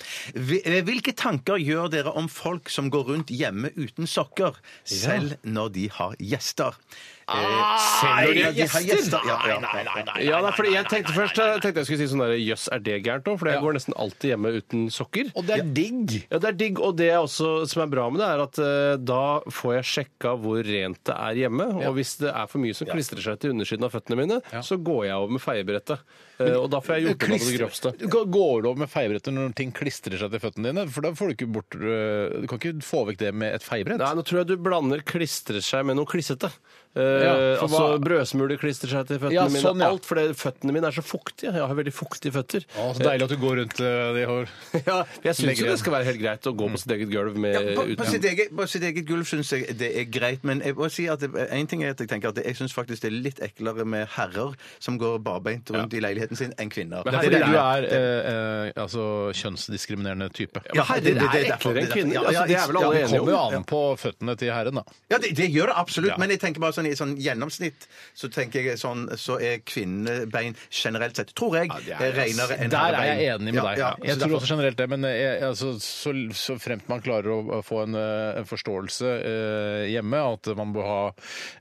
S3: Vi- eh, Hvilke tanker gjør dere om folk som går rundt hjemme uten sokker, selv når de har gjester? Ah, selv når de har gjester? Ja, ja.
S2: Ja, nei, fordi jeg tenkte først jeg tenkte jeg skulle si sånn der, Jøss, er det gærent òg? For jeg går nesten alltid hjemme uten sokker.
S1: Og det er digg!
S2: Ja, det er digg, og det er også, som er bra med det, er at eh, da får jeg sjekka hvor rent det er hjemme. Og hvis det er for mye som klistrer seg til undersiden av føttene mine, så går jeg over med feiebrettet. Eh, og da får jeg gjort det på det grovste.
S1: Klister- Går du over med feibretter når ting klistrer seg til føttene dine? For da får du ikke bort ø, Du kan ikke få vekk det med et feibrett.
S2: Nei, nå tror jeg du blander klistrer seg med noe klissete. Eh,
S1: for
S2: altså
S1: hva-
S2: brødsmuler klistrer seg til føttene
S1: Ja,
S2: mine.
S1: sånn, ja.
S2: Alt fordi føttene mine er så fuktige. Jeg har veldig fuktige føtter. Eh,
S1: Å, så deilig at du går rundt ø, de har
S2: Ja,
S1: Legger Mm.
S2: jeg syns jo det
S1: igjen.
S2: skal være helt greit å gå på sitt eget gulv med
S3: Ja,
S1: Eh,
S3: på, på,
S2: uten
S3: sitt eget, på sitt eget gulv syns jeg det er greit, men jeg må si at det- en ting er at jeg tenker at jeg syns faktisk det er litt eklere med herrer som går barbeint rundt i leiligheten sin, enn kvinner.
S1: Det er
S3: Det
S1: fordi
S3: er-
S1: du er ø, ø, altså kjønnsdiskriminerende type.
S3: Ja, herrer
S2: det er
S3: derfor-
S2: eklere enn kvinner.
S3: Ja, ja,
S2: Altså, det er vel
S3: ja,
S2: alle
S3: det
S2: enige
S3: kommer
S1: Kommer
S3: jo
S1: jo
S3: an.
S1: an på føttene til herren, da.
S3: Ja, det, det gjør det absolutt,
S1: Ja.
S3: men jeg tenker bare sånn, i sånn gjennomsnitt så tenker jeg sånn, så er kvinnebein generelt sett, tror jeg,
S1: Ja,
S3: er renere enn
S1: Der er
S3: herrebein.
S1: jeg enig med deg.
S3: Ja, ja,
S1: jeg
S3: så
S1: tror
S3: derfor-
S1: også generelt det, men jeg, altså, så, så fremt man klarer å å få en, eh, en forståelse eh, hjemme, at man bør ha,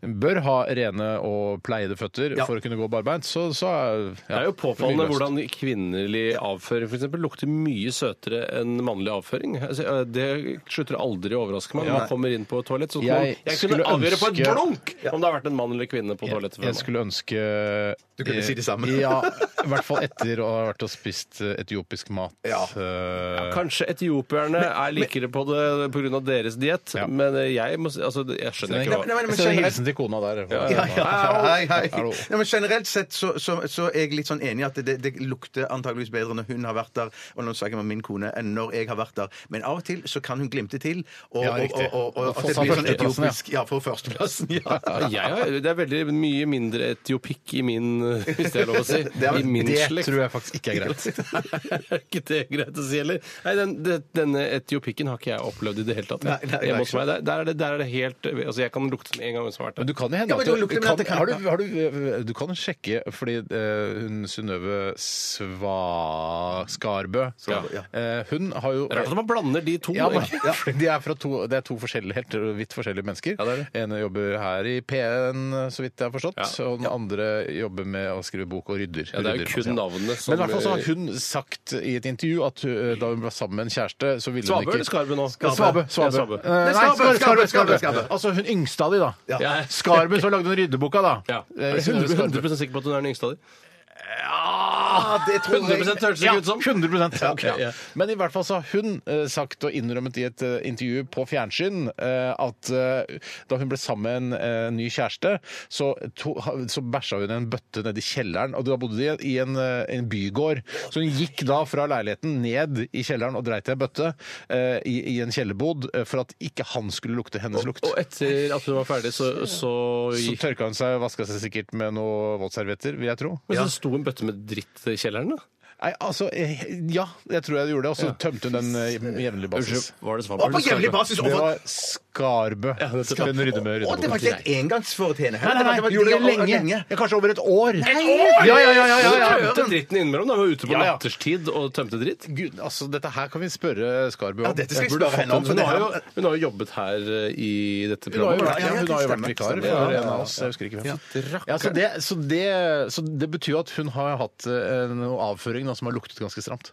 S1: bør ha rene og pleiede føtter
S3: Ja.
S1: for å kunne gå barbeint, så, så er- ja,
S2: Det er jo påfallende
S1: mye løst.
S2: hvordan kvinnelig avføring for eksempel, lukter mye søtere enn mannlig avføring. Altså, eh, Det slutter aldri å overraske meg når man kommer inn på et toalett. Så kan man,
S1: Jeg
S2: jeg kunne
S1: skulle
S2: avgjøre på et
S1: ønske-
S2: blunk om det har vært en mann eller kvinne på toalettet. før
S1: Jeg
S2: meg.
S1: skulle ønske Du
S3: kunne si det samme.
S1: Ja, i hvert fall etter å ha vært og spist eh, etiopisk mat.
S3: Ja.
S1: Eh,
S2: Kanskje etiopierne er likere på det pga. deres diett,
S1: Ja.
S2: men eh, jeg, må, si- altså, jeg skjønner ikke
S3: Nei,
S2: hva
S3: men- men
S1: Jeg sender
S3: generelt-
S1: hilsen til kona der.
S3: Ja, ja, hei, hei.
S1: Hallo.
S3: Nei, men generelt sett så, så, så er jeg litt sånn enig i at det, det lukter antageligvis bedre når hun har vært der, og nå snakker jeg med min kone, enn når jeg har vært der. Men av og til så kan hun glimte til, og,
S1: Ja,
S3: og,
S1: riktig.
S3: og, og, og at
S1: Få
S3: det
S1: seg
S3: blir sånn
S1: førsteplassen, ja.
S3: etiopisk. Ja, for førsteplassen, ja.
S2: Ja, jeg, har- det er veldig mye mindre etiopikk i min eh, Hvis det er lov å si.
S3: Det er-
S2: I min
S3: det
S2: slekt.
S1: Tror jeg faktisk ikke er greit.
S2: er ikke det greit å si heller? Nei, den, det- denne etiopikken har ikke jeg opplevd i det hele tatt.
S3: Nei, nei, nei,
S2: Hjemme
S3: ikke
S2: hos meg, der, der, er det, der er det helt Altså, jeg kan lukte den en gang hvis jeg har vært
S1: Men
S2: der.
S1: du kan jo hende
S3: Ja, men
S1: at
S3: det lukter, men at det kan-
S1: har du, har du, du kan sjekke, fordi eh, hun Synnøve Sva... Skarbø
S3: ja.
S1: eh, Hun har jo
S2: Det er rart at man blander de to.
S1: ja, men,
S2: ikke?
S1: fordi de er fra to, det er to forskjellige, helt vidt forskjellige mennesker.
S2: Ja, det er det.
S1: En jobber her i P en, så vidt jeg har forstått. Og den andre jobber med å skrive bok og rydder.
S2: Ja, det er jo
S1: Rydder,
S2: kun
S1: altså.
S2: navnet
S1: Men
S2: som- eh,
S1: i hvert fall så har hun sagt i et intervju at hun, eh, da hun var sammen med en kjæreste, så ville
S2: Svabe
S1: hun ikke
S2: eller Skarbe nå?
S1: Ja, Svabe. Svabe.
S2: Ja, Svabe.
S1: Eh, Nei,
S3: Skarbe,
S1: Skarbe, Skarbe,
S3: Skarbe,
S1: Skarbe,
S3: Skarbe.
S1: Altså hun yngste av de, da.
S2: Ja.
S1: Skarbe, så lagde hun ryddeboka, da.
S2: Ja.
S1: Eh,
S2: Er du
S1: Skarbe.
S2: 100, 100 sikker på at hun er den yngste av dem?
S1: Ja, det tror
S2: 100% høres det ikke ut som.
S1: 100 ja,
S2: ok, ja.
S1: Men i hvert fall så har hun eh, sagt og innrømmet i et eh, intervju på fjernsyn eh, at eh, da hun ble sammen med en eh, ny kjæreste, så, to, ha- så bæsja hun i en bøtte nede i kjelleren. Og da bodde de i en, eh, en bygård. Så hun gikk da fra leiligheten ned i kjelleren og dreit i en bøtte eh, i, i en kjellerbod eh, for at ikke han skulle lukte hennes lukt.
S2: Og etter at hun var ferdig, så, så
S1: Så
S2: gikk
S1: tørka hun seg og vaska seg sikkert med noe våtservietter, vil jeg tro.
S2: Men så sto en bøtte med dritt i kjelleren, da?
S1: Nei, altså, eh, ja, jeg tror jeg gjorde det. Og så tømte hun den eh, med jevnlig basis.
S2: Var det
S3: Og på jevnlig basis! Og
S1: Det
S3: for-
S1: var Skarbø.
S2: nettopp.
S1: Den rydde med
S3: Å, det var ikke et engangsforeteende.
S1: Nei, nei, nei, gjorde det lenge. Ja, kanskje over et år. Ja, ja, ja, ja, ja, ja.
S2: Tømte dritten innimellom. Da Hun var ute på
S1: Ja, ja.
S2: natterstid og tømte dritt.
S1: Gud, altså, dette her kan vi spørre Skarbø om.
S3: Ja, dette skal jeg
S1: Burde
S3: spørre henne om,
S1: fått en-
S3: for
S2: Hun
S3: det
S2: har
S3: her-
S2: jo, hun har jo jobbet her eh, i
S1: Hun
S2: dette
S1: har jo
S2: programmet.
S1: vært, ja, hun har jo vært
S3: stemmer,
S1: vikar
S3: stemmer.
S1: for en av oss. Jeg husker ikke hvem. Ja, så, det, så, det, så det betyr jo at hun har hatt eh, noe avføring nå som har luktet ganske stramt.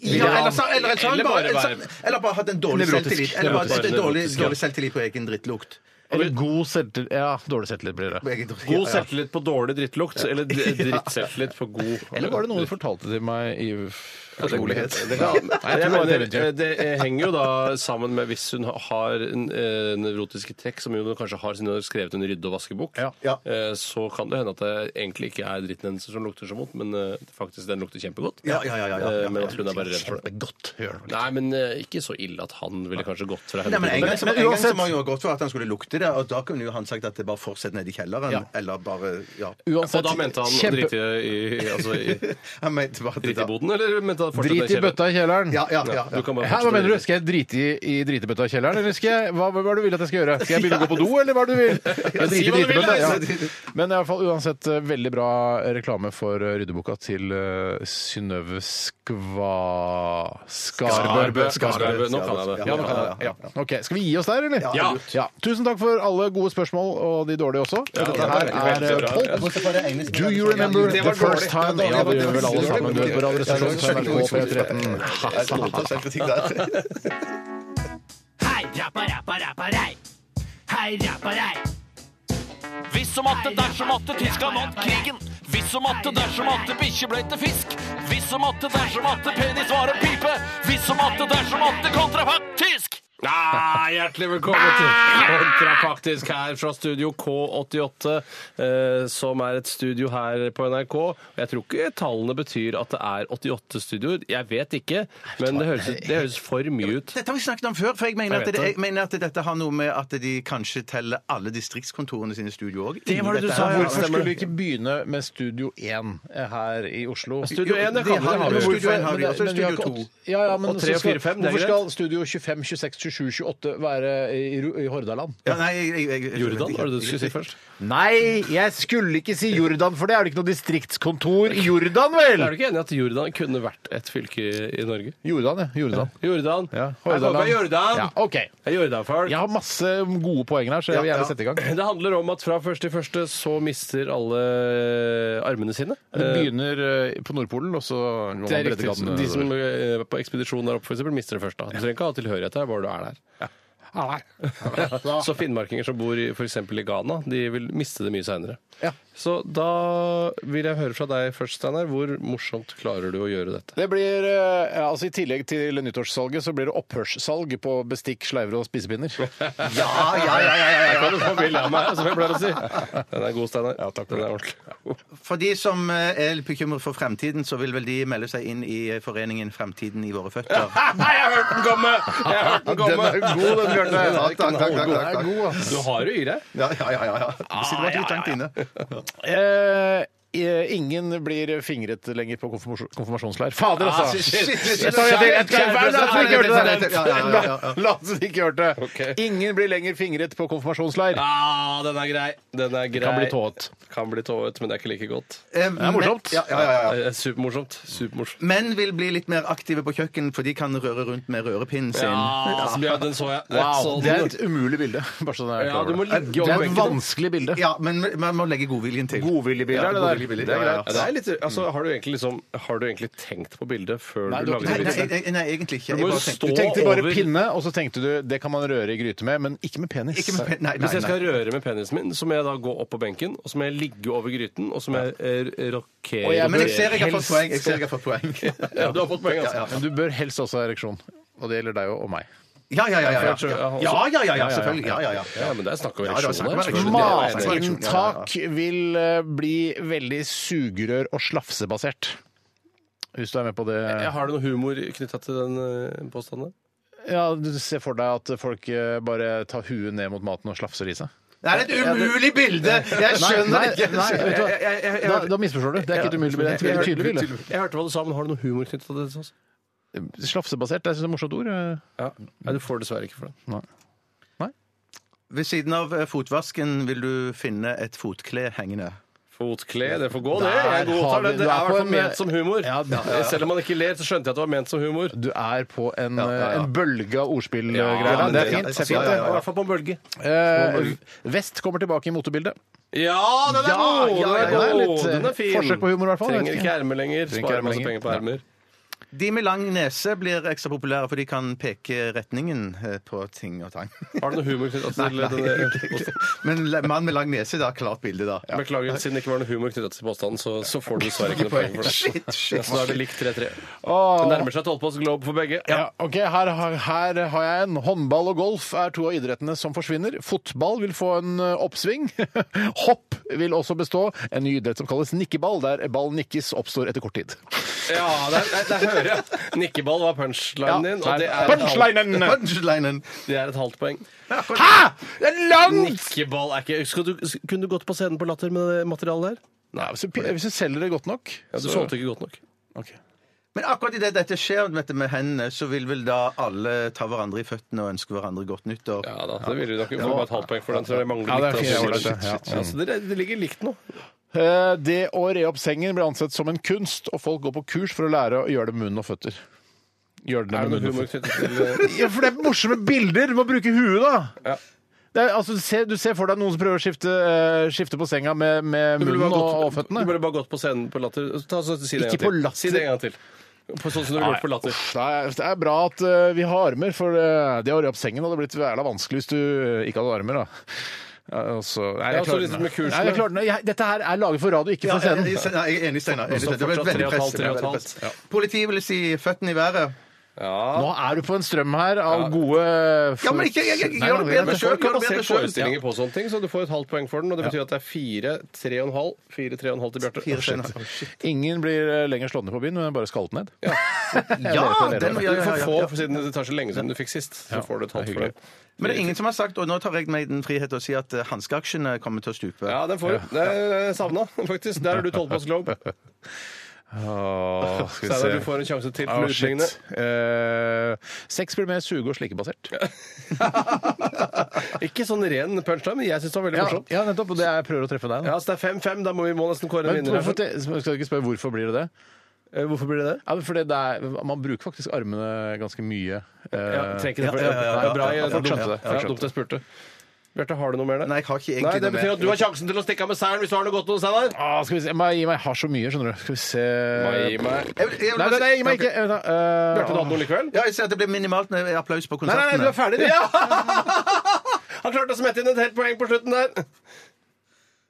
S3: Ja, eller, så, eller, så,
S2: Eller
S3: eller,
S2: bare
S3: bare, eller, så, eller bare hatt en dårlig
S1: Nevrotisk.
S3: selvtillit. Eller bare hatt en
S2: Nevrotisk,
S3: dårlig,
S2: ja.
S3: dårlig selvtillit på egen drittlukt.
S1: Eller god selvtillit Ja, dårlig selvtillit blir
S3: På
S1: det.
S3: egen dritt-
S2: God
S3: ja, ja.
S2: selvtillit på dårlig drittlukt, eller d- drittselvtillit på god
S1: Eller var det noe du fortalte til meg i fortrolighet?
S2: Det kan-
S1: Nei, jeg tror det var et eventyr.
S2: eh, det henger jo da sammen med hvis hun har en, eh, nevrotiske trekk, som hun kanskje har siden hun har skrevet en rydde- og vaskebok,
S1: Ja.
S3: Ja.
S2: eh, så kan det hende at det egentlig ikke er dritten hennes som lukter så vondt, men eh, faktisk den lukter kjempegodt.
S3: Ja, ja, ja, ja, ja.
S2: Eh, Men at hun er bare redd for det.
S1: Kjempegodt. Hør nå.
S2: Nei, men eh, ikke så ille at han ville kanskje gått fra
S3: Nei, men En gang,
S2: henne.
S3: så,
S1: Men- men
S3: en gang så
S1: uansett-
S3: må han jo ha gått for at han skulle lukte det, og da kunne jo han sagt at det bare fortsett ned i kjelleren.
S1: Ja.
S3: Eller bare Ja.
S2: Og da mente han
S1: kjempe-
S2: drit i, i, altså, i,
S3: Han mente bare at det
S2: drit i
S3: da-
S2: boden, eller mente han fortsatt
S1: Drit i
S2: kjelleren?
S1: bøtta i kjelleren.
S3: Ja, ja, ja.
S2: Du kan bare
S1: Hæ, hva
S2: fortsette
S1: mener du?
S2: videre.
S1: Skal jeg drite i, i dritebøtta i kjelleren, eller skal jeg, hva, hva er det du vil at jeg skal gjøre? Skal jeg begynne å gå på do, eller hva er det du vil? Jeg driter i
S2: si hva du vil,
S1: dritebøtta,
S2: da.
S1: ja. Men i hvert fall uansett eh, veldig bra reklame for eh, ryddeboka til eh, Synnøve Skva... Skarbø.
S2: Skarbø. Skarbø. Nå kan jeg det.
S1: Ja, nå kan jeg det. Ja. Ok, Skal vi gi oss der, eller?
S2: Ja.
S1: ja. Tusen takk for alle gode spørsmål, og de dårlige også. Dette her er eh, Pulp
S3: Bortsett fra det ene som-
S1: Do you remember the first time Ja, det gjør vel alle sammen. Du hører på Radioresepsjonen på NRK på P13.
S3: Jeg tar på selvkritikk der.
S10: Hei, rappa, rappa, rappa, rei. Hei, rappa, rei. Hvis som atte, dersom atte, Tyskland vant krigen. Hvis som atte, dersom atte, bikkje ble til fisk. Hvis som atte, dersom atte, penis var en pipe. Hvis som atte, dersom atte, kontrafakt tysk.
S2: Ah, hjertelig velkommen til Kontrafaktisk her fra studio K88, eh, som er et studio her på NRK. Jeg tror ikke tallene betyr at det er 88 studioer. Jeg vet ikke, men det høres, det høres for mye ut.
S3: Dette har vi snakket om før, for jeg mener,
S2: Jeg
S3: at,
S2: vet
S3: det,
S2: det.
S3: jeg mener at dette har noe med at de kanskje teller alle distriktskontorene sine studio òg.
S2: Det var det du sa, ja.
S1: Hvorfor skulle vi ikke begynne med Studio 1 her i Oslo?
S2: Studio 1 det kan dere ha
S3: har- men
S2: med.
S3: Studio 1 har vi, og så er
S1: Men vi har
S3: Studio
S1: ikke
S3: 2.
S1: åt- Ja, ja, men
S2: Og tre
S1: så skal-
S2: og fire, fem, det er
S1: Hvorfor
S2: greit.
S1: skal Studio 25, 26, 27, 28 være i, Ru- i Hordaland?
S3: Ja, nei, jeg, jeg, jeg, jeg,
S2: Jordan, var det det du skulle si først?
S1: Nei, jeg skulle ikke si Jordan, for det er vel ikke noe distriktskontor i Jordan, vel?
S2: Er du ikke enig i at Jordan kunne vært et fylke i Norge?
S1: Jordan, ja. Jordan.
S2: Jordan.
S1: Ja,
S2: Jeg går med Jordan.
S1: Ja, ok.
S2: Jeg er Jordan-folk.
S1: Jeg har masse gode poeng her, så jeg vil
S3: Ja,
S1: gjerne
S3: ja.
S1: sette i gang.
S2: Det handler om at fra først til første så mister alle armene sine.
S1: Det begynner eh, på Nordpolen, og så går man
S2: Det er riktig.
S1: breddegraden
S2: De som
S1: nedover.
S2: eh, på ekspedisjon der oppe, for eksempel, mister det først. da. Du trenger ikke ha tilhørighet der, bare du er der. Ah, Så finnmarkinger som bor i f.eks. i Ghana, de vil miste det mye seinere.
S1: Ja.
S2: Så da vil jeg høre fra deg først, Steinar. Hvor morsomt klarer du å gjøre dette?
S1: Det blir, eh, altså I tillegg til nyttårssalget så blir det opphørssalg på bestikk, sleiver og spisepinner.
S3: Ja, ja, ja, ja, ja,
S2: Jeg
S3: ja.
S2: kan jo få bilde av meg, som jeg altså, pleier å si. Den er god, Steinar. Ja, takk for Den er ordentlig.
S3: For de som eh, er litt bekymret for fremtiden, så vil vel de melde seg inn i eh, foreningen Fremtiden i våre føtter.
S2: Jeg har hørt den komme! Jeg har hørt den komme!
S1: god, den, Bjarte.
S3: takk, takk, takk, takk, takk.
S1: Den er god, ass.
S2: Du har jo i deg.
S3: Ja, ja, ja. ja, ja. Du sitter vært litt langt inne.
S1: Eh, eh, ingen blir fingret lenger på konfirmasjon- konfirmasjonsleir. Fader,
S2: Ah,
S1: altså!
S2: shit, shit, shit, shit.
S1: Jeg tar det til. Jeg skal-
S2: Kjære
S1: La oss ikke gjøre det!
S3: president. Ja, ja, ja, ja, ja.
S1: La oss ikke gjøre det! Ingen blir lenger fingret på konfirmasjonsleir.
S2: Ah, den er grei. Den er grei.
S1: Kan bli tået.
S2: Kan bli tået, men det er ikke like godt.
S3: Det
S1: er morsomt.
S3: Eh, Ja, ja, ja, ja.
S2: Det er Supermorsomt. Supermorsomt.
S3: Menn vil bli litt mer aktive på kjøkken, for de kan røre rundt med rørepinnen sin.
S2: Altså, ja, den så jeg.
S1: Wow,
S2: Sånn.
S1: det er et umulig bilde. Bare sånn at jeg er
S2: Ja,
S1: klar over
S2: du må
S1: det.
S2: ligge
S1: det
S2: over
S1: er et
S2: benken.
S1: vanskelig bilde.
S3: Ja, men man må legge godviljen til.
S1: Godviljebilde
S3: Ja,
S1: er det
S3: godviljebilde,
S1: der. Det er
S3: ja, ja.
S1: greit.
S2: Ja, det er litt, altså, har, du egentlig liksom, har du egentlig tenkt på bildet før
S1: Nei,
S2: du
S1: du har ikke
S3: Nei,
S2: lagde
S3: nei,
S2: bildet?
S3: nei, nei, egentlig ikke.
S2: Du må jo
S3: Jeg bare
S2: stå
S3: tenkte-
S1: Du tenkte bare
S2: over-
S1: pinne, og så tenkte du det kan man røre i gryte med, men ikke med penis.
S3: Ikke med pen- nei, nei,
S2: Hvis jeg
S3: nei.
S2: skal røre med penisen min, så må jeg da gå opp på benken, og så må jeg ligge over gryten, og så må jeg eh, rokere
S1: Og jeg-
S3: Men jeg ser jeg har fått
S1: Helst-
S3: poeng. Jeg ser jeg har fått poeng.
S2: Ja, du har fått poeng, altså.
S1: Men du bør helst også ha ereksjon. Og det gjelder deg og- og meg.
S3: Ja, ja, ja. Ja, ja,
S2: Jeg tror-
S3: ja,
S2: jeg-
S3: ja, ja, ja, selvfølgelig. Ja, ja, ja.
S2: Ja, men det er snakk om
S3: Ja, det er snakk
S2: ereksjon her.
S3: om ereksjon.
S2: selvfølgelig.
S3: Ja, ja, ja.
S1: Matinntak vil eh, bli veldig sugerør- og slafsebasert. Hvis du er med på
S2: Jeg
S1: det.
S2: har det noe humor knytta til den eh, påstanden?
S1: Ja, du ser for deg at folk eh, bare tar huet ned mot maten og slafser i seg.
S3: Det er et umulig bilde! Jeg skjønner
S1: nei,
S3: ikke.
S1: nei, vet du hva?
S2: Jeg- jeg- jeg- jeg-
S1: Da, da misforstår du. Det er ikke et umulig bilde. Det er et veldig tydelig bilde.
S2: Jeg hørte hva du sa, men har du noe humor knytta til det? Også?
S1: Slafsebasert det er et morsomt ord. eh.
S2: Ja. Nei, du får dessverre ikke for det.
S3: Ved siden av eh, fotvasken vil du finne et fotkle hengende.
S2: Fotkle, det får gå, det.
S1: Der
S2: Jeg
S1: har
S2: godtar
S1: vi-
S2: det. Det
S1: du
S2: er
S1: er
S2: i hvert
S1: på
S2: fall
S1: en-
S2: ment som humor. Eh,
S1: Ja, ja, ja.
S2: Selv om man ikke ler, så skjønte jeg at det var ment som humor.
S1: Du er på en,
S3: ja, ja.
S1: en bølge av ordspillgreier.
S2: Ja,
S1: der.
S2: men
S1: det er
S2: det-
S1: fint. det er
S3: ja,
S1: fint
S3: ja,
S1: det.
S3: ja, ja.
S2: I hvert fall på en bølge.
S1: Eh, Vest kommer tilbake i motebildet.
S2: Ja, den er
S1: Ja, ja, ja,
S2: god! den,
S1: ja,
S2: er
S1: det er
S2: god.
S1: litt, eh,
S2: den er fin.
S1: forsøk på humor i hvert fall,
S2: Trenger
S1: vet
S2: ikke
S1: ikke.
S2: erme lenger.
S1: Trenger ikke
S2: Sparer
S1: erme
S2: masse
S1: lenger.
S2: penger på
S1: Ja.
S2: ermer.
S3: De med lang nese blir ekstra populære, for de kan peke retningen eh, på ting og tang.
S2: Har du noe humor knytta til
S3: Nei,
S2: denne
S3: Men le- mann med lang nese, da. Klart bilde, da.
S2: Beklager, siden det ikke var noe humor knytta til påstanden, så, så får du dessverre ikke noe poeng for det.
S3: Shit,
S2: Ja,
S3: shit.
S2: Så da er det likt 3-3.
S1: Åh.
S2: Det nærmer seg et holdpost globe for begge.
S1: Ja, ok, her, har- her har jeg en. Håndball og golf er to av idrettene som forsvinner. Fotball vil få en eh, oppsving. Hopp vil også bestå. En ny idrett som kalles nikkeball, der ball nikkes, oppstår etter kort tid.
S2: Ja, der, der, der hører jeg. Nikkeball var punchlinen din, og det er, et halvt-
S1: Punchlinen!
S3: Punchlinen.
S2: det er et halvt poeng.
S1: Hæ?! Det er langt!
S2: Nikkeball er ikke Skal du, Kunne du gått på scenen på Latter med det materialet der?
S1: Nei, hvis, du, hvis du selger det godt nok
S2: Ja, du solgte ikke godt nok.
S3: Men akkurat idet dette skjer vet du, med hendene, så vil vel da alle ta hverandre i føttene og ønske hverandre godt nyttår.
S2: Ja da, det ville du nok. Får bare et halvt poeng for den, så det mangler
S1: Ja, det er fint,
S2: litt, altså.
S1: det er ålreit, ja.
S2: Ja, så det, det ligger likt nå.
S1: Eh, Det å re opp sengen blir ansett som en kunst, og folk går på kurs for å lære å gjøre det med munn og føtter. Gjør det
S2: Er
S1: med
S2: det noe
S1: munn og
S2: humor
S1: føtter.
S2: knyttet til
S1: Ja, for det er morsomme bilder! Du må bruke huet, da!
S2: Ja.
S1: Det er, altså, du, ser, du ser for deg noen som prøver å skifte, eh, skifte på senga med, med
S2: Du burde bare
S1: munnen og, og
S2: gått-
S1: føttene.
S2: Du burde bare gått på scenen på Latter. Ta, så, si det en
S1: Ikke
S2: gang
S1: på
S2: til.
S1: Latter.
S2: Si det en gang til. På sånn som du ville gjort på
S1: Nei,
S2: Latter.
S1: uff, det, er, det er bra at eh, vi har armer, for eh, det å re opp sengen hadde blitt jævla vanskelig hvis du eh, ikke hadde armer. da. Ja, altså, nei,
S2: Ja,
S1: jeg
S2: så
S1: klarer
S2: litt
S1: den,
S2: med
S1: da.
S2: kursene.
S1: Nei, jeg klarer den. Jeg- Dette her er laget for radio, ikke
S3: Ja,
S1: for
S3: jeg,
S1: scenen.
S3: jeg, nei, jeg er enig, Steinar. Jeg er enig, Steinar. Det ble
S2: Fortsatt tre
S3: veldig
S2: og et halvt,
S3: press.
S2: tre og et
S3: veldig
S2: halvt.
S3: press. Politiet ville si 'føttene i været'.
S2: Ja.
S1: Nå er du på en strøm her av gode
S3: Ja, men ikke- jeg- jeg- jeg gjør det bedre
S2: Men
S3: selv,
S2: folk
S3: gjør
S2: har
S3: det bedre
S2: basert
S3: selv.
S2: forestillinger på sånne ting, så du får et halvt poeng for den. Og det betyr at det er fire, tre og en halv, fire, tre og en halv til
S3: Fire
S2: Bjarte.
S3: scener. Å, shit.
S1: Ingen blir eh, lenger slått ned på byen, men bare skallet ned.
S3: Ja,
S1: det er
S3: den,
S1: det.
S3: ja,
S2: Du
S3: ja,
S2: får
S3: ja,
S2: få,
S3: ja.
S2: for siden det tar så lenge siden du fikk sist, så får du et halvt
S1: det er
S2: for det.
S3: Men det er ingen som har sagt, og nå tar jeg meg den frihet å si at eh, hanskeaksjene kommer til å stupe.
S2: Ja, den får du. Det er savna, faktisk. Der har du tolvpass globe.
S1: Åh, skal
S2: Steinar, du får en sjanse til
S3: Ah,
S2: til
S1: Åh,
S2: å
S1: shit.
S2: utligne.
S1: Eh, sex blir mer suge- og slikkebasert.
S2: Ikke sånn ren punchline, men jeg syns det var veldig morsomt.
S1: ja, nettopp. Og det er jeg prøver å treffe deg.
S2: Ja,
S1: Da.
S2: så det er 5-5. Da må vi må nesten kåre en
S1: Men
S2: vinner.
S1: hvorfor,
S2: her.
S1: te- skal du ikke spørre hvorfor blir det det?
S2: Eh, Hvorfor blir det det?
S1: Ja, men fordi det er, man bruker faktisk armene ganske mye. Eh,
S2: Ja, trenger ikke det. for-
S3: ja, ja, ja,
S2: det er Bra,
S3: ja,
S2: jeg
S3: ja,
S2: dumt-
S3: ja, ja,
S2: ja,
S3: ja,
S2: dumt jeg spurte. Bjarte, har du noe mer der?
S3: Nei, jeg har ikke
S2: Nei,
S3: egentlig
S2: det betyr at du har sjansen til å stikke av med seieren hvis du har noe godt noe, Steinar.
S1: ah, skal vi se. Mai, Mai har så mye, skjønner du. Skal vi se
S2: Gi meg.
S3: Jeg vil- jeg
S1: Nei,
S3: vil bare
S1: nei, nei,
S3: si-
S1: gi meg ikke. Eh, da, eh,
S2: Bjarte, du hadde noe likevel?
S3: Ja, jeg ser at det blir minimalt med applaus på
S1: Nei, nei, nei,
S3: konsertene.
S1: du er ferdig, du.
S2: Han klarte å smette inn et helt poeng på slutten der.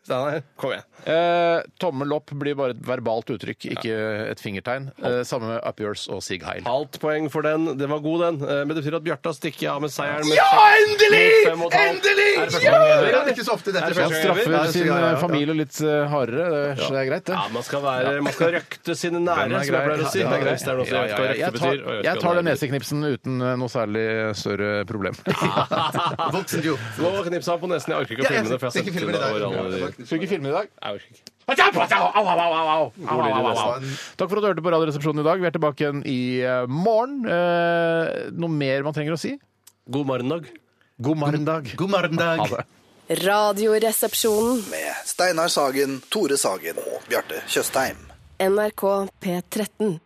S2: Steinar, kom igjen.
S1: Eh, tommel opp blir bare et verbalt uttrykk, ikke et fingertegn. Eh, samme med up yours og sig heil.
S2: Halvt poeng for den. Den var god, den. Eh, Men det betyr at Bjarte har stikket av med seieren. Med
S3: Ja, endelig!
S2: Fem og et halvt.
S3: Endelig!
S2: Er det første
S3: Ja!
S2: gang vi gjør det?
S3: Det er ikke så ofte dette
S2: det
S1: Han
S3: skjer.
S2: første gang vi
S1: straffer
S3: Ja,
S1: sin
S3: ja, ja, ja.
S1: familie litt eh, hardere, så det er greit, det.
S2: Ja, man skal, være, man skal røkte sine nære, som jeg pleier å si.
S1: Ja,
S2: Hvis det er noe som
S1: ja, ja,
S2: jeg vet
S1: ja.
S2: hva røkte
S1: Jeg tar,
S2: betyr, og jeg vet
S1: jeg
S2: ikke
S1: tar
S2: hva
S1: den neseknipsen uten eh, noe særlig større problem.
S3: Voksen jo.
S2: Nå knipsa han på nesen. Jeg orker ikke å
S3: Ja, jeg
S2: filme det. for jeg har
S3: skal ikke
S2: sett
S3: filme
S2: det
S3: det i dag.
S2: over alle-
S1: Skal vi ikke filme i dag?
S2: Jeg orker ikke.
S1: Takk for at du hørte på Radioresepsjonen i dag. Vi er tilbake igjen i eh, morgen. Eh, Noe mer man trenger å si?
S2: God morgendag.
S1: God morgendag.
S3: God morgen, Dag.
S1: Ha det.
S7: Radioresepsjonen.
S8: Med Steinar Sagen, Tore Sagen og Bjarte Tjøstheim.
S7: NRK P13.